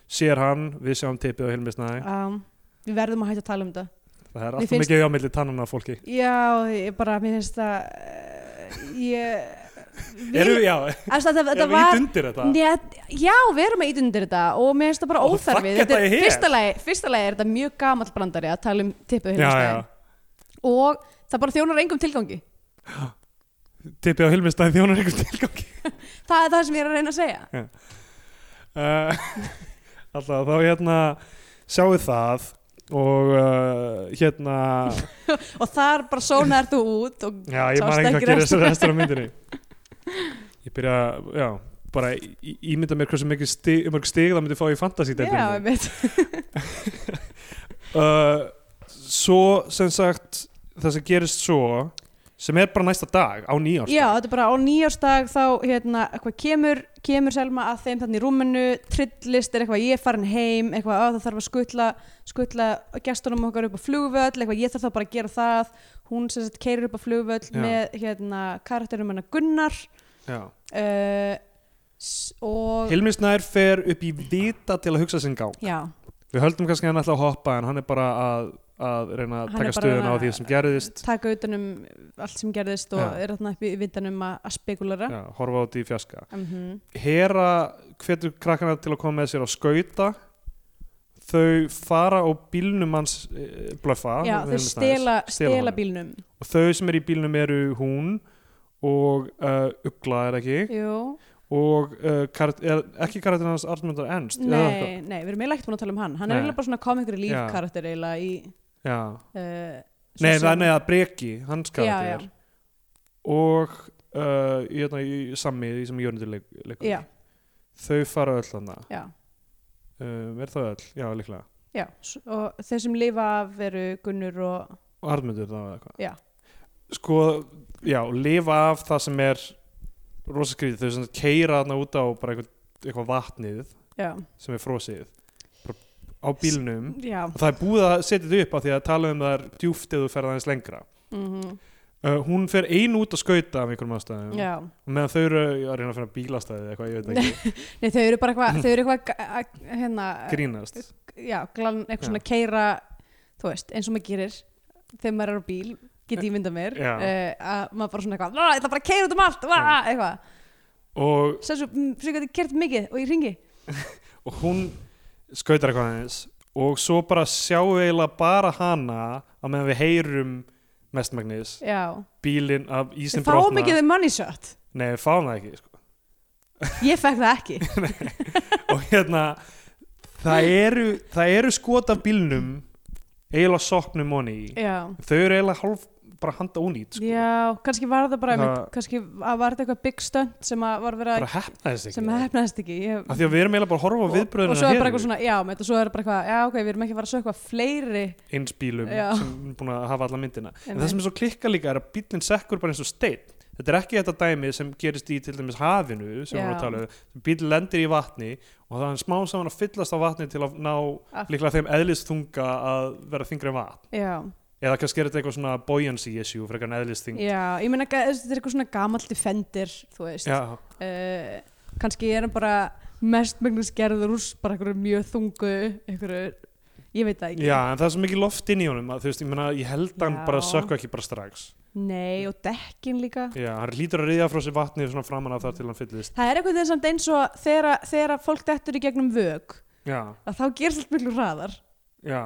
[SPEAKER 5] sér hann, við sjáum tippið á Hilmisnæði
[SPEAKER 3] um, við verðum að hætta að tala um þetta
[SPEAKER 5] það er
[SPEAKER 3] Mér
[SPEAKER 5] alltaf
[SPEAKER 3] finnst-
[SPEAKER 5] mikið á milli tannana á fólki
[SPEAKER 3] Já, ég bara, mér finnst það eh, ég
[SPEAKER 5] erum við, já,
[SPEAKER 3] Æst, þetta, þetta
[SPEAKER 5] erum við ít
[SPEAKER 3] var
[SPEAKER 5] undir þetta
[SPEAKER 3] Net, já, við erum að ítundir þetta og mér finnst það bara
[SPEAKER 5] Og
[SPEAKER 3] óþarfið
[SPEAKER 5] fuck
[SPEAKER 3] Þetta
[SPEAKER 5] it, I
[SPEAKER 3] er
[SPEAKER 5] hear.
[SPEAKER 3] fyrsta lagi, fyrsta lagi er þetta mjög gamall brandari að tala um tippu
[SPEAKER 5] já, já,
[SPEAKER 3] og það bara þjónar engum tilgangi
[SPEAKER 5] tippið á Hilmistæði þjónar einhvern tilgangi
[SPEAKER 3] Það er það sem ég er að reyna að segja
[SPEAKER 5] uh, alltaf þá hérna sjáu það og uh, hérna
[SPEAKER 3] og þar bara sónar þú út og
[SPEAKER 5] já, ég
[SPEAKER 3] Sást
[SPEAKER 5] maður ekki
[SPEAKER 3] ekki
[SPEAKER 5] að gera þessu
[SPEAKER 3] restina.
[SPEAKER 5] restur af myndinni ég byrja, að, já bara í- í- ímynda mér hversu mikið stig, mörg stig það myndi fá í
[SPEAKER 3] Já,
[SPEAKER 5] fantasy-delfinni
[SPEAKER 3] ég veit
[SPEAKER 5] uh, svo sem sagt það sem gerist svo sem er bara næsta dag á nýjársdag
[SPEAKER 3] Já, þetta er bara á nýjársdag þá hérna, eitthvað kemur, kemur Selma að þeim þannig í rúminu, trillist er eitthvað ég er farin heim, eitthvað að það þarf að skutla skutla gestunum okkar upp á flugvöll, eitthvað ég þarf þá bara að gera það hún sem sagt keirir upp á flugvöll
[SPEAKER 5] Já.
[SPEAKER 3] með hérna karakterum hennar Gunnar
[SPEAKER 5] Já.
[SPEAKER 3] uh, s- og
[SPEAKER 5] Hilmi Snær fer upp í vita til að hugsa sinn gang
[SPEAKER 3] Já,
[SPEAKER 5] Við höldum kannski að hann ætla að hoppa en hann er bara að, að reyna að
[SPEAKER 3] Hann er
[SPEAKER 5] taka
[SPEAKER 3] bara
[SPEAKER 5] stöðuna á
[SPEAKER 3] að-
[SPEAKER 5] því sem gerðist
[SPEAKER 3] taka utan um allt sem gerðist og
[SPEAKER 5] Já.
[SPEAKER 3] er þarna upp í vitanum að, að spekulara
[SPEAKER 5] já, horfa út í fjaska
[SPEAKER 3] mm
[SPEAKER 5] Hera hvetur krakkana til að koma með sér á skauta þau fara á bílnum hans e, blöffa
[SPEAKER 3] Já,
[SPEAKER 5] Hilmir
[SPEAKER 3] þau
[SPEAKER 5] Snær,
[SPEAKER 3] stela, stela
[SPEAKER 5] honum.
[SPEAKER 3] bílnum
[SPEAKER 5] og þau sem er í bílnum eru hún og uh, Ugla er ekki
[SPEAKER 3] Jú,
[SPEAKER 5] og uh, karat, er, ekki karakterinn hans Arnmundar Ernst
[SPEAKER 2] sko.
[SPEAKER 5] eða eitthvað.
[SPEAKER 3] Nei, nei, við erum eiginlega ekkert búin að tala um hann Hann
[SPEAKER 5] sko. Nei.
[SPEAKER 3] er eiginlega bara svona komikur í
[SPEAKER 5] Já.
[SPEAKER 3] lífkarakter eiginlega í
[SPEAKER 5] já.
[SPEAKER 3] uh,
[SPEAKER 5] Nei, það er neða Breki, hans karakter
[SPEAKER 3] Já,
[SPEAKER 5] og uh, hérna, í, sammi því sem Jörnundur leik, leikur
[SPEAKER 3] já, já,
[SPEAKER 5] þau fara öll hann uh,
[SPEAKER 3] já,
[SPEAKER 5] er það öll, já líklega
[SPEAKER 3] já. S- Og þeir sem lifa af eru Gunnur og
[SPEAKER 5] og Arnmundur það var eitthvað
[SPEAKER 3] Já.
[SPEAKER 5] sko, já, lifa af það sem er rosa skrítið, þau sem keira þarna út á bara eitthvað, eitthvað vatnið
[SPEAKER 3] Já,
[SPEAKER 5] sem er frosið bara á bílnum
[SPEAKER 3] já
[SPEAKER 5] og það er búið að setja þetta upp af því að tala um það er djúft ef þú ferð aðeins lengra
[SPEAKER 3] mm -hmm.
[SPEAKER 5] Uh, hún fer ein út að skauta af einhverjum ástæðum
[SPEAKER 2] Já.
[SPEAKER 5] og meðan þau eru að reyna að finna bílastæði eða eitthvað, ég veit ekki,
[SPEAKER 3] Nei, þau eru bara eitthvað, þau eru eitthvað, g- að- hérna,
[SPEAKER 5] grínast
[SPEAKER 3] já, glan, eitthvað
[SPEAKER 5] Já.
[SPEAKER 3] svona keira, þú veist, eins og maður gerir þegar maður er á bíl, get ég myndað mér,
[SPEAKER 5] Já.
[SPEAKER 3] eh, að maður bara svona eitthvað, "Vá, ég ætla bara að keira út um allt, vá, eitthvað,
[SPEAKER 5] og,
[SPEAKER 3] sem svo, mm, svo getur kert mikið og ég ringi.
[SPEAKER 5] og hún skautar eitthvað aðeins og svo bara sjáum við eiginlega bara hana á meðan við heyrum mestmagnis
[SPEAKER 3] Já.
[SPEAKER 5] bílinn af ísinn
[SPEAKER 3] Þau fáum ekki þau money shot.
[SPEAKER 5] Nei, við fáum það ekki sko.
[SPEAKER 3] Ég fekk það ekki.
[SPEAKER 5] og hérna það eru, það eru skot af bílnum eiginlega soknum honni í
[SPEAKER 3] Já.
[SPEAKER 5] þau eru eiginlega hálf bara handa ónýt sko.
[SPEAKER 3] Já, kannski var það bara,
[SPEAKER 5] Það-
[SPEAKER 3] einmitt- kannski að var þetta eitthvað big stunt sem að var verið að,
[SPEAKER 5] bara hefnaðist
[SPEAKER 3] sem
[SPEAKER 5] ekki
[SPEAKER 3] að
[SPEAKER 5] af
[SPEAKER 3] hefnaðist ekki. Ég,
[SPEAKER 5] því að við erum eiginlega bara að horfa á hérna viðbröðinu
[SPEAKER 3] og svo er bara eitthvað svona, já, með, og svo er bara eitthvað, já, ok, við erum ekki að fara að sökva fleiri
[SPEAKER 5] eins bílum
[SPEAKER 3] Já.
[SPEAKER 5] sem er búin að hafa alla myndina en það
[SPEAKER 3] Einmitt.
[SPEAKER 5] sem er svo klikka líka er að bílinn sekkur bara eins og steinn þetta er ekki þetta dæmi sem gerist í til dæmis hafinu sem við
[SPEAKER 3] Já.
[SPEAKER 5] erum að tala um bíl lendir í vatni og það er smá saman að fyllast á vatni til að ná
[SPEAKER 3] Af-
[SPEAKER 5] líklega þeim eðlisþunga að vera þingri en vatn
[SPEAKER 3] já,
[SPEAKER 5] eða kannski er þetta eitthvað svona buoyancy issue frekar en eðlisþing
[SPEAKER 3] já, ég meina ga- þetta er eitthvað svona gamall defender, þú veist
[SPEAKER 5] Já,
[SPEAKER 3] uh, kannski er hann bara mest megnast gerður úr bara einhverju mjög þungu einhverju, ég veit það ekki
[SPEAKER 5] já, en það er svo mikið loft inn í honum að þú veist, ég, meina, ég held hann
[SPEAKER 3] Já.
[SPEAKER 5] bara sökka ekki bara strax
[SPEAKER 3] nei, og dekkin líka
[SPEAKER 5] Já, hann lítur að riðja frá sér vatnið svona framan af þar til hann fyllist
[SPEAKER 3] það er eitthvað þegar samt eins og þegar, þegar að fólk dettur í gegnum vög
[SPEAKER 5] Já,
[SPEAKER 3] að þá gerst allt miklu hraðar
[SPEAKER 5] já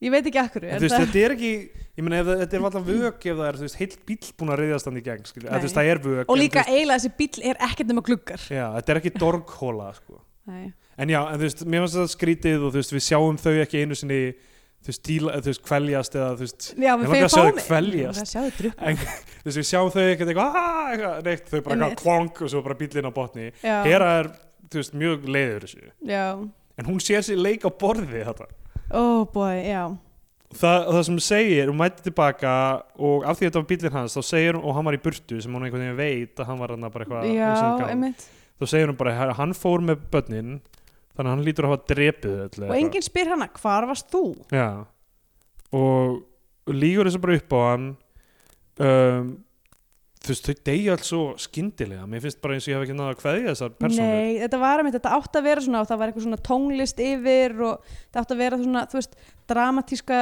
[SPEAKER 3] ég veit ekki akkur
[SPEAKER 5] En þú veist, þetta er ekki, ég meina, ef það- þetta er alltaf vök ef það er, þú veist, heilt bíl búin að reyðast hann í gegn, skilja,
[SPEAKER 3] Nei.
[SPEAKER 5] þú veist, það er vök
[SPEAKER 3] og
[SPEAKER 5] en
[SPEAKER 3] líka
[SPEAKER 5] þú
[SPEAKER 3] eiginlega þessi bíll er ekkert nema gluggar
[SPEAKER 5] veist, Já, þetta er ekki dorghóla, sko
[SPEAKER 3] nei,
[SPEAKER 5] En já, en þú veist, mér finnst þetta skrítið og þú veist, við sjáum þau ekki einu sinni þú veist, díla, þú veist, kveljast eða, þú veist
[SPEAKER 3] já,
[SPEAKER 5] Ég
[SPEAKER 3] við
[SPEAKER 5] langar að
[SPEAKER 3] fyrir
[SPEAKER 5] sjá þau
[SPEAKER 3] fáum
[SPEAKER 5] kveljast.
[SPEAKER 3] það sjáðu drukk
[SPEAKER 5] en, þú veist, við sjáum þau ekkert eitthvað "Ah", eitthvað, neitt, þau bara eitthvað
[SPEAKER 3] Einmitt.
[SPEAKER 5] klonk og svo bara bíllinn á botni
[SPEAKER 3] já,
[SPEAKER 5] Hera er, þú veist, mjög leiður þessu
[SPEAKER 3] já
[SPEAKER 5] En hún sér sér leik á borði þetta
[SPEAKER 3] Oh boy, já.
[SPEAKER 5] Það, það sem hún segir, hún mætti tilbaka og af því þetta var bílinn hans, þá segir hún og hann var í burtu sem hún einhvern veginn veit að hann var hann bara eitthvað eins og
[SPEAKER 3] já,
[SPEAKER 5] hann gaf.
[SPEAKER 3] einmitt.
[SPEAKER 5] þá segir hún bara að hann fór með börnin þannig að hann lítur að hafa drepið öll
[SPEAKER 3] Og enginn spyr hana, hvar varst þú?
[SPEAKER 5] Já og lígur þessu bara upp á hann um, þú veist, þau deyja alls svo skyndilega, mér finnst bara eins og ég hef ekki náða að kveðja þessar persónur
[SPEAKER 3] Nei, þetta var einmitt, þetta átt að vera svona og það var eitthvað svona tónlist yfir og þetta átt að vera svona, þú veist, dramatíska,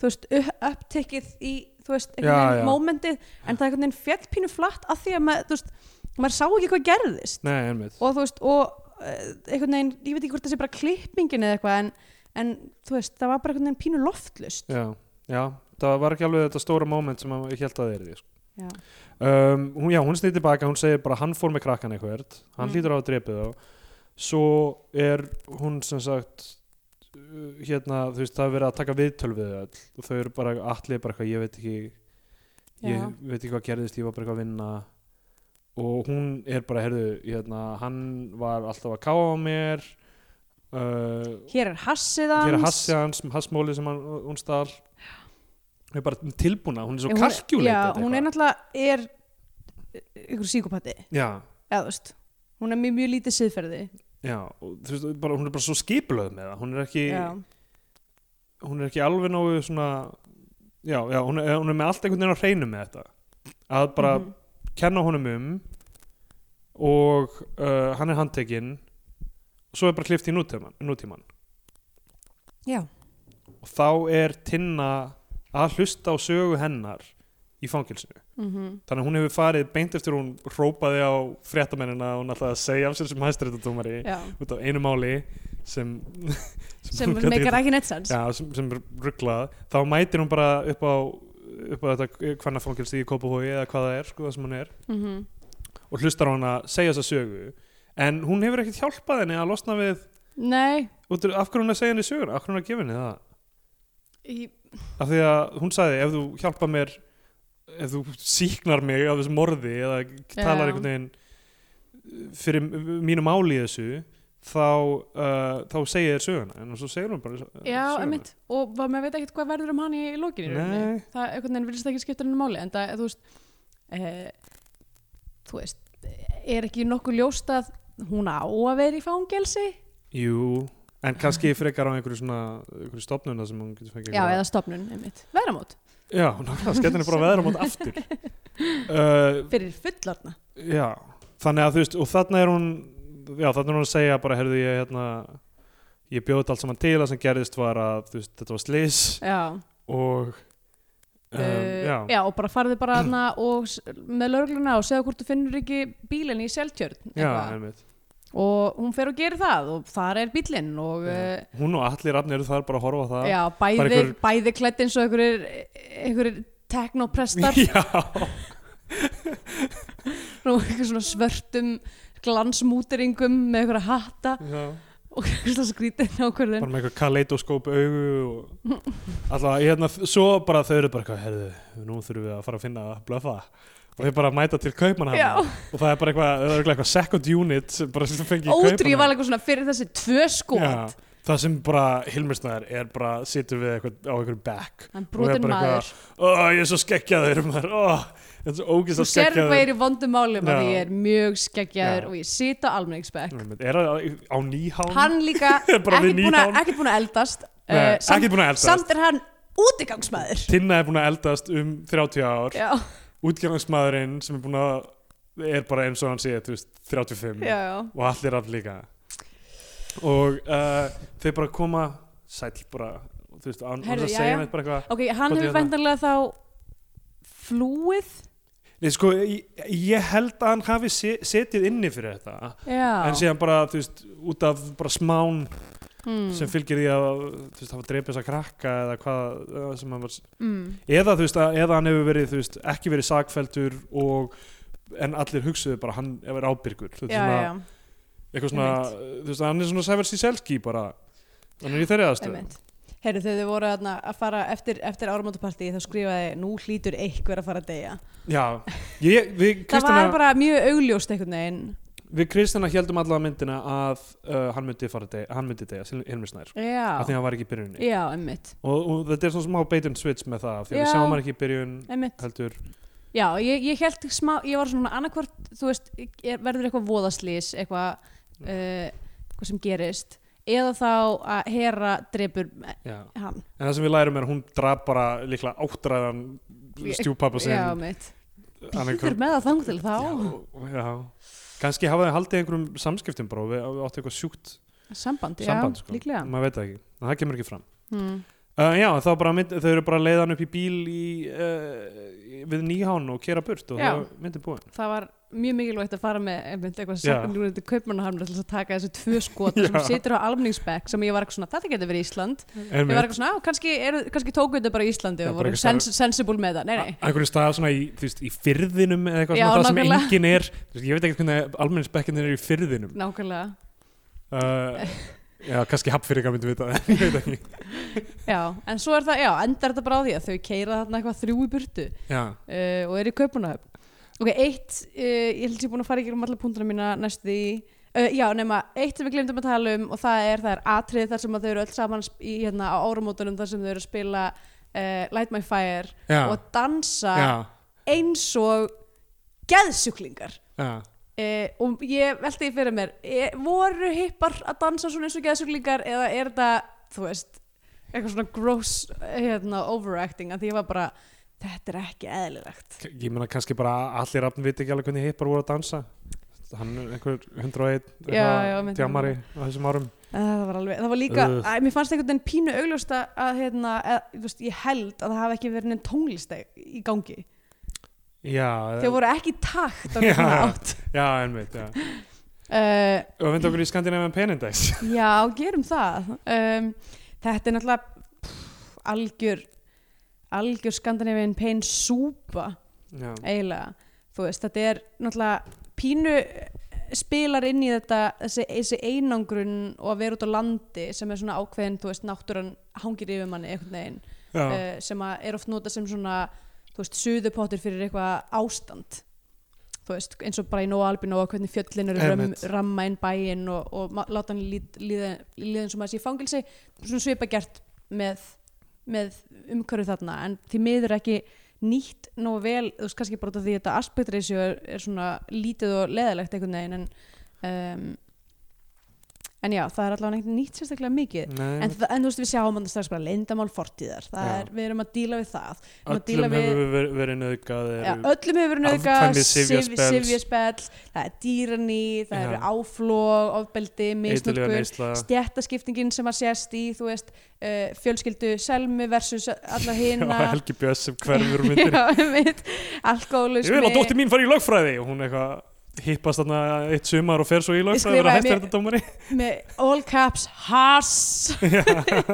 [SPEAKER 3] þú veist, upp- upptekið í, þú veist, einhvern
[SPEAKER 5] Já, já.
[SPEAKER 3] veginn mómentið en það einhvern veginn fjall pínu flatt af því að maður, þú veist, maður sá ekki hvað gerðist
[SPEAKER 5] Nei, einmitt
[SPEAKER 3] og þú veist, og eh, einhvern veginn, ég veit ekki hvort það sé bara klippingin eða eitthvað en, en þú veist, það var bara einhvern veginn pínu loftlust.
[SPEAKER 5] Já, já, það var ekki alveg þetta stóra moment sem að- ég held að það er því
[SPEAKER 3] Já.
[SPEAKER 5] um, hún, já, hún snýr tilbaka, hún segir bara hann fór með krakkan eitthvað,
[SPEAKER 3] Mm.
[SPEAKER 5] hann hlýtur á að drepa þá svo er hún sem sagt uh, hérna, þú veist, það er verið að taka viðtöl við þau öll og þau eru bara, allir bara eitthvað ég veit ekki, ég
[SPEAKER 3] Já.
[SPEAKER 5] veit ekki hvað gerðist ég var bara eitthvað að vinna og hún er bara, heyrðu, hérna hann var alltaf að káa á mér uh,
[SPEAKER 3] Hér er hassið hans.
[SPEAKER 5] hér er hassi hans, hassmóli sem hann, hún stal hún er bara tilbúna, hún er svo
[SPEAKER 3] Hún-
[SPEAKER 5] kalkjúleitt
[SPEAKER 3] Já, hún er náttúrulega er eh, ykkur síkopati,
[SPEAKER 5] já,
[SPEAKER 3] eða þú veist hún er mjög, mjög lítið siðferði
[SPEAKER 5] Já, og þú veist, bara, hún er bara svo skipulöð með það, hún er ekki,
[SPEAKER 3] já,
[SPEAKER 5] hún er ekki alveg nógu svona, já, já hún, er, hún er með allt einhvern veginn á hreinu með þetta, að bara
[SPEAKER 3] Mhm.
[SPEAKER 5] kenna honum um og uh, hann er handtekinn og svo er bara klift í nútíman, nútíman
[SPEAKER 3] já,
[SPEAKER 5] og þá er Tinna að hlusta á sögu hennar í fangilsinu.
[SPEAKER 3] mm
[SPEAKER 5] Þannig að hún hefur farið beint eftir hún rópaði á fréttamennina og hún alltaf að segja af sér sem hæstréttadómari
[SPEAKER 3] já.
[SPEAKER 5] út af einu máli sem
[SPEAKER 3] sem
[SPEAKER 5] hún gat ekki-
[SPEAKER 3] meikar ekki nettsans
[SPEAKER 5] Já, sem, sem er rugglað þá mætir hún bara upp á upp á þetta hvernig fangilsi í Kópahói eða hvað það er, sko, það sem hún er
[SPEAKER 3] mm -hmm.
[SPEAKER 5] og hlustar á hana, segja þessa sögu en hún hefur ekkert hjálpað henni að losna við
[SPEAKER 3] nei,
[SPEAKER 5] út, af hverju hún er að segja henni söguna, af hverju hún er að gefa henni það
[SPEAKER 3] í-
[SPEAKER 5] af því að hún sagði, ef þú hjálpa mér ef þú síknar mig af þessu morði eða talar einhvern veginn fyrir mínu máli í þessu þá, uh, þá segja þér söguna en svo segir hún bara söguna
[SPEAKER 3] já, emitt og maður veit ekkert hvað verður um hann í lókinu í rauninni.
[SPEAKER 5] Nei,
[SPEAKER 3] það einhvern veginn virðist ekki skipta henni máli en það, þú veist eh, þú veist, er ekki nokkuð ljóst að hún á að vera í fangelsi
[SPEAKER 5] Jú, en kannski frekar á einhverju svona einhverju stopnuna sem hún getur fengið
[SPEAKER 3] já,
[SPEAKER 5] einhverja-
[SPEAKER 3] eða stopnun, einmitt, veramót
[SPEAKER 5] Já, nákvæmlega, skellin er bara veðra mót aftur uh,
[SPEAKER 8] fyrir fullarna
[SPEAKER 5] Já, þannig að þú veist og þarna er hún, já þarna er hún að segja bara, heyrðu ég hérna ég bjóði þetta allt saman til að sem gerðist var að þú veist, þetta var slis
[SPEAKER 3] já.
[SPEAKER 5] og um,
[SPEAKER 3] Uh,
[SPEAKER 5] já.
[SPEAKER 3] já, og bara farði bara hana og s- með laurugluna og segja hvort þú finnur ekki bílinn í seltjörn
[SPEAKER 5] Já,
[SPEAKER 3] eitthvað.
[SPEAKER 5] einmitt.
[SPEAKER 3] og hún fer og gerir það og þar er bílinn og já,
[SPEAKER 5] Já. Hún og allir rafnir eru þar bara að horfa á það
[SPEAKER 3] já bæði,
[SPEAKER 5] bara einhver-
[SPEAKER 3] bæði klætt eins og einhverjir einhverjir teknoprestar
[SPEAKER 5] Já,
[SPEAKER 3] og einhver svona svörtum glansmúteringum með einhverja hatta
[SPEAKER 5] já.
[SPEAKER 3] og svona skrítið
[SPEAKER 5] bara
[SPEAKER 3] nákvæmlega
[SPEAKER 5] með eitthvað kaleidoskóp augu og alltaf, hérna, svo bara þau eru bara eitthvað, herðu, nú þurfum við að fara að finna að blöfa og þau bara mæta til
[SPEAKER 3] Já.
[SPEAKER 5] kaupmannhafna og það er bara eitthvað, það er eitthvað second unit sem bara sem fengi í
[SPEAKER 3] ótrýð var
[SPEAKER 5] Kaupmannahöfn.
[SPEAKER 3] eitthvað svona fyrir þessi tvö skot
[SPEAKER 5] Já, það sem bara Hilmersnaður er bara, situr við eitthvað, á einhverjum back
[SPEAKER 3] hann
[SPEAKER 5] Og er
[SPEAKER 3] brotin
[SPEAKER 5] bara
[SPEAKER 3] maður
[SPEAKER 5] ó, ég er svo skekkjaður maður, ó, ég er svo ógist
[SPEAKER 3] þú
[SPEAKER 5] að
[SPEAKER 3] sér
[SPEAKER 5] skekkjaður
[SPEAKER 3] hvað ég er í vondum málum að
[SPEAKER 5] Já.
[SPEAKER 3] ég er mjög skeggjaður
[SPEAKER 5] Já.
[SPEAKER 3] og ég sita almenningsbekk
[SPEAKER 5] Einmitt, Er það á nýhán?
[SPEAKER 3] hann líka
[SPEAKER 5] Bara við
[SPEAKER 3] ekkert búin að-
[SPEAKER 5] nýhán.
[SPEAKER 3] ekkert búin að eldast
[SPEAKER 5] Nei,
[SPEAKER 3] eh,
[SPEAKER 5] ekkert búin að eldast.
[SPEAKER 3] samt er hann útigangsmaður
[SPEAKER 5] Tinna er búin að eldast um 30 ár
[SPEAKER 3] já,
[SPEAKER 5] útgjöfansmaðurinn sem er búin að er bara eins og hann sé, þú veist, 35
[SPEAKER 3] já, já
[SPEAKER 5] og allir af líka og uh, þau bara koma sæll bara þú veist, án
[SPEAKER 3] Heyrðu,
[SPEAKER 5] Herðu, að
[SPEAKER 3] jæja.
[SPEAKER 5] segja neitt bara eitthvað
[SPEAKER 3] ok, hann
[SPEAKER 5] Hvað
[SPEAKER 3] hefur
[SPEAKER 5] þýðir það?
[SPEAKER 3] væntanlega þá flúið
[SPEAKER 5] Nei, sko, ég, ég held að hann hafi se- setið inni fyrir þetta en
[SPEAKER 3] já,
[SPEAKER 5] síðan bara, þú veist, út af bara smán
[SPEAKER 3] hmm.
[SPEAKER 5] sem fylgir því að þú veist, hafa dreipið þess að krakka eða hvað eh, sem hann var
[SPEAKER 3] mm.
[SPEAKER 5] eða, þú veist, að, eða hann hefur verið, þú veist, ekki verið sakfeldur og en allir hugsuðu bara hann er ábyrgur þú veist,
[SPEAKER 3] já,
[SPEAKER 5] svona-
[SPEAKER 3] já,
[SPEAKER 5] eitthvað svona, þú veist, hann er svona Sævar Síselski bara, hann er í þeirri aðstöðu
[SPEAKER 3] einmitt Herru, þegar þau voru þarna að fara eftir, eftir áramótapartí þá skrifaði nú hlýtur einhver að fara að deyja.
[SPEAKER 5] já, ég, við
[SPEAKER 3] það var
[SPEAKER 5] Kristina
[SPEAKER 3] bara mjög augljóst einhvern veginn.
[SPEAKER 5] við Kristina heldum allavega myndina að uh, hann myndi fara að deyja, hann myndi deyja Sil- Hilmir Snær, af því
[SPEAKER 3] Já,
[SPEAKER 5] að hann var ekki í byrjuninni
[SPEAKER 3] já, einmitt.
[SPEAKER 5] og, og þetta er svona smá bait and switch með það af því að
[SPEAKER 3] Já.
[SPEAKER 5] við sjáum hann ekki í byrjun
[SPEAKER 3] einmitt.
[SPEAKER 5] heldur,
[SPEAKER 3] Já, ég, ég held smá, ég var svona annarkvort, þú veist, er, verður eitthvað voðaslýs, eitthvað,
[SPEAKER 5] Mm.
[SPEAKER 3] uh, eitthvað sem gerist, eða þá að Hera drepur
[SPEAKER 5] já
[SPEAKER 3] hann.
[SPEAKER 5] en það sem við lærum er að hún draf bara líklega áttræðan
[SPEAKER 3] Ég-
[SPEAKER 5] stjúpappa sinn
[SPEAKER 3] Já, mitt.
[SPEAKER 5] hann er
[SPEAKER 3] Býður
[SPEAKER 5] einhver-
[SPEAKER 3] með það þang til þá.
[SPEAKER 5] já, já, kannski hafa þau haldið einhverjum samskiptum bara og við við áttu eitthvað sjúkt
[SPEAKER 3] Samband, já,
[SPEAKER 5] samband sko,
[SPEAKER 3] líklega.
[SPEAKER 5] maður veit það ekki, það kemur ekki fram
[SPEAKER 3] Mm.
[SPEAKER 5] Uh, já, þá bara mynd, þau eru bara að leiða hann upp í bíl í, uh, við nýhán og kera burt og
[SPEAKER 3] Já.
[SPEAKER 5] það var myndin búin.
[SPEAKER 3] Það var mjög mikilvægt að fara með einmitt eitthvað
[SPEAKER 5] Já.
[SPEAKER 3] saknur undir kaupmannahamna til þess að taka þessu tvö skot sem
[SPEAKER 5] Já.
[SPEAKER 3] situr á almningsbekk sem ég var eitthvað svona, þetta getur verið Ísland.
[SPEAKER 5] En
[SPEAKER 3] Ég var eitthvað svona, á, kannski, eru- kannski tóku þetta bara í Íslandi
[SPEAKER 5] Já,
[SPEAKER 3] og
[SPEAKER 5] bara
[SPEAKER 3] voru
[SPEAKER 5] eitthvað starf-
[SPEAKER 3] sens sensible með það. Nei, nei.
[SPEAKER 5] einhverju stað svona í, þú veist, í fyrðinum eða eitthvað
[SPEAKER 3] Já,
[SPEAKER 5] svona það sem
[SPEAKER 3] nákvæmlega.
[SPEAKER 5] enginn er, þú veist, ég veit ekki hvernig almennisbekkinir eru í fyrðinum.
[SPEAKER 3] Nákvæmlega.
[SPEAKER 5] Uh, já, kannski hapfyrir myndi vita það, ég veit ekki.
[SPEAKER 3] Já, en svo er það, já, endar þetta bara á því að þau keira þarna eitthvað þrjú í burtu
[SPEAKER 5] Já,
[SPEAKER 3] uh, og eru í kaupunahöfn. Ok, eitt, uh, ég held ég búin að fara í gegnum alla púntuna mína næst því, uh, já, nema, eitt sem við glemdum að tala um og það er, það er atrið þar sem að þau eru öll saman sp- í, hérna, á áramótunum þar sem þau eru að spila uh, Light My Fire
[SPEAKER 5] já,
[SPEAKER 3] og dansa
[SPEAKER 5] já,
[SPEAKER 3] eins og geðsjúklingar.
[SPEAKER 5] já.
[SPEAKER 3] Uh, og ég velti því fyrir mér, er, voru hippar að dansa svona eins og geðsuglíkar eða er það, þú veist, eitthvað svona gross hérna, overacting að því ég var bara, þetta er ekki eðlilegt.
[SPEAKER 5] K- Ég meina kannski bara allir rafn viti ekki alveg hvernig hippar voru að dansa. Hann er einhver 101,
[SPEAKER 3] já, myndi-
[SPEAKER 5] tjámari á þessum árum.
[SPEAKER 3] Eh, Það var, alveg, það var líka,
[SPEAKER 5] Ugh.
[SPEAKER 3] að, mér fannst einhvern veginn pínu augljósta að hérna, eð, veist, ég held að það hafi ekki verið neinn tónlist í gangi.
[SPEAKER 5] Já,
[SPEAKER 3] Þau voru ekki í takt á
[SPEAKER 5] Já.
[SPEAKER 3] neitt nátt.
[SPEAKER 5] já, einmitt, já.
[SPEAKER 3] Uh,
[SPEAKER 5] Öfend okkur í Skandinavian Penindex
[SPEAKER 3] Já, gerum það um, Þetta er náttúrulega pff, algjör algjör skandinavinn pein súpa
[SPEAKER 5] Já,
[SPEAKER 3] eiginlega, þú veist, þetta er náttúrulega pínu eh, spilar inn í þetta, þessi, þessi einangrun og að vera út á landi sem er svona ákveðin, þú veist, náttúran hangir yfir manni einhvern veginn,
[SPEAKER 5] já,
[SPEAKER 3] uh, sem að er oft notað sem svona, þú veist, suðupottur fyrir eitthvað ástand þú veist, eins og bara í Nóa Albino og hvernig fjöllin eru ram,
[SPEAKER 5] Einmitt.
[SPEAKER 3] ramma inn bæinn og, og ma- láta hann líð, líða, líða eins og maður sé í fangilsi svona svipa gert með, með umhverju þarna en því miður ekki nýtt nóg vel, þú veist kannski bara út af því að þetta aspektreisjó er, er svona lítið og leðalegt einhvern veginn en um, en já, það er allavega neitt nýtt sérstaklega mikið
[SPEAKER 5] Nei,
[SPEAKER 3] en, það, en þú veist við sjáum að það strax bara lindamál fortíðar, það
[SPEAKER 5] Já.
[SPEAKER 3] er, við erum að díla við það erum að díla
[SPEAKER 5] öllum
[SPEAKER 3] við-
[SPEAKER 5] hefur verið, verið nöðgað
[SPEAKER 3] já, öllum hefur nöðga
[SPEAKER 5] afkvæmi sifjaspells.
[SPEAKER 3] sifjaspell, það er dýraní það
[SPEAKER 5] Já.
[SPEAKER 3] eru áflóg, ofbeldi,
[SPEAKER 5] eitthvað
[SPEAKER 3] misnútkun
[SPEAKER 5] neysla
[SPEAKER 3] stjættaskiptingin sem að sést í þú veist, uh, fjölskyldu selmi versus alla
[SPEAKER 5] og
[SPEAKER 3] hina
[SPEAKER 5] Helgi Björns sem hverfur úr myndinni
[SPEAKER 3] alkoholismi
[SPEAKER 5] ég vil að dóttir mín fari í lögfræði og hún eitthvað hippast þarna eitt sumar og fer svo í lögfræði
[SPEAKER 3] Skrifaði
[SPEAKER 5] og verða
[SPEAKER 3] mér-
[SPEAKER 5] hættir þetta dómari
[SPEAKER 3] með all caps HASS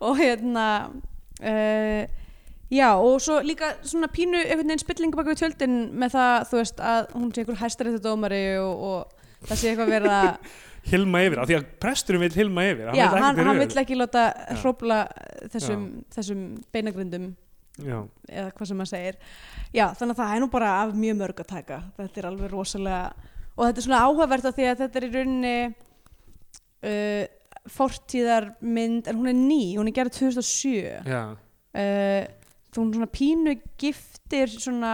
[SPEAKER 3] og hérna uh, já og svo líka svona pínu einhvern veginn spillingu baka við tjöldin með það þú veist að hún sé einhver hæstaréttu dómari og, og það sé eitthvað verið að
[SPEAKER 5] hilma yfir, af því að presturum vil hilma yfir
[SPEAKER 3] já,
[SPEAKER 5] vill
[SPEAKER 3] hann,
[SPEAKER 5] ekkert
[SPEAKER 3] hann
[SPEAKER 5] yfir.
[SPEAKER 3] vill ekki láta
[SPEAKER 5] Já.
[SPEAKER 3] hrópla þessum, þessum beinagrindum
[SPEAKER 5] Já.
[SPEAKER 3] eða hvað sem maður segir já, þannig að það er nú bara af mjög mörg að taka þetta er alveg rosalega og þetta er svona áhugavert af því að þetta er í rauninni uh, fortíðarmynd en hún er ný, hún er gerð 2007 uh,
[SPEAKER 5] Já.
[SPEAKER 3] Eh, þú hún svona pínu giftir svona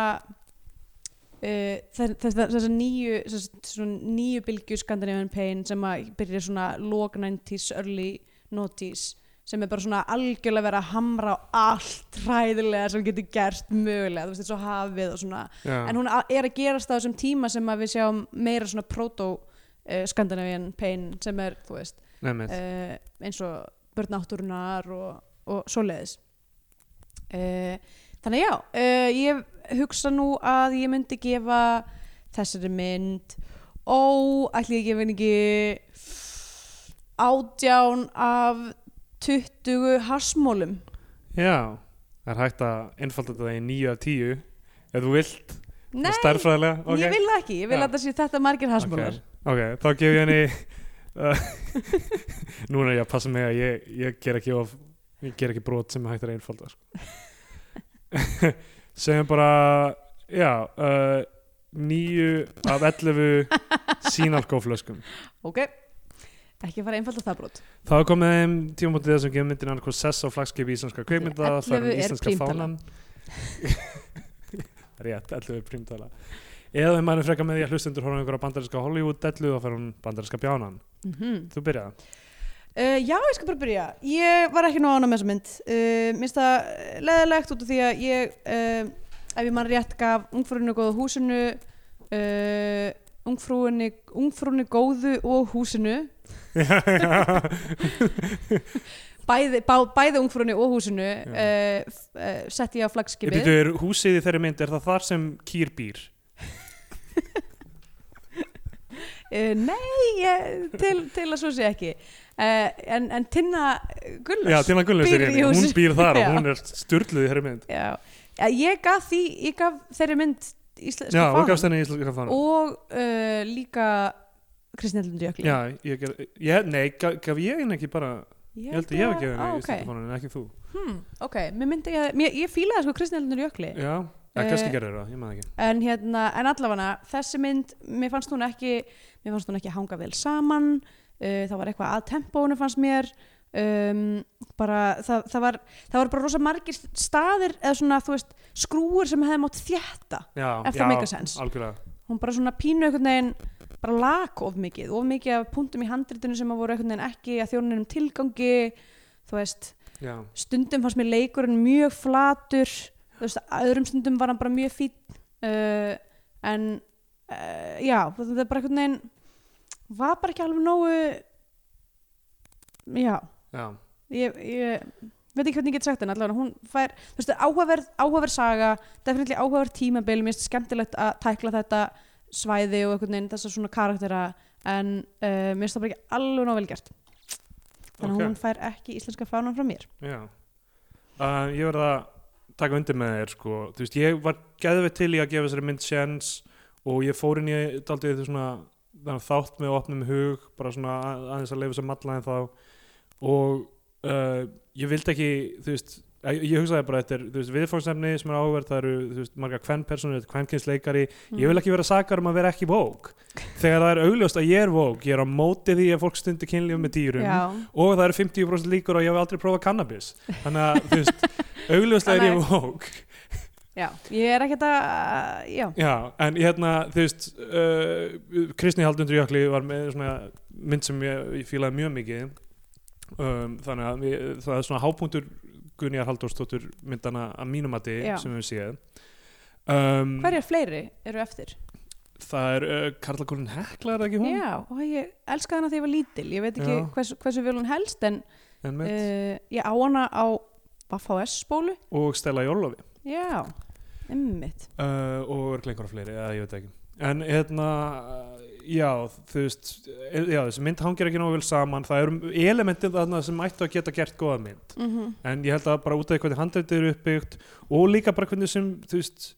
[SPEAKER 3] uh, þessar nýju þess, svona nýju bylgju Scandinavian Pain sem að byrja svona log 90s, early 90s sem er bara svona algjörlega verið að hamra á allt ræðilega sem getur gerst mögulega, þú veist, eins og hafið og svona
[SPEAKER 5] Já.
[SPEAKER 3] en hún a- er að gerast á þessum tíma sem að við sjáum meira svona proto-Scandinavian pain sem er, þú veist,
[SPEAKER 5] Nei, mitt.
[SPEAKER 3] uh, eins og börnátturunar og, og svoleiðis uh, þannig að já uh, ég hugsa nú að ég myndi gefa þessari mynd ó, ætli ég gefa henni ekki átján af 20 hasmólum
[SPEAKER 5] Já, það er hægt að einfalda þetta í 9 af 10 ef þú vilt,
[SPEAKER 3] nei,
[SPEAKER 5] stærfræðilega ok,
[SPEAKER 3] ég vil það ekki, ég vil
[SPEAKER 5] Já.
[SPEAKER 3] að það sé þetta margir hasmólar
[SPEAKER 5] ok, þá gef ég henni uh, núna er ég að passa mig að ég, ég ger ekki of, ég ger ekki brot sem er hægt að einfalda sko. segjum bara já uh, 9 af 11 sínalkóflöskum
[SPEAKER 3] ok, ekki fara einfalt að það brot
[SPEAKER 5] þá er komið þeim tímabótið þessum gefur myndin annað hvað sess á flagskipi íslenska kveikmynda það er um
[SPEAKER 3] 11 er
[SPEAKER 5] íslenska
[SPEAKER 3] prímtala.
[SPEAKER 5] fánan rétt, 11 er prímtala eða ef maður er frekar með því að hlustundur horfum einhverja bandarinska Hollywood dellu þá fer hún bandarinska bjánan
[SPEAKER 3] mhm
[SPEAKER 5] þú byrjað
[SPEAKER 3] Uh, já, ég skal bara byrja. Ég var ekki nóg ánum með þessa mynd. Uh, minnst það leðilegt út af því að ég, uh, ef ég mann rétt, gaf ungfrúinu góðu húsinu, uh, ungfrúinu, ungfrúinu góðu og húsinu, bæði, bá, bæði ungfrúinu og húsinu, uh, f- uh, setti ég á
[SPEAKER 5] ég
[SPEAKER 3] flagskipið.
[SPEAKER 5] byrju, húsið í þeirri mynd er það þar sem kýr býr
[SPEAKER 3] Uh, nei, ég, til, til að svo sé ekki. Uh, en, en Tinna Gullars.
[SPEAKER 5] já, Tina Gullins
[SPEAKER 3] Býr
[SPEAKER 5] er
[SPEAKER 3] í
[SPEAKER 5] henni, hún
[SPEAKER 3] húsi.
[SPEAKER 5] býr þar
[SPEAKER 3] Já.
[SPEAKER 5] og hún er styrluð í þeirri mynd
[SPEAKER 3] Já, Já, ég gaf því, ég gaf þeirri mynd sko, íslenska
[SPEAKER 5] já, og
[SPEAKER 3] fánann.
[SPEAKER 5] gafst henni í íslenska fánan
[SPEAKER 3] og uh, líka Kristjánlundu Jökli
[SPEAKER 5] já, ég, ger- ég, nei, gaf, gaf ég henni ekki bara ég held að ég hef ekki
[SPEAKER 3] Ah,
[SPEAKER 5] henni í íslenska fánan en ekki þú
[SPEAKER 3] hmm, ok, mér myndi ég að mér, ég fílaði sko Kristjánlundu Jökli
[SPEAKER 5] já, ja,
[SPEAKER 3] Eh,
[SPEAKER 5] kannski gerir það, ég maður ekki
[SPEAKER 3] en hérna, en allafana þessi mynd, mér fannst hún ekki mér fannst hún ekki hanga vel saman uh, það var eitthvað að tempónu fannst mér um, bara það, það var, það var bara rosa margir staðir eða svona, þú veist, skrúur sem hefði mátt þjætta
[SPEAKER 5] já,
[SPEAKER 3] ef það
[SPEAKER 5] já,
[SPEAKER 3] make a sense.
[SPEAKER 5] algjörlega
[SPEAKER 3] hún bara svona pínu einhvern veginn bara lak of mikið, of mikið af punktum í handritinu sem að voru einhvern veginn ekki að þjóninum tilgangi, þú veist
[SPEAKER 5] Já,
[SPEAKER 3] stundum fannst mér leikurinn mjög flatur þú veist, öðrum stundum var hann bara mjög fín uh, en uh, já, það er bara einhvern veginn var bara ekki alveg nógu já
[SPEAKER 5] já,
[SPEAKER 3] ég, ég veit ekki hvernig ég get sagt en allavega hún fær, þú veist, áhugaverð, áhugaverð saga definitely áhugaverð tímabil, mér finnst skemmtilegt að tækla þetta svæði og einhvern veginn þessar svona karaktera en uh, mér finnst það bara ekki alveg nóg vel gert þannig
[SPEAKER 5] Ok.
[SPEAKER 3] að hún fær ekki íslenska fánan frá mér
[SPEAKER 5] já. Uh, Ég verð að taka undir með þér sko. Þú veist, ég var geðveitt til í að gefa þessari mynd sjens og ég fór inn í daldið þetta svona þannig, þátt með opnum hug bara svona að- aðeins að leifa sem alla en þá og uh, ég vildi ekki þú veist, ég, ég hugsaði bara þetta er þú veist, viðfóngsefni sem er áverð það eru þú veist, marga kvennpersonur, kvennkynsleikari
[SPEAKER 3] Mm.
[SPEAKER 5] ég vil ekki vera sakar um að vera ekki vók þegar það er augljóst að ég er vók ég er á móti því að fólk stundi kynlíf með dýrum
[SPEAKER 3] já,
[SPEAKER 5] og það eru 50% líkur og ég hef aldrei prófað cannabis þannig að þú veist, augljóslega er ég vók
[SPEAKER 3] já, ég er ekkert að já,
[SPEAKER 5] Já, en hérna, þú veist uh, Kristni Haldundur Jökli var með svona mynd sem ég, ég fílaði mjög mikið um, þannig að ég, það er svona hápunktur Gunjar Halldórsdóttur myndana að mínumati
[SPEAKER 3] Já.
[SPEAKER 5] sem við séð um,
[SPEAKER 3] hverjar fleiri eru eftir
[SPEAKER 5] Það er uh, Karla Kolin Hekla er það ekki hún?
[SPEAKER 3] já, og ég elska hana þegar ég var lítil ég veit ekki
[SPEAKER 5] Já.
[SPEAKER 3] hversu, hversu vil hún helst en
[SPEAKER 5] En
[SPEAKER 3] uh,
[SPEAKER 5] með,
[SPEAKER 3] ég á hana á VHS spólu
[SPEAKER 5] og Stella Jólofi
[SPEAKER 3] já, ummitt
[SPEAKER 5] uh, og örglega einhverja fleiri, eða ég veit ekki en hérna, uh, já þú veist, eh, já, þessi mynd hangir ekki nógu vel saman, það eru elementin þarna sem ættu að geta gert góða mynd
[SPEAKER 3] mm
[SPEAKER 5] en ég held að bara út af því hvernig handreitið eru uppbyggt og líka bara hvernig sem, þú veist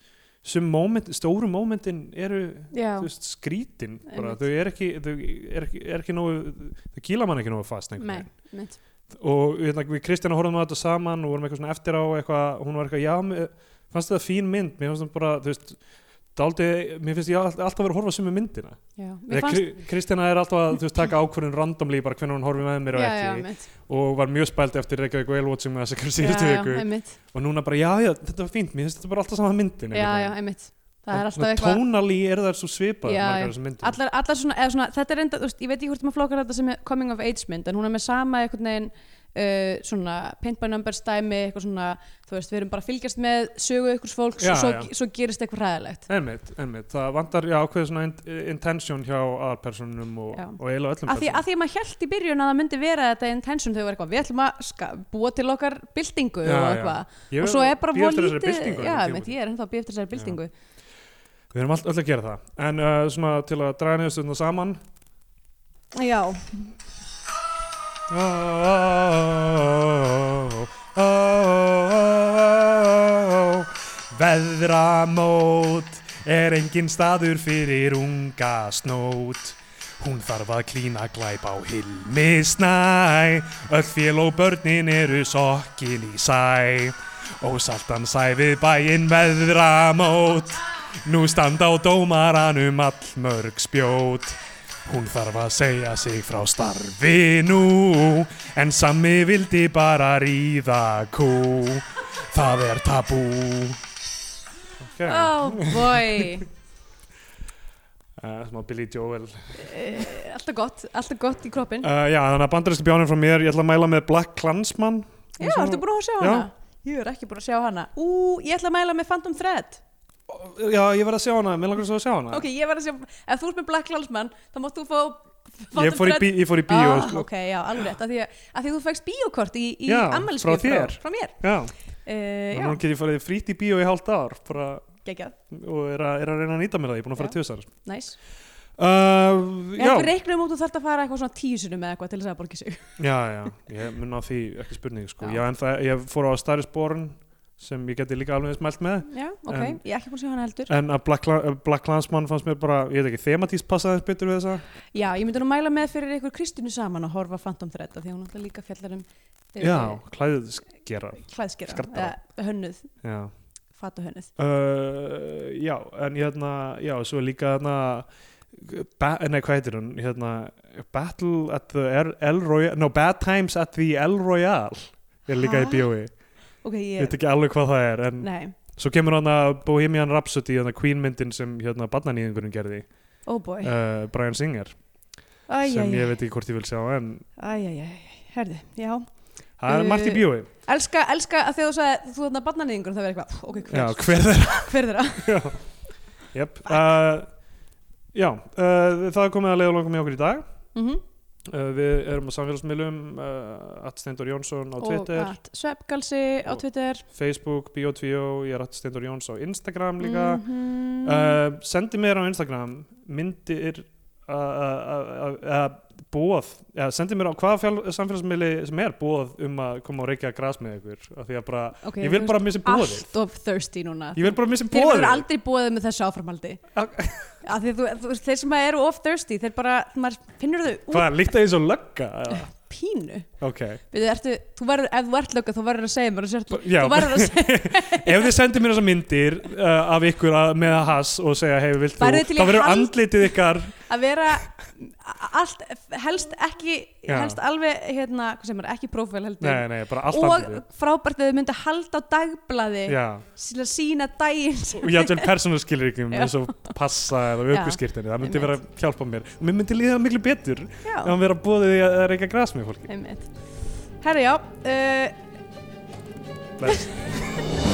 [SPEAKER 5] sem moment, stóru momentin eru
[SPEAKER 2] Já,
[SPEAKER 5] þú veist, skrítin bara,
[SPEAKER 2] Einmitt.
[SPEAKER 5] þau er ekki, þau er ekki, er ekki nógu, þau kýla mann ekki nógu fast
[SPEAKER 2] nei,
[SPEAKER 5] einhvern veginn.
[SPEAKER 2] mitt.
[SPEAKER 5] og hérna, við Kristjana horfum á þetta saman og vorum eitthvað svona eftir á eitthvað, hún var eitthvað, já, mér, fannst þetta fín mynd mér fannst það bara, þú veist Daldi, mér finnst ég all- alltaf verið að horfa á sömu myndina
[SPEAKER 2] Já, mér
[SPEAKER 5] Þegar
[SPEAKER 2] fannst,
[SPEAKER 5] fannst... Kristjana er alltaf að þú veist, taka ákvörðin randomlí bara hvernig hún horfi með mér og
[SPEAKER 2] já,
[SPEAKER 5] ekki
[SPEAKER 2] já, mitt.
[SPEAKER 5] og var mjög spælt eftir Reykjavík Whale Watching með þessakar síðustu
[SPEAKER 2] já,
[SPEAKER 5] viku
[SPEAKER 2] Já, einmitt.
[SPEAKER 5] og núna bara, já, já, þetta var fínt, mér finnst þetta bara alltaf sama myndin
[SPEAKER 2] Já, já,
[SPEAKER 5] einhvern veginn.
[SPEAKER 2] einmitt. Það er
[SPEAKER 5] Og
[SPEAKER 2] alltaf
[SPEAKER 5] svona
[SPEAKER 2] eitthvað.
[SPEAKER 5] Tónalí er það svo svipað
[SPEAKER 2] Já, já.
[SPEAKER 5] margar þessum myndum
[SPEAKER 2] Allar, allar svona, eða svona, þetta er enda, þú veist, ég veit ekki hvort maður flokkar þetta sem er coming of age mynd, en hún er með sama einhvern veginn uh, svona paint by numbers dæmi, eitthvað svona, þú veist, við erum bara að fylgjast með sögu ykkur fólks
[SPEAKER 5] Já,
[SPEAKER 2] og svo,
[SPEAKER 5] já.
[SPEAKER 2] svo gerist eitthvað hræðilegt.
[SPEAKER 5] Einmitt, einmitt, það vantar já, ákveð svona int- intention hjá aðalpersonunum og,
[SPEAKER 2] Já.
[SPEAKER 5] og eiginlega öllum
[SPEAKER 2] Af því, af
[SPEAKER 5] persónum
[SPEAKER 2] því að maður held í byrjun að það myndi vera þetta intention þegar eitthvað, við ætlum að ska, búa til okkar byltingu
[SPEAKER 5] Já,
[SPEAKER 2] og
[SPEAKER 5] já.
[SPEAKER 2] eitthvað,
[SPEAKER 5] Ég
[SPEAKER 2] og svo
[SPEAKER 5] er
[SPEAKER 2] er bara
[SPEAKER 5] bíð eftir
[SPEAKER 2] voru
[SPEAKER 5] þessari byltingu
[SPEAKER 2] já,
[SPEAKER 5] einhvern tímann.
[SPEAKER 2] mitt, ég er ennþá að býja eftir þessari byltingu.
[SPEAKER 5] Við erum all, öll að gera það En uh, svona til að draga niður stundna saman
[SPEAKER 3] já,
[SPEAKER 5] Veðramót er engin staður fyrir unga snót Hún þarf að klína glæp á hilmi snæ Öll fél og börnin eru sokkin í sæ Ósaltan sæ við bæinn veðramót Nú standa á dómaranum allmörg spjót Hún þarf að segja sig frá starfi nú En Sammi vildi bara ríða kú Það er tabú okay.
[SPEAKER 2] Oh boy,
[SPEAKER 5] uh, Smá Billy Joel uh,
[SPEAKER 2] Eh, alltaf gott, alltaf gott í kroppin.
[SPEAKER 5] Eh, Já, þannig að bandarinski bjánum frá mér Ég ætla að mæla með Black Klansman
[SPEAKER 3] já, ertu búin að sjá
[SPEAKER 5] Já.
[SPEAKER 3] hana? ég er ekki búin að sjá hana ú, ég ætla að mæla með Phantom Thread
[SPEAKER 5] Já, ég verð að sjá hana, mér langar svo að sjá hana
[SPEAKER 3] ok, ég verð að sjá, ef þú ert með Black Lallsman þá mátt þú fá Phantom
[SPEAKER 5] ég, fór í
[SPEAKER 3] Thread-
[SPEAKER 5] bí, ég fór í bíó
[SPEAKER 3] ah,
[SPEAKER 5] sko.
[SPEAKER 3] ok, já, alveg rétt, af því að, að því að þú fegst bíókort í, í
[SPEAKER 5] Já,
[SPEAKER 3] ammælisbíó
[SPEAKER 5] frá þér.
[SPEAKER 3] frá mér
[SPEAKER 5] Já,
[SPEAKER 3] uh,
[SPEAKER 5] þannig
[SPEAKER 3] já,
[SPEAKER 5] að hún geti farið frýtt í bíó í hálft ár bara,
[SPEAKER 3] geggjað,
[SPEAKER 5] og er að, er að reyna að nýta mér það, ég er búin að fara
[SPEAKER 3] Já.
[SPEAKER 5] tvisar
[SPEAKER 3] næs
[SPEAKER 5] uh,
[SPEAKER 3] já, við reiknum um út og þarf að fara eitthvað svona tíu sinum eða eitthvað til þess að borga sig
[SPEAKER 5] Já, já, ég mun á því ekki spurning sko.
[SPEAKER 3] Já.
[SPEAKER 5] já. en það, ég fór á Star is Born sem ég geti líka alveg eins mælt með
[SPEAKER 3] já, ok,
[SPEAKER 5] En-
[SPEAKER 3] ég er ekki búin að sjá hana heldur
[SPEAKER 5] en að Black, Cla- Black Klansman fannst mér bara, ég veit ekki, thematíst passaði eins betur við þessa
[SPEAKER 3] já, ég myndi nú mæla með fyrir eitthvað Kristínu saman að horfa á Phantom Thread af því að hún alltaf líka fjallar um eh,
[SPEAKER 5] Já, klæðið skera
[SPEAKER 3] klæðskera,
[SPEAKER 5] Skraddara.
[SPEAKER 3] eða hönnuð
[SPEAKER 5] Já,
[SPEAKER 3] fatahönnuð,
[SPEAKER 5] uh, já en hérna, já, svo er líka hérna ba- Nei, hvað heitir hún? Hérna, Battle at the El, El Royale No, Bad Times at the El Royale er líka
[SPEAKER 3] Ha?
[SPEAKER 5] í bíói,
[SPEAKER 3] ok,
[SPEAKER 5] ég
[SPEAKER 3] ég
[SPEAKER 5] veit ekki alveg hvað það er en
[SPEAKER 3] nei,
[SPEAKER 5] Svo kemur hann að Bohemian Rhapsody, hann að Queen myndin sem hérna barnanýðingurinn gerði,
[SPEAKER 3] oh boy
[SPEAKER 5] uh, Brian Singer, sem ég
[SPEAKER 3] æjæjæ,
[SPEAKER 5] veit ekki hvort ég vil sjá, en
[SPEAKER 3] æjæjæ herði, já
[SPEAKER 5] það er margt í
[SPEAKER 3] Uh,
[SPEAKER 5] bíói.
[SPEAKER 3] elska, elska að þegar þú sagði þú þarna barnanýðingur það verði eitthvað, ok,
[SPEAKER 5] Já,
[SPEAKER 3] hver,
[SPEAKER 5] hver er
[SPEAKER 3] hver þeirra
[SPEAKER 5] það? Jep. Uh, já, uh, það er komið að leiða langum í okkur í dag.
[SPEAKER 3] mm
[SPEAKER 5] Uh, við erum á samfélagsmiðlum, uh, Atsteindur Jónsson á Twitter,
[SPEAKER 3] og at sveppgalsi á
[SPEAKER 5] Og-
[SPEAKER 3] Twitter
[SPEAKER 5] Facebook, Bíotvíó, ég er Atsteindur Jóns á Instagram líka.
[SPEAKER 3] Mhm.
[SPEAKER 2] Mm.
[SPEAKER 5] Uh, sendi mér á Instagram myndir uh, að bóð ja, sendi mér á hvaða fjál, samfélagsmiðli sem er bóð um að koma og reykja gras með ykkur af því að bara,
[SPEAKER 3] Ok,
[SPEAKER 5] ég vil
[SPEAKER 3] þú
[SPEAKER 5] bara missi
[SPEAKER 3] veist,
[SPEAKER 5] bóði
[SPEAKER 2] Allt of thirsty núna.
[SPEAKER 5] ég vil bara missi
[SPEAKER 2] Þeir
[SPEAKER 5] bóði
[SPEAKER 2] eru aldrei bóðið með þessu áframaldi. Af því að þú, þú, veist, þeir sem eru of thirsty, þeir bara, maður finnur þau út
[SPEAKER 5] hvað, líkt að ég svo lögga eða?
[SPEAKER 2] pínu.
[SPEAKER 5] ok,
[SPEAKER 2] Við ertu, þú verður, ef þú ert lögga, þú verður að segja mér, þú sért-
[SPEAKER 5] Bara- já,
[SPEAKER 2] þú verður að segja,
[SPEAKER 5] ef þið sendir mér þessar myndir uh, af ykkur að, með að has og segja hei, vilt þú,
[SPEAKER 2] Værirðu til í
[SPEAKER 5] þá verður
[SPEAKER 2] hald-
[SPEAKER 5] andlitið ykkar
[SPEAKER 3] að vera a- allt, helst ekki
[SPEAKER 5] Já.
[SPEAKER 3] helst alveg, hérna, hvað sem er ekki prófél heldur,
[SPEAKER 5] Nei, nei, bara allt
[SPEAKER 3] og
[SPEAKER 5] andlið.
[SPEAKER 3] frábært að þau myndu halda á dagblaði
[SPEAKER 5] Já,
[SPEAKER 3] til að sína daginn sem-
[SPEAKER 5] og ég hafði vel persónuskilríkjum
[SPEAKER 3] Já.
[SPEAKER 5] eins og passa eða
[SPEAKER 3] Já.
[SPEAKER 5] aukurskýrtinni, það myndi
[SPEAKER 3] Einmitt.
[SPEAKER 5] vera að hjálpa mér. Og mér myndi líða miklu betur ef
[SPEAKER 3] já,
[SPEAKER 5] hann vera búið því að reyka græs með fólki.
[SPEAKER 3] einmitt herra já, uh,
[SPEAKER 5] Bless.